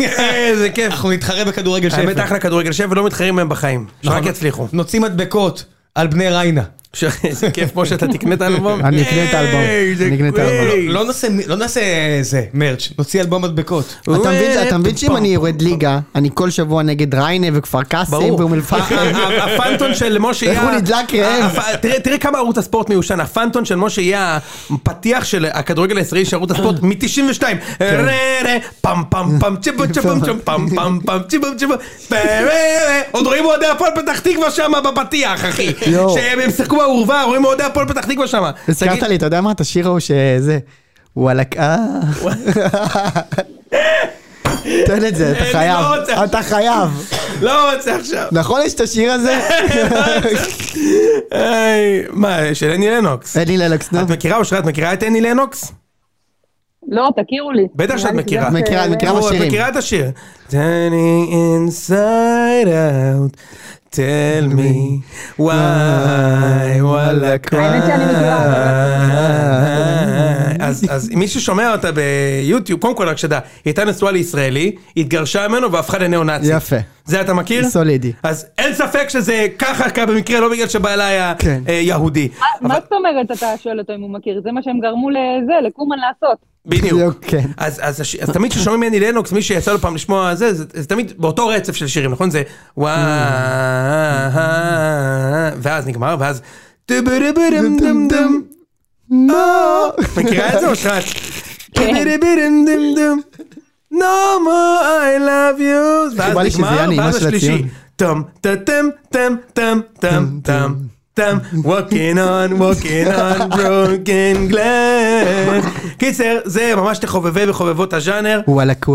C: איזה כיף.
B: אנחנו נתחרה בכדורגל שפל.
C: האמת אחלה כדורגל שף ולא מתחרים בהם בחיים,
B: נכון.
C: שרק יצליחו.
B: נוציא מדבקות על בני ריינה.
C: ש- איזה כיף, כמו שאתה תקנה את האלבום.
A: אני אקנה את האלבום,
C: איזה
A: אני אקנה את
C: כיף.
A: האלבום.
B: לא לא נעשה, לא נעשה אה, זה, מרץ', נוציא אלבום מדבקות.
A: אתה מבין, אתה מבין שאם
C: פאם,
A: אני יורד
C: פאם,
A: ליגה, אני כל שבוע נגד ריינה וכפר קאסם
C: ברור.
A: ואום אל
C: ה-
A: פחם.
C: ה- ה- הפנטון של משה
A: איך
C: יהיה...
A: הוא נדלק רעב.
C: הפ- תראה- תראה כמה ערוץ הספורט מיושן, הפנטון של משה יהיה הפתיח של הכדורגל הישראלי של ערוץ הספורט מ-92.
A: כן.
C: רה רה פם פם פם צ'יבום צ'יבום צ'יבום פם פם פם צ'יבום צ'יבום פה, רה, רה. עוד רואים אוהדי הפועל פתח תקווה שם בפתיח אחי.
A: יואו.
C: שהם שיחקו בעורווה, רואים אוהדי הפועל פתח תקווה שם.
A: הזכרת לי, אתה יודע מה? את השיר ההוא שזה... וואלק אה... תן את זה, אתה
C: אני לא
A: חייב.
C: רוצה.
A: אתה חייב.
C: לא רוצה עכשיו.
A: נכון יש את השיר הזה?
C: היי, מה, של הני לנוקס.
A: אין לי ללקס, נו.
C: את מכירה אושרה, את מכירה את הני לנוקס?
D: לא, תכירו לי.
C: בטח שאת
D: נראה לי
C: מכירה.
D: שזה-
A: מכירה, מכירה. כמה
C: או, את
A: שירים.
C: מכירה את השיר. Turning inside out, tell me why, וואלה
D: האמת שאני מכירה.
C: אז אז מי ששומע אותה ביוטיוב, קודם כל רק שתדע, היא הייתה נשואה לישראלי, התגרשה ממנו והפכה לניאו-נאצי.
A: יפה.
C: זה אתה מכיר?
A: סולידי.
C: אז אין ספק שזה ככה קרה במקרה, לא בגלל שבעלה היה
A: כן.
C: אה, יהודי.
D: מה זאת אומרת אתה שואל אותו אם הוא מכיר? זה מה שהם גרמו לזה, לקומן לעשות.
C: בדיוק.
A: בדיוק, כן.
C: אז, אז, הש- אז תמיד כששומעים מני לנוקס, מי שיצא לו פעם לשמוע זה, זה, זה תמיד באותו רצף של שירים, נכון? זה וואו, ואז נגמר, ואז... טו-בו-דו-בו-דם, דם, דם. אה, מכירה את זה או שאת?
A: כן.
C: טו-בו-דו-בו-דם, דם. No more I love
A: בא לי
C: you. ואז
A: שזה יהיה
C: נגמר,
A: הנעימה
C: ואז
A: של
C: השלישי.
A: הציון.
C: טם טם טם טם טם טם טם טם walking on walking on broken glass קיצר זה ממש לחובבי וחובבות הז'אנר
A: וואלק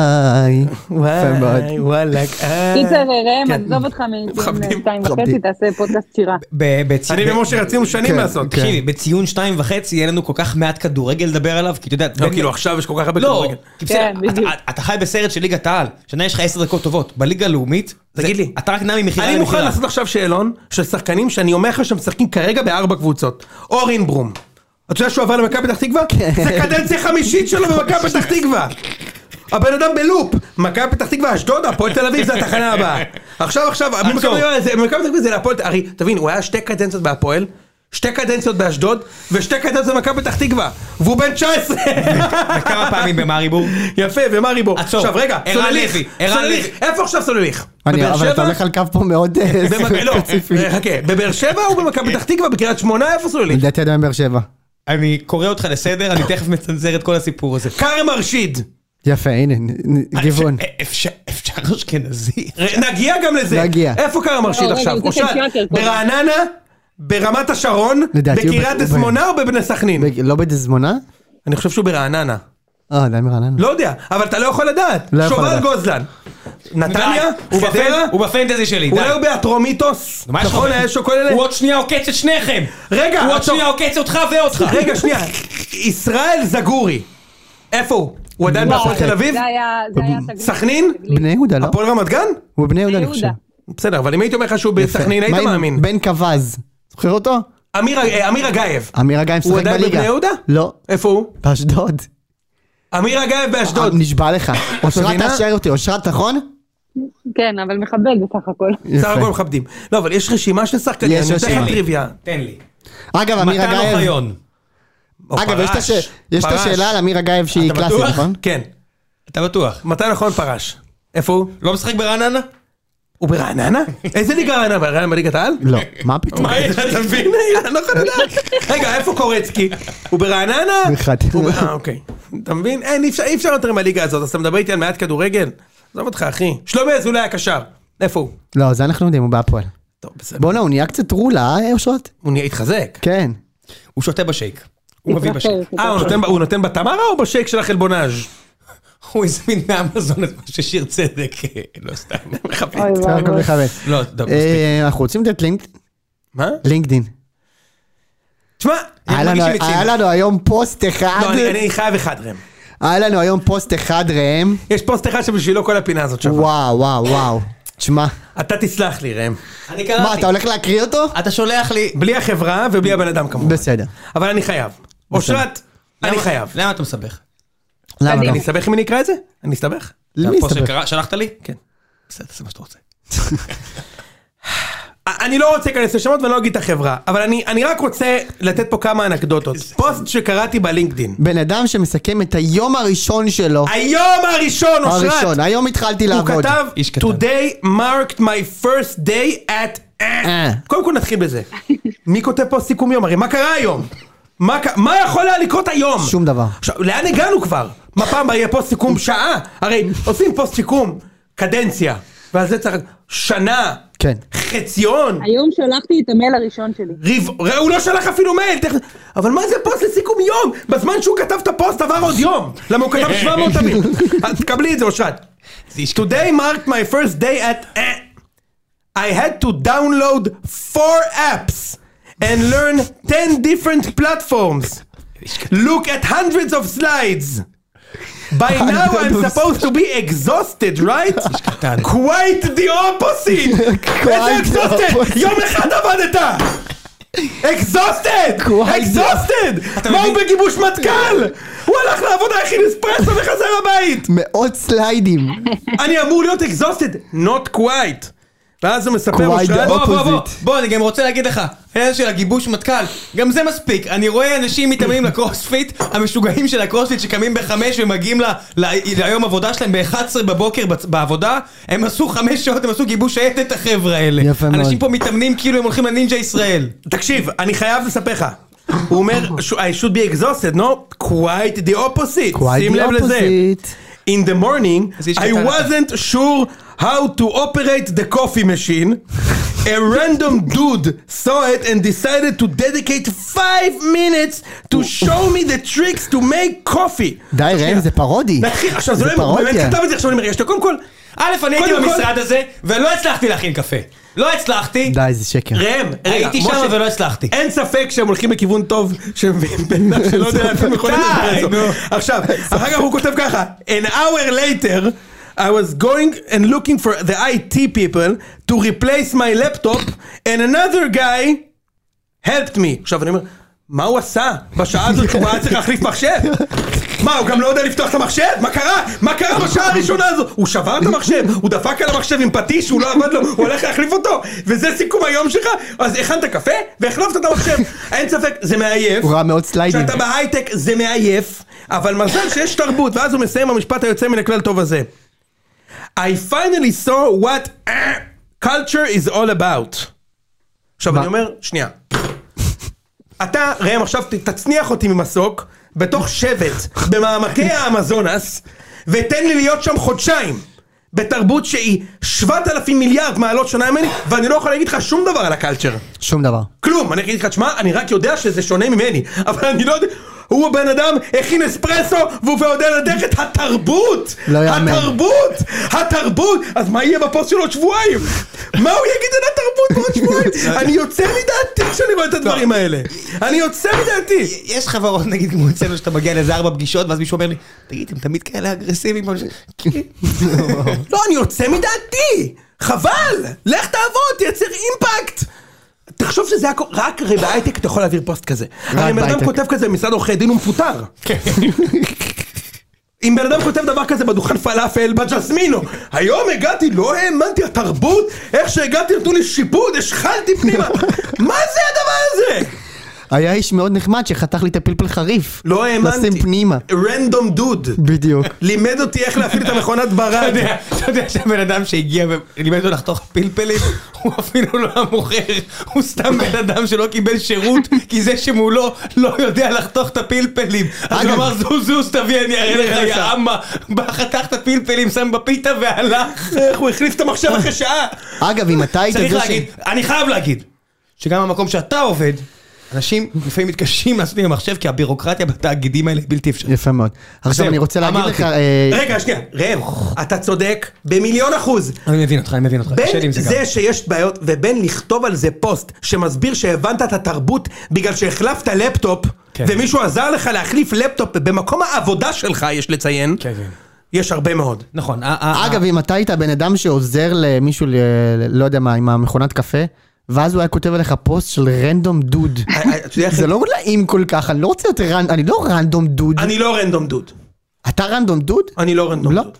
A: וואי. יפה מאוד.
C: וואי וואלק אה.
D: קיצר, ראם,
C: כן.
D: עזוב אותך
C: מכבדים,
D: מציון שתיים
A: מכבדים.
D: וחצי, תעשה פודקאסט שירה.
B: ב- בצי-
C: אני
B: ב-
C: ומשה רצינו שנים
A: כן,
C: לעשות
A: כן.
B: תקשיבי, בציון שתיים וחצי יהיה לנו כל כך מעט כדורגל לדבר עליו, כי אתה יודע...
C: לא
B: בין-
C: כאילו עכשיו יש כל כך הרבה
B: לא,
C: כדורגל.
B: כי בסדר,
D: כן, בדיוק.
B: אתה- אתה חי בסרט של ליגת העל, שנה יש לך עשר דקות טובות, בליגה הלאומית, זה-
C: תגיד לי.
B: אתה רק נע ממכירה
C: אני מוכן
B: למכירה.
C: לעשות עכשיו שאלון של שחקנים שאני אומר לך שהם משחקים כרגע בארבע קבוצות. אורין ברום. אתה יודע שהוא עבר למכבי פתח תקווה?
B: כן.
C: זה קדנציה חמישית שלו במכבי פתח תקווה. הבן אדם בלופ. מכבי פתח תקווה, אשדוד, הפועל תל אביב, זה התחנה הבאה. עכשיו עכשיו,
B: עצור.
C: מכבי זה- מכבי פתח תקווה זה להפועל, הרי תבין, הוא היה שתי קדנציות בהפועל. שתי קדנציות באשדוד, ושתי קדנציות במכבי פתח תקווה, והוא בן 19!
B: וכמה פעמים במאריבור?
C: יפה, ומה ריבו?
B: עצור.
C: עכשיו רגע,
B: ערן
C: סולליך,
B: לוי, ערן
C: סולליך, איפה עכשיו סולליך?
A: אני-
C: בבאר
A: אבל אתה
C: שבע?
A: הולך על קו פה מאוד אה,
C: במכבי, לא,
A: ספציפי.
C: חכה, בבאר שבע או במכבי פתח תקווה, בקריית שמונה, איפה סוללים?
A: לדעתי עדיין באר שבע.
B: אני קורא אותך לסדר, אני תכף מצנזר את כל הסיפור הזה.
C: כרם ארשיד,
A: יפה, הנה, נ-
C: אה,
A: נ- גיוון.
B: אה, אפשר אפשר אשכנזי?
C: ר- נגיע גם לזה.
A: נגיע.
C: איפה כרם ארשיד
D: רגע,
C: עכשיו?
D: זה
C: אושרת,
D: של שקר קודם.
C: ברעננה, ברמת השרון,
A: לדעתי הוא
C: בקריית
A: ב- הוא
C: עצמונה או בבני סכנין?
A: בג- לא בדזמונה?
C: אני חושב שהוא ברעננה.
A: אה, עדיין ברעננה.
C: לא יודע, אבל אתה לא יכול לדעת.
A: לא יכול
C: שובל
A: לדעת.
C: גוזלן. נתניה,
B: הוא
C: חדרה,
B: בפנ- הוא לא בפנטזי שלי, די.
C: אולי הוא באטרומיטוס.
B: מה יש לך?
C: נכון, היה שוקול אלה.
B: הוא עוד שנייה עוקץ את שניכם!
C: רגע,
B: הוא עוד
C: עצור.
B: שנייה עוקץ אותך ואותך!
C: רגע, שנייה. ישראל זגורי. איפה הוא? הוא עדיין
A: לא.
D: וואו,
C: בהפועל תל אביב?
D: זה היה, זה היה תגלית.
C: סכנין?
D: תגלית.
A: בני יהודה, לא?
C: הפועל רמת גן?
A: הוא בני יהודה, לא, אני
D: בני
A: חושב.
D: יהודה.
C: בסדר, אבל אם הייתי אומר לך שהוא
A: יפה.
C: בסכנין, היית
A: מה עם
C: מאמין.
A: בן כבז. זוכר אותו?
C: אמיר- אה, אמיר אגייב.
A: אמיר הגיא משחק
C: הוא
A: בליגה.
C: עדיין בבני יהודה?
A: לא,
C: איפה הוא?
A: באשדוד.
C: אמיר אגייב באשדוד.
A: אה, נשבע לך. אושרת
C: מבינה?
A: תאשר אותי, אושרת, נכון?
D: כן, אבל מכבד בסך הכל.
C: בסך הכל
A: יפה.
C: מכבדים. לא, אבל יש רשימה של שחקנים,
A: יש
C: אני נותן
A: רשימה.
C: לך טריוויה.
B: תן לי.
A: אגב, אמיר
B: מתן
A: הגייב...
B: אוחיון.
C: או
A: אגב, יש את
C: פרש,
A: הש- יש את
C: פרש.
A: השאלה על אמיר הגייב שהיא
B: אתה
A: קלאסית,
B: בטוח?
A: נכון?
C: כן.
B: אתה בטוח.
C: מתן נכון פרש. איפה הוא?
B: לא משחק ברעננה?
C: הוא ברעננה? איזה ליגה רעננה? ברעננה בליגת העל?
A: לא, מה פתאום?
B: אוקיי.
C: מה, אתה מבין? אני לא יכול לדעת. רגע, איפה קורצקי? הוא ברעננה?
A: אחד.
C: הוא ב- אה, אוקיי. אתה מבין? אין, אי אפשר- אי אפשר יותר עם הליגה הזאת, אז אתה מדבר איתי על מעט כדורגל? עזוב אותך, אחי. שלומי אזולאי הקשר. איפה הוא?
A: לא, זה אנחנו יודעים, הוא בהפועל.
C: טוב, בסדר.
A: בואנה, הוא נהיה קצת רולה, אה, אושרת?
C: הוא נהיה התחזק.
A: כן.
B: הוא שותה בשייק. הוא מביא בשייק.
D: התרחב,
C: אה, הוא
D: התרחב.
C: נותן ב- הוא נותן בטמרה או בשייק של החלבונאז'?
B: הוא הזמין מאמזון את מה ששיר צדק. אה, לא סתם.
D: אוי
A: בסך
D: ואבוי.
A: הכל מכבד.
B: לא, טוב, מספיק.
A: אה, אנחנו רוצים לתת לינק-
C: מה?
A: לינקדין.
C: אה, תשמע,
A: היה
B: מרגיש
A: לנו-
B: שהם יוצאים.
A: היה לנו היום פוסט אחד,
C: לא, אני- אני חייב אחד ראם.
A: היה לנו היום פוסט אחד ראם,
C: יש פוסט אחד שבשבילו כל הפינה הזאת שווה.
A: וואו וואו וואו, תשמע,
C: אתה תסלח לי ראם.
B: אני
C: אה,
A: מה אתה לא-
B: קראתי.
A: הולך להקריא אותו?
B: אתה שולח לי.
C: בלי החברה ובלי הבן אדם כמובן.
A: בסדר,
C: אבל אני חייב. אושרת, אני
B: למה-
C: חייב.
B: למה אתה מסבך?
A: למה לא?
C: אני אסתבך אם אני אקרא את זה? אני אסתבך?
A: למי
B: הפוסט
A: יסתבך?
B: שקרא- שלחת לי?
C: כן.
B: בסדר, זה מה שאתה רוצה.
C: אני לא רוצה להיכנס לשמות ואני לא אגיד את החברה, אבל אני, אני רק רוצה לתת פה כמה אנקדוטות. פוסט שקראתי בלינקדין.
A: בן אדם שמסכם את היום הראשון שלו,
C: היום הראשון, אה, אושרת,
A: הראשון, היום התחלתי
C: הוא
A: לעבוד.
C: כתב,
B: איש קטן.
C: today marked my first day at...
A: אה.
C: קודם כל נתחיל בזה. מי כותב פה סיכום יום? הרי מה קרה היום? מה ק- מה יכול היה לקרות היום?
A: שום דבר.
C: עכשיו, לאן הגענו כבר? מה פעם יהיה פוסט סיכום שעה? הרי עושים פוסט סיכום, קדנציה, ועל זה צריך... שנה,
A: כן.
C: חציון,
D: היום שלחתי את המייל הראשון שלי.
C: ריב, ראה, הוא לא שלח אפילו מייל, תכף, אבל מה זה פוסט לסיכום יום? בזמן שהוא כתב את הפוסט עבר עוד יום, למה הוא כתב 700 תמיד. אז תקבלי את זה אושרת.
B: זה איש
C: Today marked my first day at... אה. I had to download four apps and learn 10 different platforms. Look at hundreds of slides. by now I'm supposed to be exhausted, right?
B: קטן.
C: quite the opposite! איזה exhausted? יום אחד עבדת! exhausted!
A: Quite-
C: exhausted! מה הוא בגיבוש מטכ"ל? הוא הלך לעבודה הכין אספרסו וחזר הבית!
A: מאות סליידים.
C: אני אמור להיות exhausted, not quite. ואז הוא מספר לו
A: Quite
C: שאלה,
A: the
B: בוא, בוא, בוא,
A: אופוזיט.
B: בוא, אני גם רוצה להגיד לך, העניין של הגיבוש מטכ"ל, גם זה מספיק. אני רואה אנשים מתאמנים לקרוספיט, המשוגעים של הקרוספיט שקמים בחמש ומגיעים ל- ל- ליום עבודה שלהם ב-11 בבוקר בצ- בעבודה, הם עשו חמש שעות, הם עשו גיבוש שייטת החבר'ה האלה.
A: יפה מאוד.
B: אנשים פה מתאמנים כאילו הם הולכים לנינג'ה ישראל.
C: תקשיב, אני חייב לספר לך. הוא אומר, I should be exhausted, no? Quite the opposite.
A: Quite
C: שים
A: the
C: לב לזה.
A: opposite.
C: In the morning,
B: אז יש
C: I
B: קטן.
C: wasn't sure how to operate the coffee machine. A random dude saw it and decided to dedicate five minutes to show me the tricks to make coffee.
A: די ראם, זה פרודי.
C: נתחיל, עכשיו זה
A: זה
C: לא, הוא באמת
A: פרודיה.
C: כתב את זה, עכשיו אני אומר, יש לו קודם כל,
B: א', אני הייתי
C: קודם כל-
B: במשרד הזה, ולא הצלחתי להכין קפה. לא הצלחתי,
A: די, זה שקר.
C: ראם, רגע,
B: הייתי
C: משה,
B: שם לא ולא הצלחתי.
C: אין ספק שהם הולכים לכיוון טוב, שהם בן אדם שלא יודע להפעיל מכונית
B: די,
C: אספרסו.
B: נו.
C: עכשיו, אחר כך הוא כותב ככה, an hour later, I was going and looking for the IT people to replace my laptop, and another guy helped me. עכשיו אני אומר, מה הוא עשה? בשעה הזאת שהוא היה צריך להחליף מחשב? מה, הוא גם לא יודע לפתוח את המחשב? מה קרה? מה קרה בשעה הראשונה הזו? הוא שבר את המחשב, הוא דפק על המחשב עם פטיש, הוא לא עבד לו, הוא הולך להחליף אותו, וזה סיכום היום שלך? אז הכנת קפה והחלפת את המחשב. אין ספק, זה מעייף.
A: הוא ראה מאות סליידים.
C: כשאתה בהייטק זה מעייף, אבל מזל שיש תרבות, ואז הוא מסיים במשפט היוצא מן הכלל טוב הזה. I finally saw what אה, culture is all about. עכשיו
A: מה?
C: אני אומר, שנייה. אתה, ראם, עכשיו ת- תצניח אותי ממסוק, בתוך שבט, במעמקי האמזונס, ותן לי להיות שם חודשיים. בתרבות שהיא 7,000 מיליארד מעלות שונה ממני, ואני לא יכול להגיד לך שום דבר על הקלצ'ר.
A: שום דבר.
C: כלום, אני אגיד לך, תשמע, אני רק יודע שזה שונה ממני, אבל אני לא יודע, הוא הבן אדם הכין אספרסו, והוא יודע לדרך את התרבות!
A: לא יאמן.
C: התרבות! התרבות! אז מה יהיה בפוסט של עוד שבועיים? מה הוא יגיד על התרבות בעוד שבועיים? אני יוצא מדעתי כשאני רואה את הדברים האלה. אני יוצא מדעתי!
B: יש חברות, נגיד, כמו אצלנו, שאתה מגיע לאיזה ארבע פגישות, ואז מישהו אומר לי, תגיד, אתם תמיד כאלה אגרסיביים.
C: לא, אני יוצא מדעתי! חבל! לך תעבוד, תייצר אימפקט! תחשוב שזה הכל, רק הרי בהייטק אתה יכול להעביר פוסט כזה. הרי בן אדם
A: בהייטק.
C: כותב כזה במשרד עורכי דין הוא מפוטר.
B: כן.
C: אם בן אדם כותב דבר כזה בדוכן פלאפל בג'סמינו, היום הגעתי, לא האמנתי, התרבות, איך שהגעתי נתנו לי שיפוד, השחלתי פנימה, מה זה הדבר הזה?
A: היה איש מאוד נחמד שחתך לי את הפלפל חריף.
C: לא האמנתי.
A: לשים פנימה.
C: רנדום דוד.
A: בדיוק.
C: לימד אותי איך להפעיל את המכונת
B: אתה
C: ברד.
B: יודע, אתה יודע שהבן אדם שהגיע ולימד אותו לחתוך פלפלים, הוא אפילו לא המוכר, הוא סתם בן אדם שלא קיבל שירות, כי זה שמולו לא יודע לחתוך את הפלפלים. אז הוא
A: אגב-
B: אמר, זוז זוז תביא, אני אראה
C: אני
B: לך,
C: אראה
B: יא
C: לך."
B: אמה. בא, חתך את הפלפלים, שם בפיתה והלך.
C: איך הוא החליף את המחשב אחרי שעה.
A: אגב, אם אתה היית
B: צריך
A: זה ש...
B: להגיד, אני חייב להגיד, שגם במקום שאתה עובד, אנשים לפעמים מתקשים לעשות עם המחשב, כי הבירוקרטיה בתאגידים האלה היא בלתי אפשרית.
A: יפה מאוד. עכשיו
B: זהו,
A: אני רוצה להגיד
B: אמרתי.
A: לך... אה,
C: רגע, שנייה, ראם, אתה צודק במיליון אחוז.
B: אני מבין אותך, אני מבין אותך, קשה לי
C: בין
B: עם זה גם.
C: זה שיש בעיות ובין לכתוב על זה פוסט שמסביר שהבנת את התרבות בגלל שהחלפת לפטופ
B: כן.
C: ומישהו עזר לך להחליף לפטופ במקום העבודה שלך יש לציין
B: כן, כן.
C: יש הרבה מאוד.
B: נכון. ה- ה- ה-
A: אגב, אם אתה היית בן אדם שעוזר למישהו, ל- ל- לא יודע מה, עם המכונת קפה, ואז הוא היה כותב עליך פוסט של רנדום דוד.
C: אתה יודע איך-
A: זה לא נעים כל כך, אני לא רוצה להיות רנ... אני לא רנדום דוד.
C: אני לא רנדום דוד.
A: אתה רנדום דוד?
C: אני לא רנדום
A: לא.
C: דוד.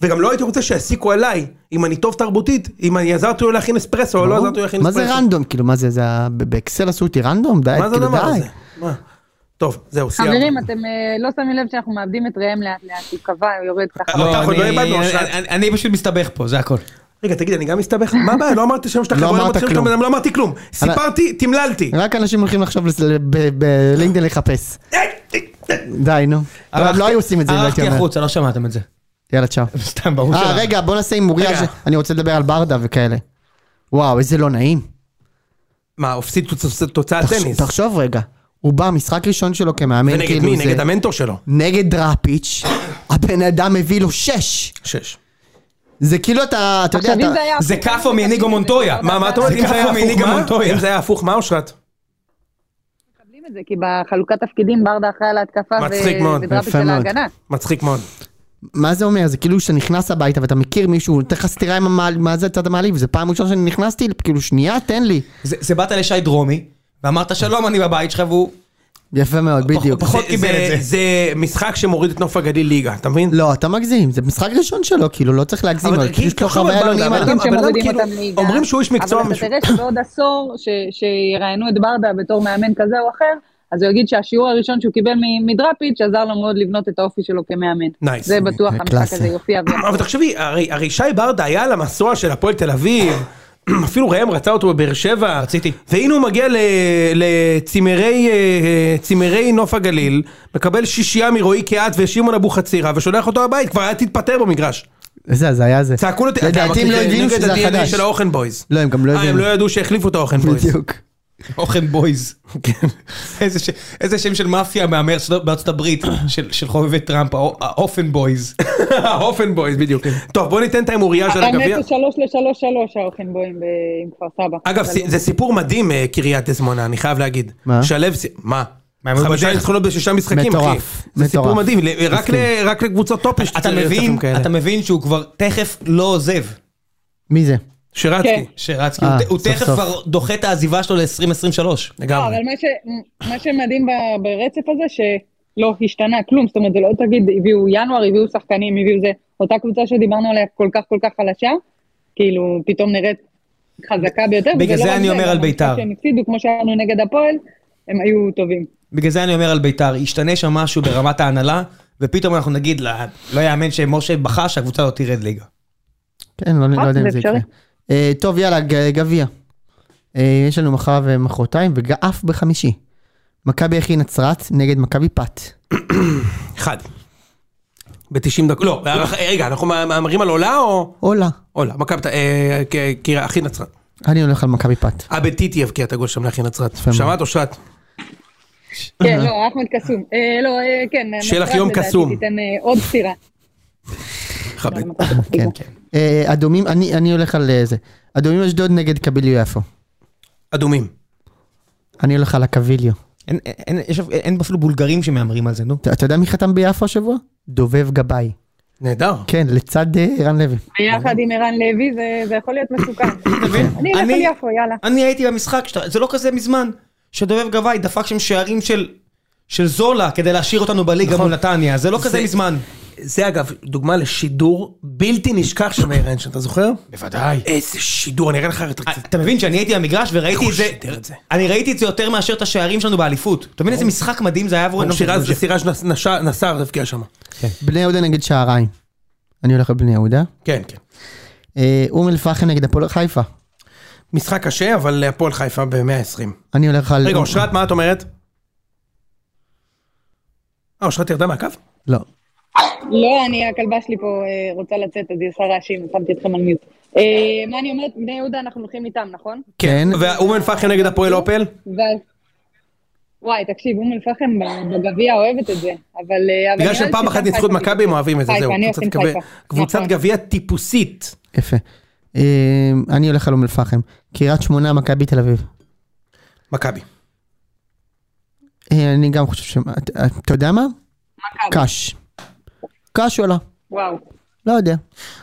C: וגם לא הייתי רוצה שיעסיקו עליי אם אני טוב תרבותית אם אני עזרתי לו להכין אספרסו או לא עזרתי לו להכין
A: מה
C: אספרסו.
A: זה רנדום? כאילו, מה זה, זה ה- ב- באקסל עשו אותי רנדום? די,
C: מה זה
A: כאילו,
C: הדבר
A: די.
C: הזה? מה? טוב זהו סיימנו.
D: חברים, אתם אה, לא שמים לב שאנחנו מאבדים את ראם לאט לאט, הוא קבע, הוא יורד ככה.
C: אבל
B: לא,
C: אנחנו לא
B: אני-
C: איבדנו,
B: אני-
C: אושרת.
B: אני- אני פשוט מסתבך פה, זה הכל.
C: רגע תגיד אני גם מסתבך? מה הבעיה? לא אמרתי שם שאתה
A: לא
C: חבר,
A: אמרת
C: אמרתי שם שאתה
A: כלום.
C: בן אדם, לא אמרתי כלום. סיפרתי תמללתי.
A: רק אנשים הולכים עכשיו לס- ל- ב- בלינקדאין לחפש. די, נו. אבל לא היו עושים את זה, אם הייתי
B: הלכתי
A: אומר.
B: החוצה, לא שמעתם את זה.
A: יאללה, צ'או.
B: סתם, ברור
A: אה,
B: שלא.
A: רגע, בוא נעשה הימוריה,
C: רגע.
A: ש- אני רוצה לדבר על ברדה וכאלה. וואו, איזה לא נעים.
C: מה, הפסיד תוצ- תוצאת
A: תחש-
C: טניס.
A: תחשוב רגע, הוא בא, משחק ראשון שלו כמאמן,
C: ונגד
A: כאילו
C: מי?
A: זה-
C: נגד המנטור שלו.
A: נגד דראפיץ', הבן אדם הביא לו שש.
C: שש.
A: זה כאילו אתה, אתה יודע,
D: עכשיו, אם
A: אתה...
D: זה היה...
B: זה כאפו מניגו מונטויה.
C: מה, מה את אומרת?
B: זה
C: אם זה היה
B: ככה
C: הפוך,
B: מניגה
C: מה?
B: מונטויה.
C: אם זה היה הפוך, מה אושרת?
D: מקבלים את זה, כי בחלוקת תפקידים ברדה אחראי על ההתקפה
C: מצחיק מאוד,
D: ודראפיץ'
A: יפה
D: על
A: מאוד.
D: ההגנה.
C: מצחיק מאוד.
A: מה זה אומר? זה כאילו שאתה נכנס הביתה ואתה מכיר מישהו, הוא נותן לך סטירה עם המעל, מה זה הצד המעליב, זה פעם ראשונה שאני נכנסתי, כאילו שנייה, תן לי.
B: זה זה באת לשי דרומי, ואמרת שלום, אני בבית שלך, והוא...
A: יפה מאוד, בדיוק.
B: פחות- פחות קיבל את זה.
C: זה משחק שמוריד את נוף הגליל ליגה, אתה מבין?
A: לא, אתה מגזים, זה משחק ראשון שלו, כאילו, לא צריך להגזים, אבל כאילו יש כל כך הרבה
C: אבל-
A: אלונים.
C: אבל-
A: על-
D: אנשים
C: הבן אדם
D: שמורידים
C: כאילו-
D: אותם מליגה.
C: אומרים שהוא איש מקצוע
D: אבל אתה
C: משהו.
D: תראה שבעוד עשור, ש- שיראיינו את ברדה בתור מאמן כזה או אחר, אז הוא יגיד שהשיעור הראשון שהוא קיבל מ- מדראפיץ' עזר לו מאוד לבנות את האופי שלו כמאמן.
C: נייס.
D: זה בטוח המשחק
A: קלאסי.
D: הזה יופיע. ויחזור.
C: אבל תחשבי, הרי הרי שי ברדה היה על המסוע של הפועל תל אביב, אפילו ראם רצה אותו בבאר שבע.
B: רציתי.
C: והנה הוא מגיע ל- לצימרי אה, צימרי נוף הגליל, מקבל שישייה מרועי קהת ושמעון אבוחצירא, ושולח אותו הבית, כבר היה תתפטר במגרש.
A: זה, זה היה זה.
C: צעקו לו, אתה יודע,
A: לדעתי הם
C: אמרתי,
A: לא
C: זה
A: הבינו
C: נגד
A: שזה
C: ה-DNA
A: החדש.
C: של האוכן בויז.
A: לא, הם גם לא
C: אה, הם
A: הבינו.
C: לא ידעו שהחליפו את האוכן בויז.
A: בדיוק.
B: אוכן בויז.
A: כן.
B: איזה ש- איזה שם של מאפיה מהמר בארצות הברית, של של חובבי טראמפ, האו- האופן בויז.
C: האופן בויז, בדיוק. טוב, בוא ניתן את ההימוריה של הגביע.
D: האמת זה שלוש לשלוש שלוש האוכנבוים ב- עם כפר סבא.
C: אגב,
B: לא.
C: סי- זה סיפור מדהים, אה, קריית דסמונה, אני חייב להגיד.
A: מה?
C: שלו, סי- מה?
B: מה, הם היו
C: חמישה
B: בדרך?
C: ניצחונות בשישה משחקים, אחי.
A: מטורף,
C: זה סיפור
A: מטורף.
C: מדהים, ל- רק ל- רק לקבוצות טופ יש
B: אתה
C: ניצחונות
B: מבין,
C: כאלה.
B: אתה מבין שהוא כבר תכף לא עוזב.
A: מי זה?
C: שרצקי.
D: כן.
B: שרצקי,
A: אה,
B: הוא ת- הוא
A: סוף
B: תכף
A: סוף.
B: כבר דוחה את העזיבה שלו ל-2023.
D: לא,
C: לגמרי.
D: אבל מה ש- מה שמדהים ב- ברצף הזה, שלא השתנה כלום, זאת אומרת, זה לא תגיד, הביאו ינואר, הביאו שחקנים, הביאו זה, אותה קבוצה שדיברנו עליה כל כך כל כך חלשה, כאילו, פתאום נראית חזקה ביותר.
B: בגלל
D: וזה לא
B: זה
D: רק
B: אני אומר
D: גם
B: על
D: המשחק
B: בית"ר.
D: שהם הפסידו, כמו שהיה לנו נגד הפועל, הם היו טובים.
B: בגלל זה אני אומר על ביתר, ישתנה שם משהו ברמת ההנהלה, ופתאום אנחנו נגיד, "לא- לא יאמן שמשה בכה שהקבוצה לא תרד ליגה.
A: כן, לא לא
D: אה,
A: יודע אם
D: זה
A: זה יקרה.
D: אפשרי.
A: אה, טוב, יאללה, ג- גביע. אה, יש לנו מחר ומחרתיים, ואף בחמישי. מכבי הכי נצרת נגד מכבי פת.
C: אחד. ב-90 דקות, לא, רגע, אנחנו מהמרים על עולה או...
A: עולה.
C: עולה, מכבי, ת- אה, כ- כי אחי נצרת. אה,
A: אני הולך על מכבי פת.
C: אבטיטי יבקיע את הגול שם לאחי נצרת.
A: יפה מאוד.
C: שמעת אושרת?
D: כן, לא, אחמד קסום. אה, לא, אה, כן.
C: שיהיה לך
D: נצרת
C: יום
D: לדעתי
C: קסום.
D: תיתן אה, עוד סטירה.
C: חבק.
A: כן.
C: אוקיי.
A: אה, אדומים, אני אני הולך על אה, זה. אדומים אשדוד נגד קביליו יפו.
C: אדומים.
A: אני הולך על הקביליו.
B: אין- אין- אין- יש- אין אפילו בולגרים שמהמרים על זה, נו.
A: אתה אתה יודע מי חתם ביפו השבוע? דובב גבאי.
C: נהדר.
A: כן, לצד אה, ערן לוי.
D: ביחד עם ערן לוי, זה- זה יכול להיות מסוכן. אני אלך
B: אני-
D: על יפו, יאללה.
B: אני הייתי במשחק, שאתה- זה לא כזה מזמן, שדובב גבאי דפק שם שערים של... של זולה כדי להשאיר אותנו בליגה מול נתניה, זה לא כזה
C: נכון. זה-
B: מזמן.
C: זה אגב דוגמה לשידור בלתי נשכח של מאיר איינשטיין, אתה זוכר?
B: בוודאי. אה,
C: איזה שידור, אני אראה לך יותר קצת.
B: אתה מבין שאני הייתי במגרש וראיתי
C: איך
B: את זה,
C: הוא שידר את זה?
B: אני ראיתי את זה יותר מאשר את השערים שלנו באליפות. אתה מבין איזה משחק מדהים זה היה עבורנו?
C: גם שירז סירז' נס- נש- נסר הבקיע שם.
A: בני יהודה נגד שעריים. אני הולך על בני יהודה.
C: כן, כן.
A: אה, אום אל-פחם נגד הפועל חיפה.
C: משחק קשה, אבל הפועל חיפה ב-120.
A: אני הולך על...
C: רגע, אושרת, מה את אומרת? אה, אושרת ירדה מהקו?
A: לא.
D: לא, אני, הכלבה שלי פה אה, רוצה לצאת, אז היא עושה רעשים, שמתי אתכם על מיוט. אה, מה אני אומרת? בני יהודה, אנחנו הולכים איתם, נכון?
A: כן.
C: ואום אל-פחם נגד הפועל אופל?
D: ואז... וואי, תקשיב, אום אל-פחם בגביע אוהבת את זה, אבל... אה, אבל
C: בגלל
D: נראה
C: שהם
D: לי
C: פעם
D: שגם
C: אחת ניצחו את
D: חיפה
C: מכבי, הם אוהבים את זה,
D: חיפה,
C: זהו.
D: אני
C: קבוצת
D: אוהבים
C: גביע-
D: חיפה.
C: קבוצת
D: נכון.
C: גביע טיפוסית.
A: יפה. אה, אני הולך על אום אל-פחם. קריית שמונה, מכבי תל אביב.
C: מכבי.
A: אה, אני גם חושב ש... אתה- אתה יודע מה?
D: מכבי.
A: קאש. קאש עולה.
D: וואו.
A: לא יודע.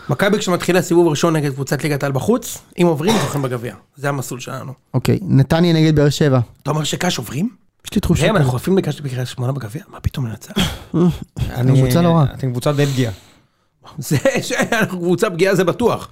C: מכבי כשמתחילה סיבוב ראשון נגד קבוצת ליגת העל בחוץ, אם עוברים זוכים בגביע. זה המסלול שלנו.
A: אוקיי. נתניה נגד באר שבע.
C: אתה אומר שקאש עוברים?
A: יש לי תחושה.
C: ראם, אנחנו עפים לקאש בקריית שמונה בגביע? מה פתאום ננצח?
B: אני
A: קבוצה לא רעה.
B: אתם קבוצה די פגיעה.
C: זה שאנחנו קבוצה פגיעה זה בטוח.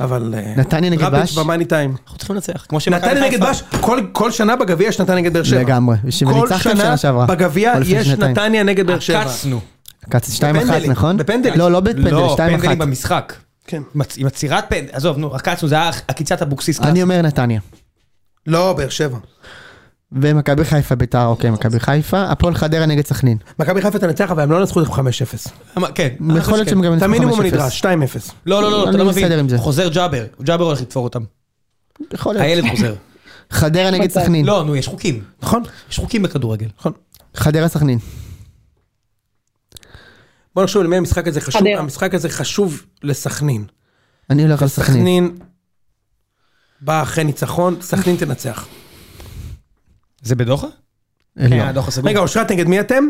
C: אבל... אה,
A: נתניה נגד
C: דראפיץ'
A: בש?
C: במאני טיים.
B: אנחנו צריכים לנצח. כמו שמכבי
C: נתניה נגד
B: חיפה-
C: בש, כל- כל שנה בגביע יש נתניה נגד באר שבע.
A: לגמרי.
C: כל
A: וניצחתם
C: שנה
A: שנה שעברה.
C: בגביע
A: או לפני
C: יש
A: שנתיים.
C: נתניה נגד באר שבע.
B: עקצנו.
A: קצת 2-1,
C: בפנדלים,
A: נכון?
C: בפנדלים.
A: לא, לא בפנדל,
B: לא,
A: 2-1.
B: פנדלים במשחק.
C: כן.
B: מצ- עם עצירת פנדל, עזוב, נו, עקצנו, זה היה עקיצת אבוקסיס.
A: אני אומר נתניה.
C: לא, באר שבע.
A: ומכבי חיפה ביתר, אוקיי, מכבי חיפה. הפועל חדרה נגד סכנין.
C: מכבי חיפה תנצח, אבל הם לא נצחו את 5-0.
B: אמר- כן.
A: יכול להיות שהם גם
C: את
A: ניצחו
C: המינימום
A: 5-0.
C: הנדרש, 2-0.
B: לא, לא, לא,
A: אני
B: אתה לא
A: בסדר עם
B: מבין.
A: זה. כן.
B: חוזר ג'אבר, ג'אבר הולך לתפור אותם.
A: יכול להיות.
B: הילד חוזר.
A: חדרה נגד
D: מצב.
A: סכנין.
B: לא, נו, יש חוקים.
C: נכון,
B: יש חוקים בכדורגל.
C: נכון.
A: חדרה סכנין.
C: בוא נחשוב למי המשחק הזה חשוב.
D: חדרה.
C: המשחק הזה חשוב לסכנין.
A: אני הולך על סכנין.
C: סכנין בא אחרי ניצחון, סכנין תנצח.
B: זה בדוחה?
A: אה, לא.
B: כן. הדוח הסגור.
C: רגע, אושרת נגד מי אתם?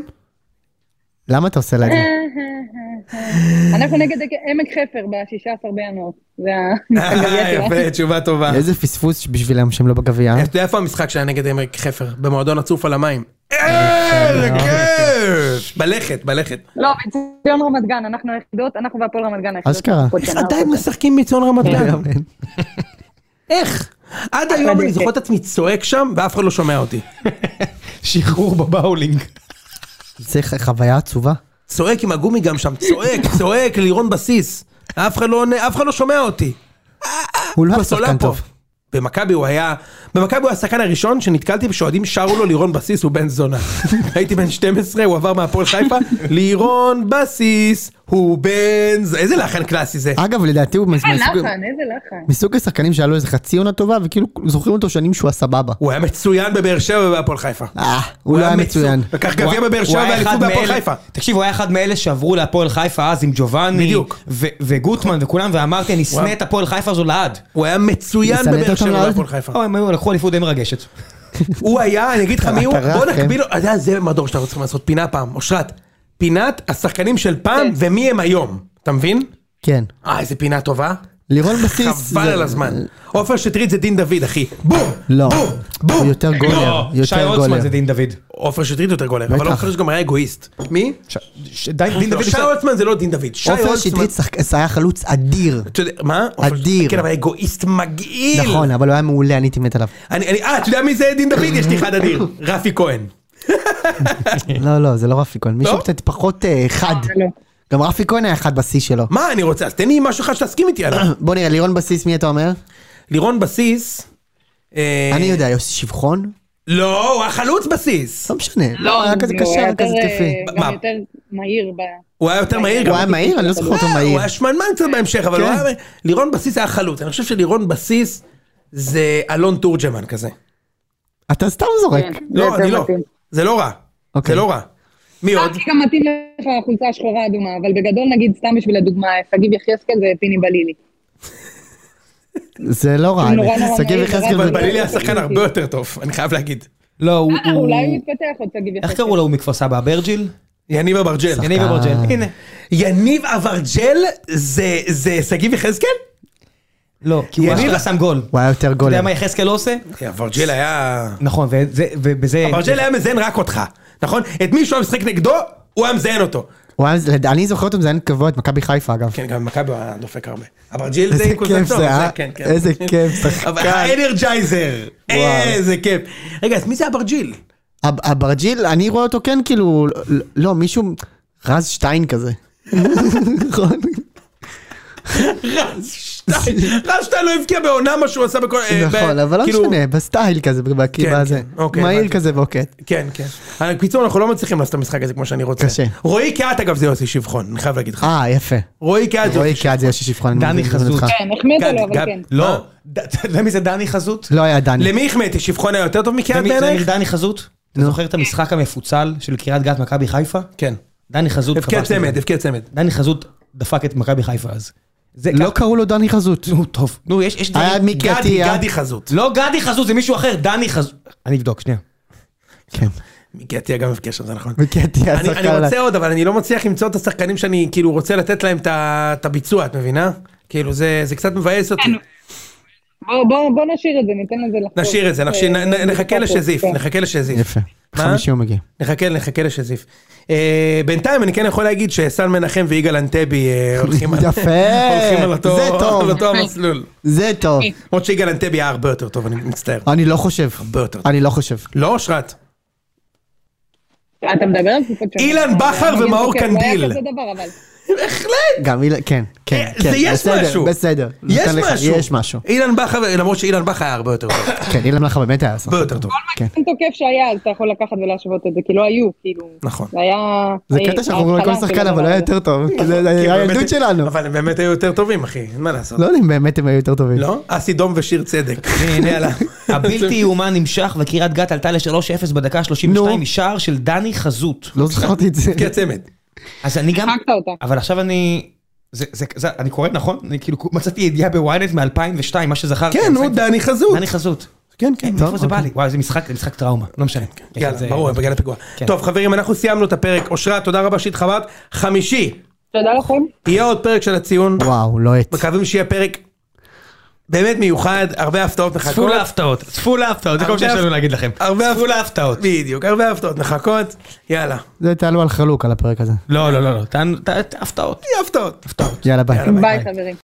A: למה אתה עושה לה את זה?
D: אנחנו נגד עמק חפר ב-16 בינואר. זה
C: אה, כן.
D: הגביע שלנו.
C: יפה, תשובה טובה.
A: איזה פספוס בשבילם שהם לא בגביע. אה?
C: אתה יודע איפה המשחק שהיה נגד עמק חפר? במועדון הצוף על המים. אה, כן. כיף! בלכת, בלכת.
D: לא, בציון רמת גן, אנחנו היחידות, אנחנו והפועל רמת גן היחידות.
A: אשכרה.
D: כל שנה,
C: עדיין
D: כל שנה.
C: משחקים בציון רמת גן.
A: מאמן.
C: איך? עד היום כן. אני
D: יפה.
C: זוכר את עצמי צועק שם, ואף אחד לא שומע אותי.
B: שחרור בבאולינג.
A: זה ח- חוויה עצובה.
C: צועק עם הגומי גם שם, צועק, צועק, לירון בסיס. אף אחד לא עונה, אף אחד לא שומע אותי.
A: הוא לא היה
C: בסולה
A: שחקן
C: פה.
A: טוב.
C: במכבי הוא היה, במכבי הוא השחקן הראשון שנתקלתי בשאוהדים שרו לו לירון בסיס הוא בן זונה. הייתי בן 12, הוא עבר מהפועל חיפה, לירון בסיס הוא בן זונה, איזה לחן קלאסי זה.
A: אגב, לדעתי הוא מס-
D: אה,
A: מסוג-
D: לחן, איזה לחן.
A: מסוג השחקנים שהיה לו איזה חצי עונה טובה, וכאילו זוכרים אותו שנים שהוא הסבבה.
C: הוא היה מצוין בבאר שבע ובהפועל חיפה.
A: אה, הוא לא היה מצוין.
C: מצו- לקח גביע בבאר
B: הוא
C: שבע
B: היה
C: ואליפות
B: אחד
C: בהפועל
B: מאלה-
C: חיפה.
B: תקשיב, הוא היה אחד מאלה שעברו להפועל חיפה אז עם ג'ובאני,
C: בדיוק.
B: ו- וגוטמן וכולם, ואמרתי, אני
C: וואו.
B: אשנא את הפועל חיפה הזו לעד.
C: הוא היה מצוין
A: לסנן
C: בבאר
A: אותם
C: שבע
A: לעד?
C: ובהפועל חיפה.
B: או, הם היו- לקחו אליפות די מרגשת.
C: הוא היה, אני אגיד לך מי הוא,
A: אתה
C: בוא
A: רך, כן.
C: נקביל, לו- אתה יודע, זה מדור שאנחנו צריכים לעשות פינה פעם, אושרת. פינת השחקנים של פעם
D: כן.
C: ומי הם היום, אתה מבין?
A: כן.
C: אה, איזה פינה טובה.
A: לירון בסיס.
C: חבל
A: זה-
C: על הזמן. עופר שטרית זה דין דוד, אחי. בום!
A: לא.
C: בום!
A: הוא
C: בום!
A: יותר גולר.
B: לא, שי
A: יותר
B: הולצמן
A: גולר.
B: זה דין דוד.
C: עופר שטרית יותר גולר, אבל
A: בטח.
C: עופר שגם היה אגואיסט. מי?
B: ש- ש- דין דוד...
C: לא, שי הולצמן זה לא דין דוד. שי
A: עופר
C: הולצמן...
A: שטרית שחק- זה היה חלוץ אדיר.
C: אתה יודע- מה? עופר-
A: אדיר.
C: כן, אבל אגואיסט מגעיל.
A: נכון, אבל הוא היה מעולה, אני הייתי מת עליו.
C: אני, אני, אה, אתה יודע מי זה דין דוד? יש לי אחד אדיר. רפי כהן.
A: לא, לא, זה לא רפי כהן. מישהו
C: כן. לא?
A: קצת פחות אה, חד.
D: לא.
A: גם רפי כהן היה חד בשיא שלו.
C: מה אני רוצה? אז תן לי משהו אחד שתסכים איתי עליו.
A: בוא נראה, לירון בסיס, מי אתה אומר?
C: לירון בסיס... אה,
A: אני יודע, יוסי שבחון? לא.
C: לא, הוא היה חלוץ בסיס.
A: לא משנה. לא,
D: הוא
A: היה כזה קשה, היה כזה
D: יותר,
A: כיפי.
D: אה,
C: מה?
D: גם יותר מהיר ב...
C: הוא היה יותר מהיר גם.
A: הוא היה מהיר? אני לא זוכר אותו
C: אה,
A: מהיר.
C: הוא היה שמנמן קצת בהמשך, אבל
A: כן.
C: הוא היה... לירון בסיס היה חלוץ. אני חושב שלירון בסיס זה אלון תורג'מן כזה.
A: אתה סתם זורק.
D: כן. זה
C: לא,
D: יותר
C: אני לא.
D: מתאים.
C: זה לא רע. זה
A: אוקיי.
C: לא רע. מי עוד?
D: כי גם מתאים לך החולצה השחורה האדומה, אבל בגדול נגיד, סתם בשביל הדוגמה, שגיב יחזקאל זה פיני בלילי.
A: זה לא רע.
D: זה נורא
A: האמת.
D: נורא
A: שגיב
D: מהיר,
A: יחזקאל
D: נורא
A: זה...
C: אבל
D: מהיר.
C: בלילי היה שחקן הרבה יותר טוב, אני חייב להגיד.
B: לא, הוא...
D: אה, אולי הוא יתפתח עוד שגיב יחזקאל.
B: איך קראו לו? הוא מכפר סבא, אברג'יל?
C: יניב אברג'ל.
B: יניב אברג'יל, הנה.
C: יניב אברג'ל זה זה שגיב יחזקאל?
B: לא, כי הוא
C: יניב-
B: אשכרה שם גול.
A: הוא היה יותר
B: אתה יודע
A: גולר.
B: מה יחזקאל לא עושה?
C: אה, אברג'ל היה...
B: נכון, וזה- ובזה...
C: אברג'ל היה מזיין רק אותך, נכון? את מי שהוא היה משחק נגדו, הוא היה מזיין אותו.
A: הוא היה- אני זוכר אותו מזיין קבוע את מכבי חיפה אגב.
C: כן, גם מכבי היה דופק הרבה. אברג'יל זה
A: איזה
C: עם
A: כיף
C: קוזנצוב,
A: זה, אה?
C: כן, כן.
A: איזה כיף,
C: אבל
A: שחקן.
C: האנרג'ייזר, איזה כיף. רגע, אז מי זה אברג'יל?
A: אב- אברג'יל, אני רואה אותו כן כאילו, לא- לא, מישהו, רז שטיין כזה. נכון?
C: רז שטיין. רז שטיין לא הבקיע בעונה מה שהוא עשה בכל... אה, ב-
A: נכון, אבל לא
C: כאילו-
A: משנה, בסטייל כזה,
C: כן,
A: בקיבה הזה.
C: כן, אוקיי,
A: מהיר
C: הבנתי.
A: כזה בוקט.
C: כן, כן. אבל בקיצור, אנחנו לא מצליחים לעשות את המשחק הזה כמו שאני רוצה.
A: קשה.
C: רועי קהת, אגב, זה יוסי שבחון, אני חייב להגיד לך.
A: אה, יפה.
C: רועי קהת, זה
A: רועי
C: יוסי
A: קהד זה ישי שבחון. אני
B: דני
A: מבין
B: חזות.
A: אותך.
D: כן, החמאת לו,
C: גד-
D: אבל כן.
B: לא.
C: מה?
B: ד- אתה יודע מי זה דני חזות?
A: לא היה דני.
C: למי החמאתי? שבחון היה יותר טוב
B: אתה
C: מקהת
B: יודע מי- אתה יודע מי
C: בעינייך?
B: זה דני חזות? אתה זוכר את המשחק המפוצל של קריית גת מכבי חיפה?
C: כן.
B: דני חזות
C: הבקיע
B: כבש את
A: לא-
C: צמד,
B: זה.
C: הבקיע צמד.
B: דני חזות דפק את מכבי חיפה אז. זה
A: לא
B: ככה-
A: קראו לו דני חזות.
B: נו טוב, נו יש יש
A: היה
B: דברים.
A: מיקי
C: גדי,
A: עטיה.
C: גדי חזות.
B: לא גדי חזות זה מישהו אחר, דני חזות. אני אבדוק, שנייה.
A: כן.
C: מיקי עטיה גם הבקיע שם, זה נכון.
A: מיקי עטיה,
C: אני-
A: שחקן
C: אני
A: עליי.
C: רוצה עוד, אבל אני לא מצליח למצוא את השחקנים שאני כאילו רוצה לתת להם את ה- את הביצוע, את מבינה? כאילו זה זה קצת מבאס אותי.
D: בוא- בוא בוא נשאיר את זה, ניתן לזה אה, לחזור.
C: נשאיר את זה, נשאיר- נ- נ-
D: כן.
C: נחכה לשזיף, נחכה לשזיף.
A: יפה.
C: מה?
A: חמישי הוא מגיע.
C: נחכה, נחכה לשזיף. אה, בינתיים אני כן יכול להגיד שסל מנחם ויגאל אנטבי אה, הולכים על-
A: יפה.
C: הולכים על אותו-
A: זה טוב.
C: על אותו המסלול.
A: זה טוב.
C: למרות שיגאל אנטבי היה הרבה יותר טוב, אני מצטער.
A: אני לא חושב.
C: הרבה יותר טוב.
A: אני לא חושב.
C: לא אושרת.
D: אתה מדבר על תקופות שונות.
C: אילן בכר
D: אני
C: ומאור
D: זוכר, זה היה
C: קנדיל.
D: כזה דבר, אבל.
C: בהחלט.
A: גם אילן, כן, כן,
C: אה,
A: כן.
C: זה יש
A: בסדר,
C: משהו.
A: בסדר.
C: יש
A: נותן לך-
C: משהו.
A: יש משהו.
C: אילן בכר, למרות שאילן בכר היה הרבה יותר טוב.
A: כן, אילן מלאכה באמת היה שחקן.
C: הרבה יותר טוב.
A: כן.
D: אין תוקף שהיה, אז אתה יכול לקחת ולהשוות את זה, כי לא היו, כאילו.
C: נכון.
D: זה היה...
A: זה
D: אה,
A: קטע שאנחנו אומרים
D: ההתחלה
A: לכל
D: של
A: שחקן, אבל
D: הדבר
A: לא היה
D: הזה.
A: יותר טוב. כי זה זה
C: כי
A: היה
C: כן, באמת-
A: הילדות שלנו.
C: אבל הם באמת היו יותר טובים, אחי, אין מה לעשות.
A: לא יודע אם באמת הם היו יותר טובים.
C: לא? אסי דום ושיר צדק.
B: הנה, יאללה. הבלתי יאומן נמשך וקריית גת עלתה ל-3-0 בדקה
A: נו.
B: 32 משער של דני חזות.
A: לא זכרתי את זה.
C: הבקיע צמד.
B: אז אני גם...
D: מחקת אותה.
B: אבל עכשיו אני... זה, זה, זה, אני קורא נכון? אני כאילו מצאתי ידיעה בוויינט מ-2002, מה שזכרתי.
C: כן, נו, דני חזות.
B: דני חזות.
A: כן, כן.
B: מאיפה זה בא לי? וואי, זה משחק, זה משחק טראומה. לא משנה.
C: אוקיי. יאללה,
B: זה-
C: ברור, בגלל הפיגוע.
B: כן.
C: טוב, חברים, אנחנו סיימנו את הפרק. אושרת, תודה רבה שהתחברת. חמישי,
D: תודה לכם.
C: יהיה עוד פרק של הציון,
A: וואו, לא לוהט.
C: מקווים שיהיה פרק באמת מיוחד, הרבה הפתעות
B: צפו
C: מחכות.
B: להפתעות, צפו להפתעות, זה כל מה שיש לנו להגיד לכם.
C: הרבה
B: צפו להפתעות.
C: בדיוק, הרבה הפתעות מחכות, יאללה,
A: זה תעלו על חלוק על הפרק הזה.
B: לא, לא, לא, לא, תענו- ת- ת- הפתעות.
C: יהיה הפתעות.
A: יאללה, ביי.
C: יאללה, ביי.
D: ביי חברים.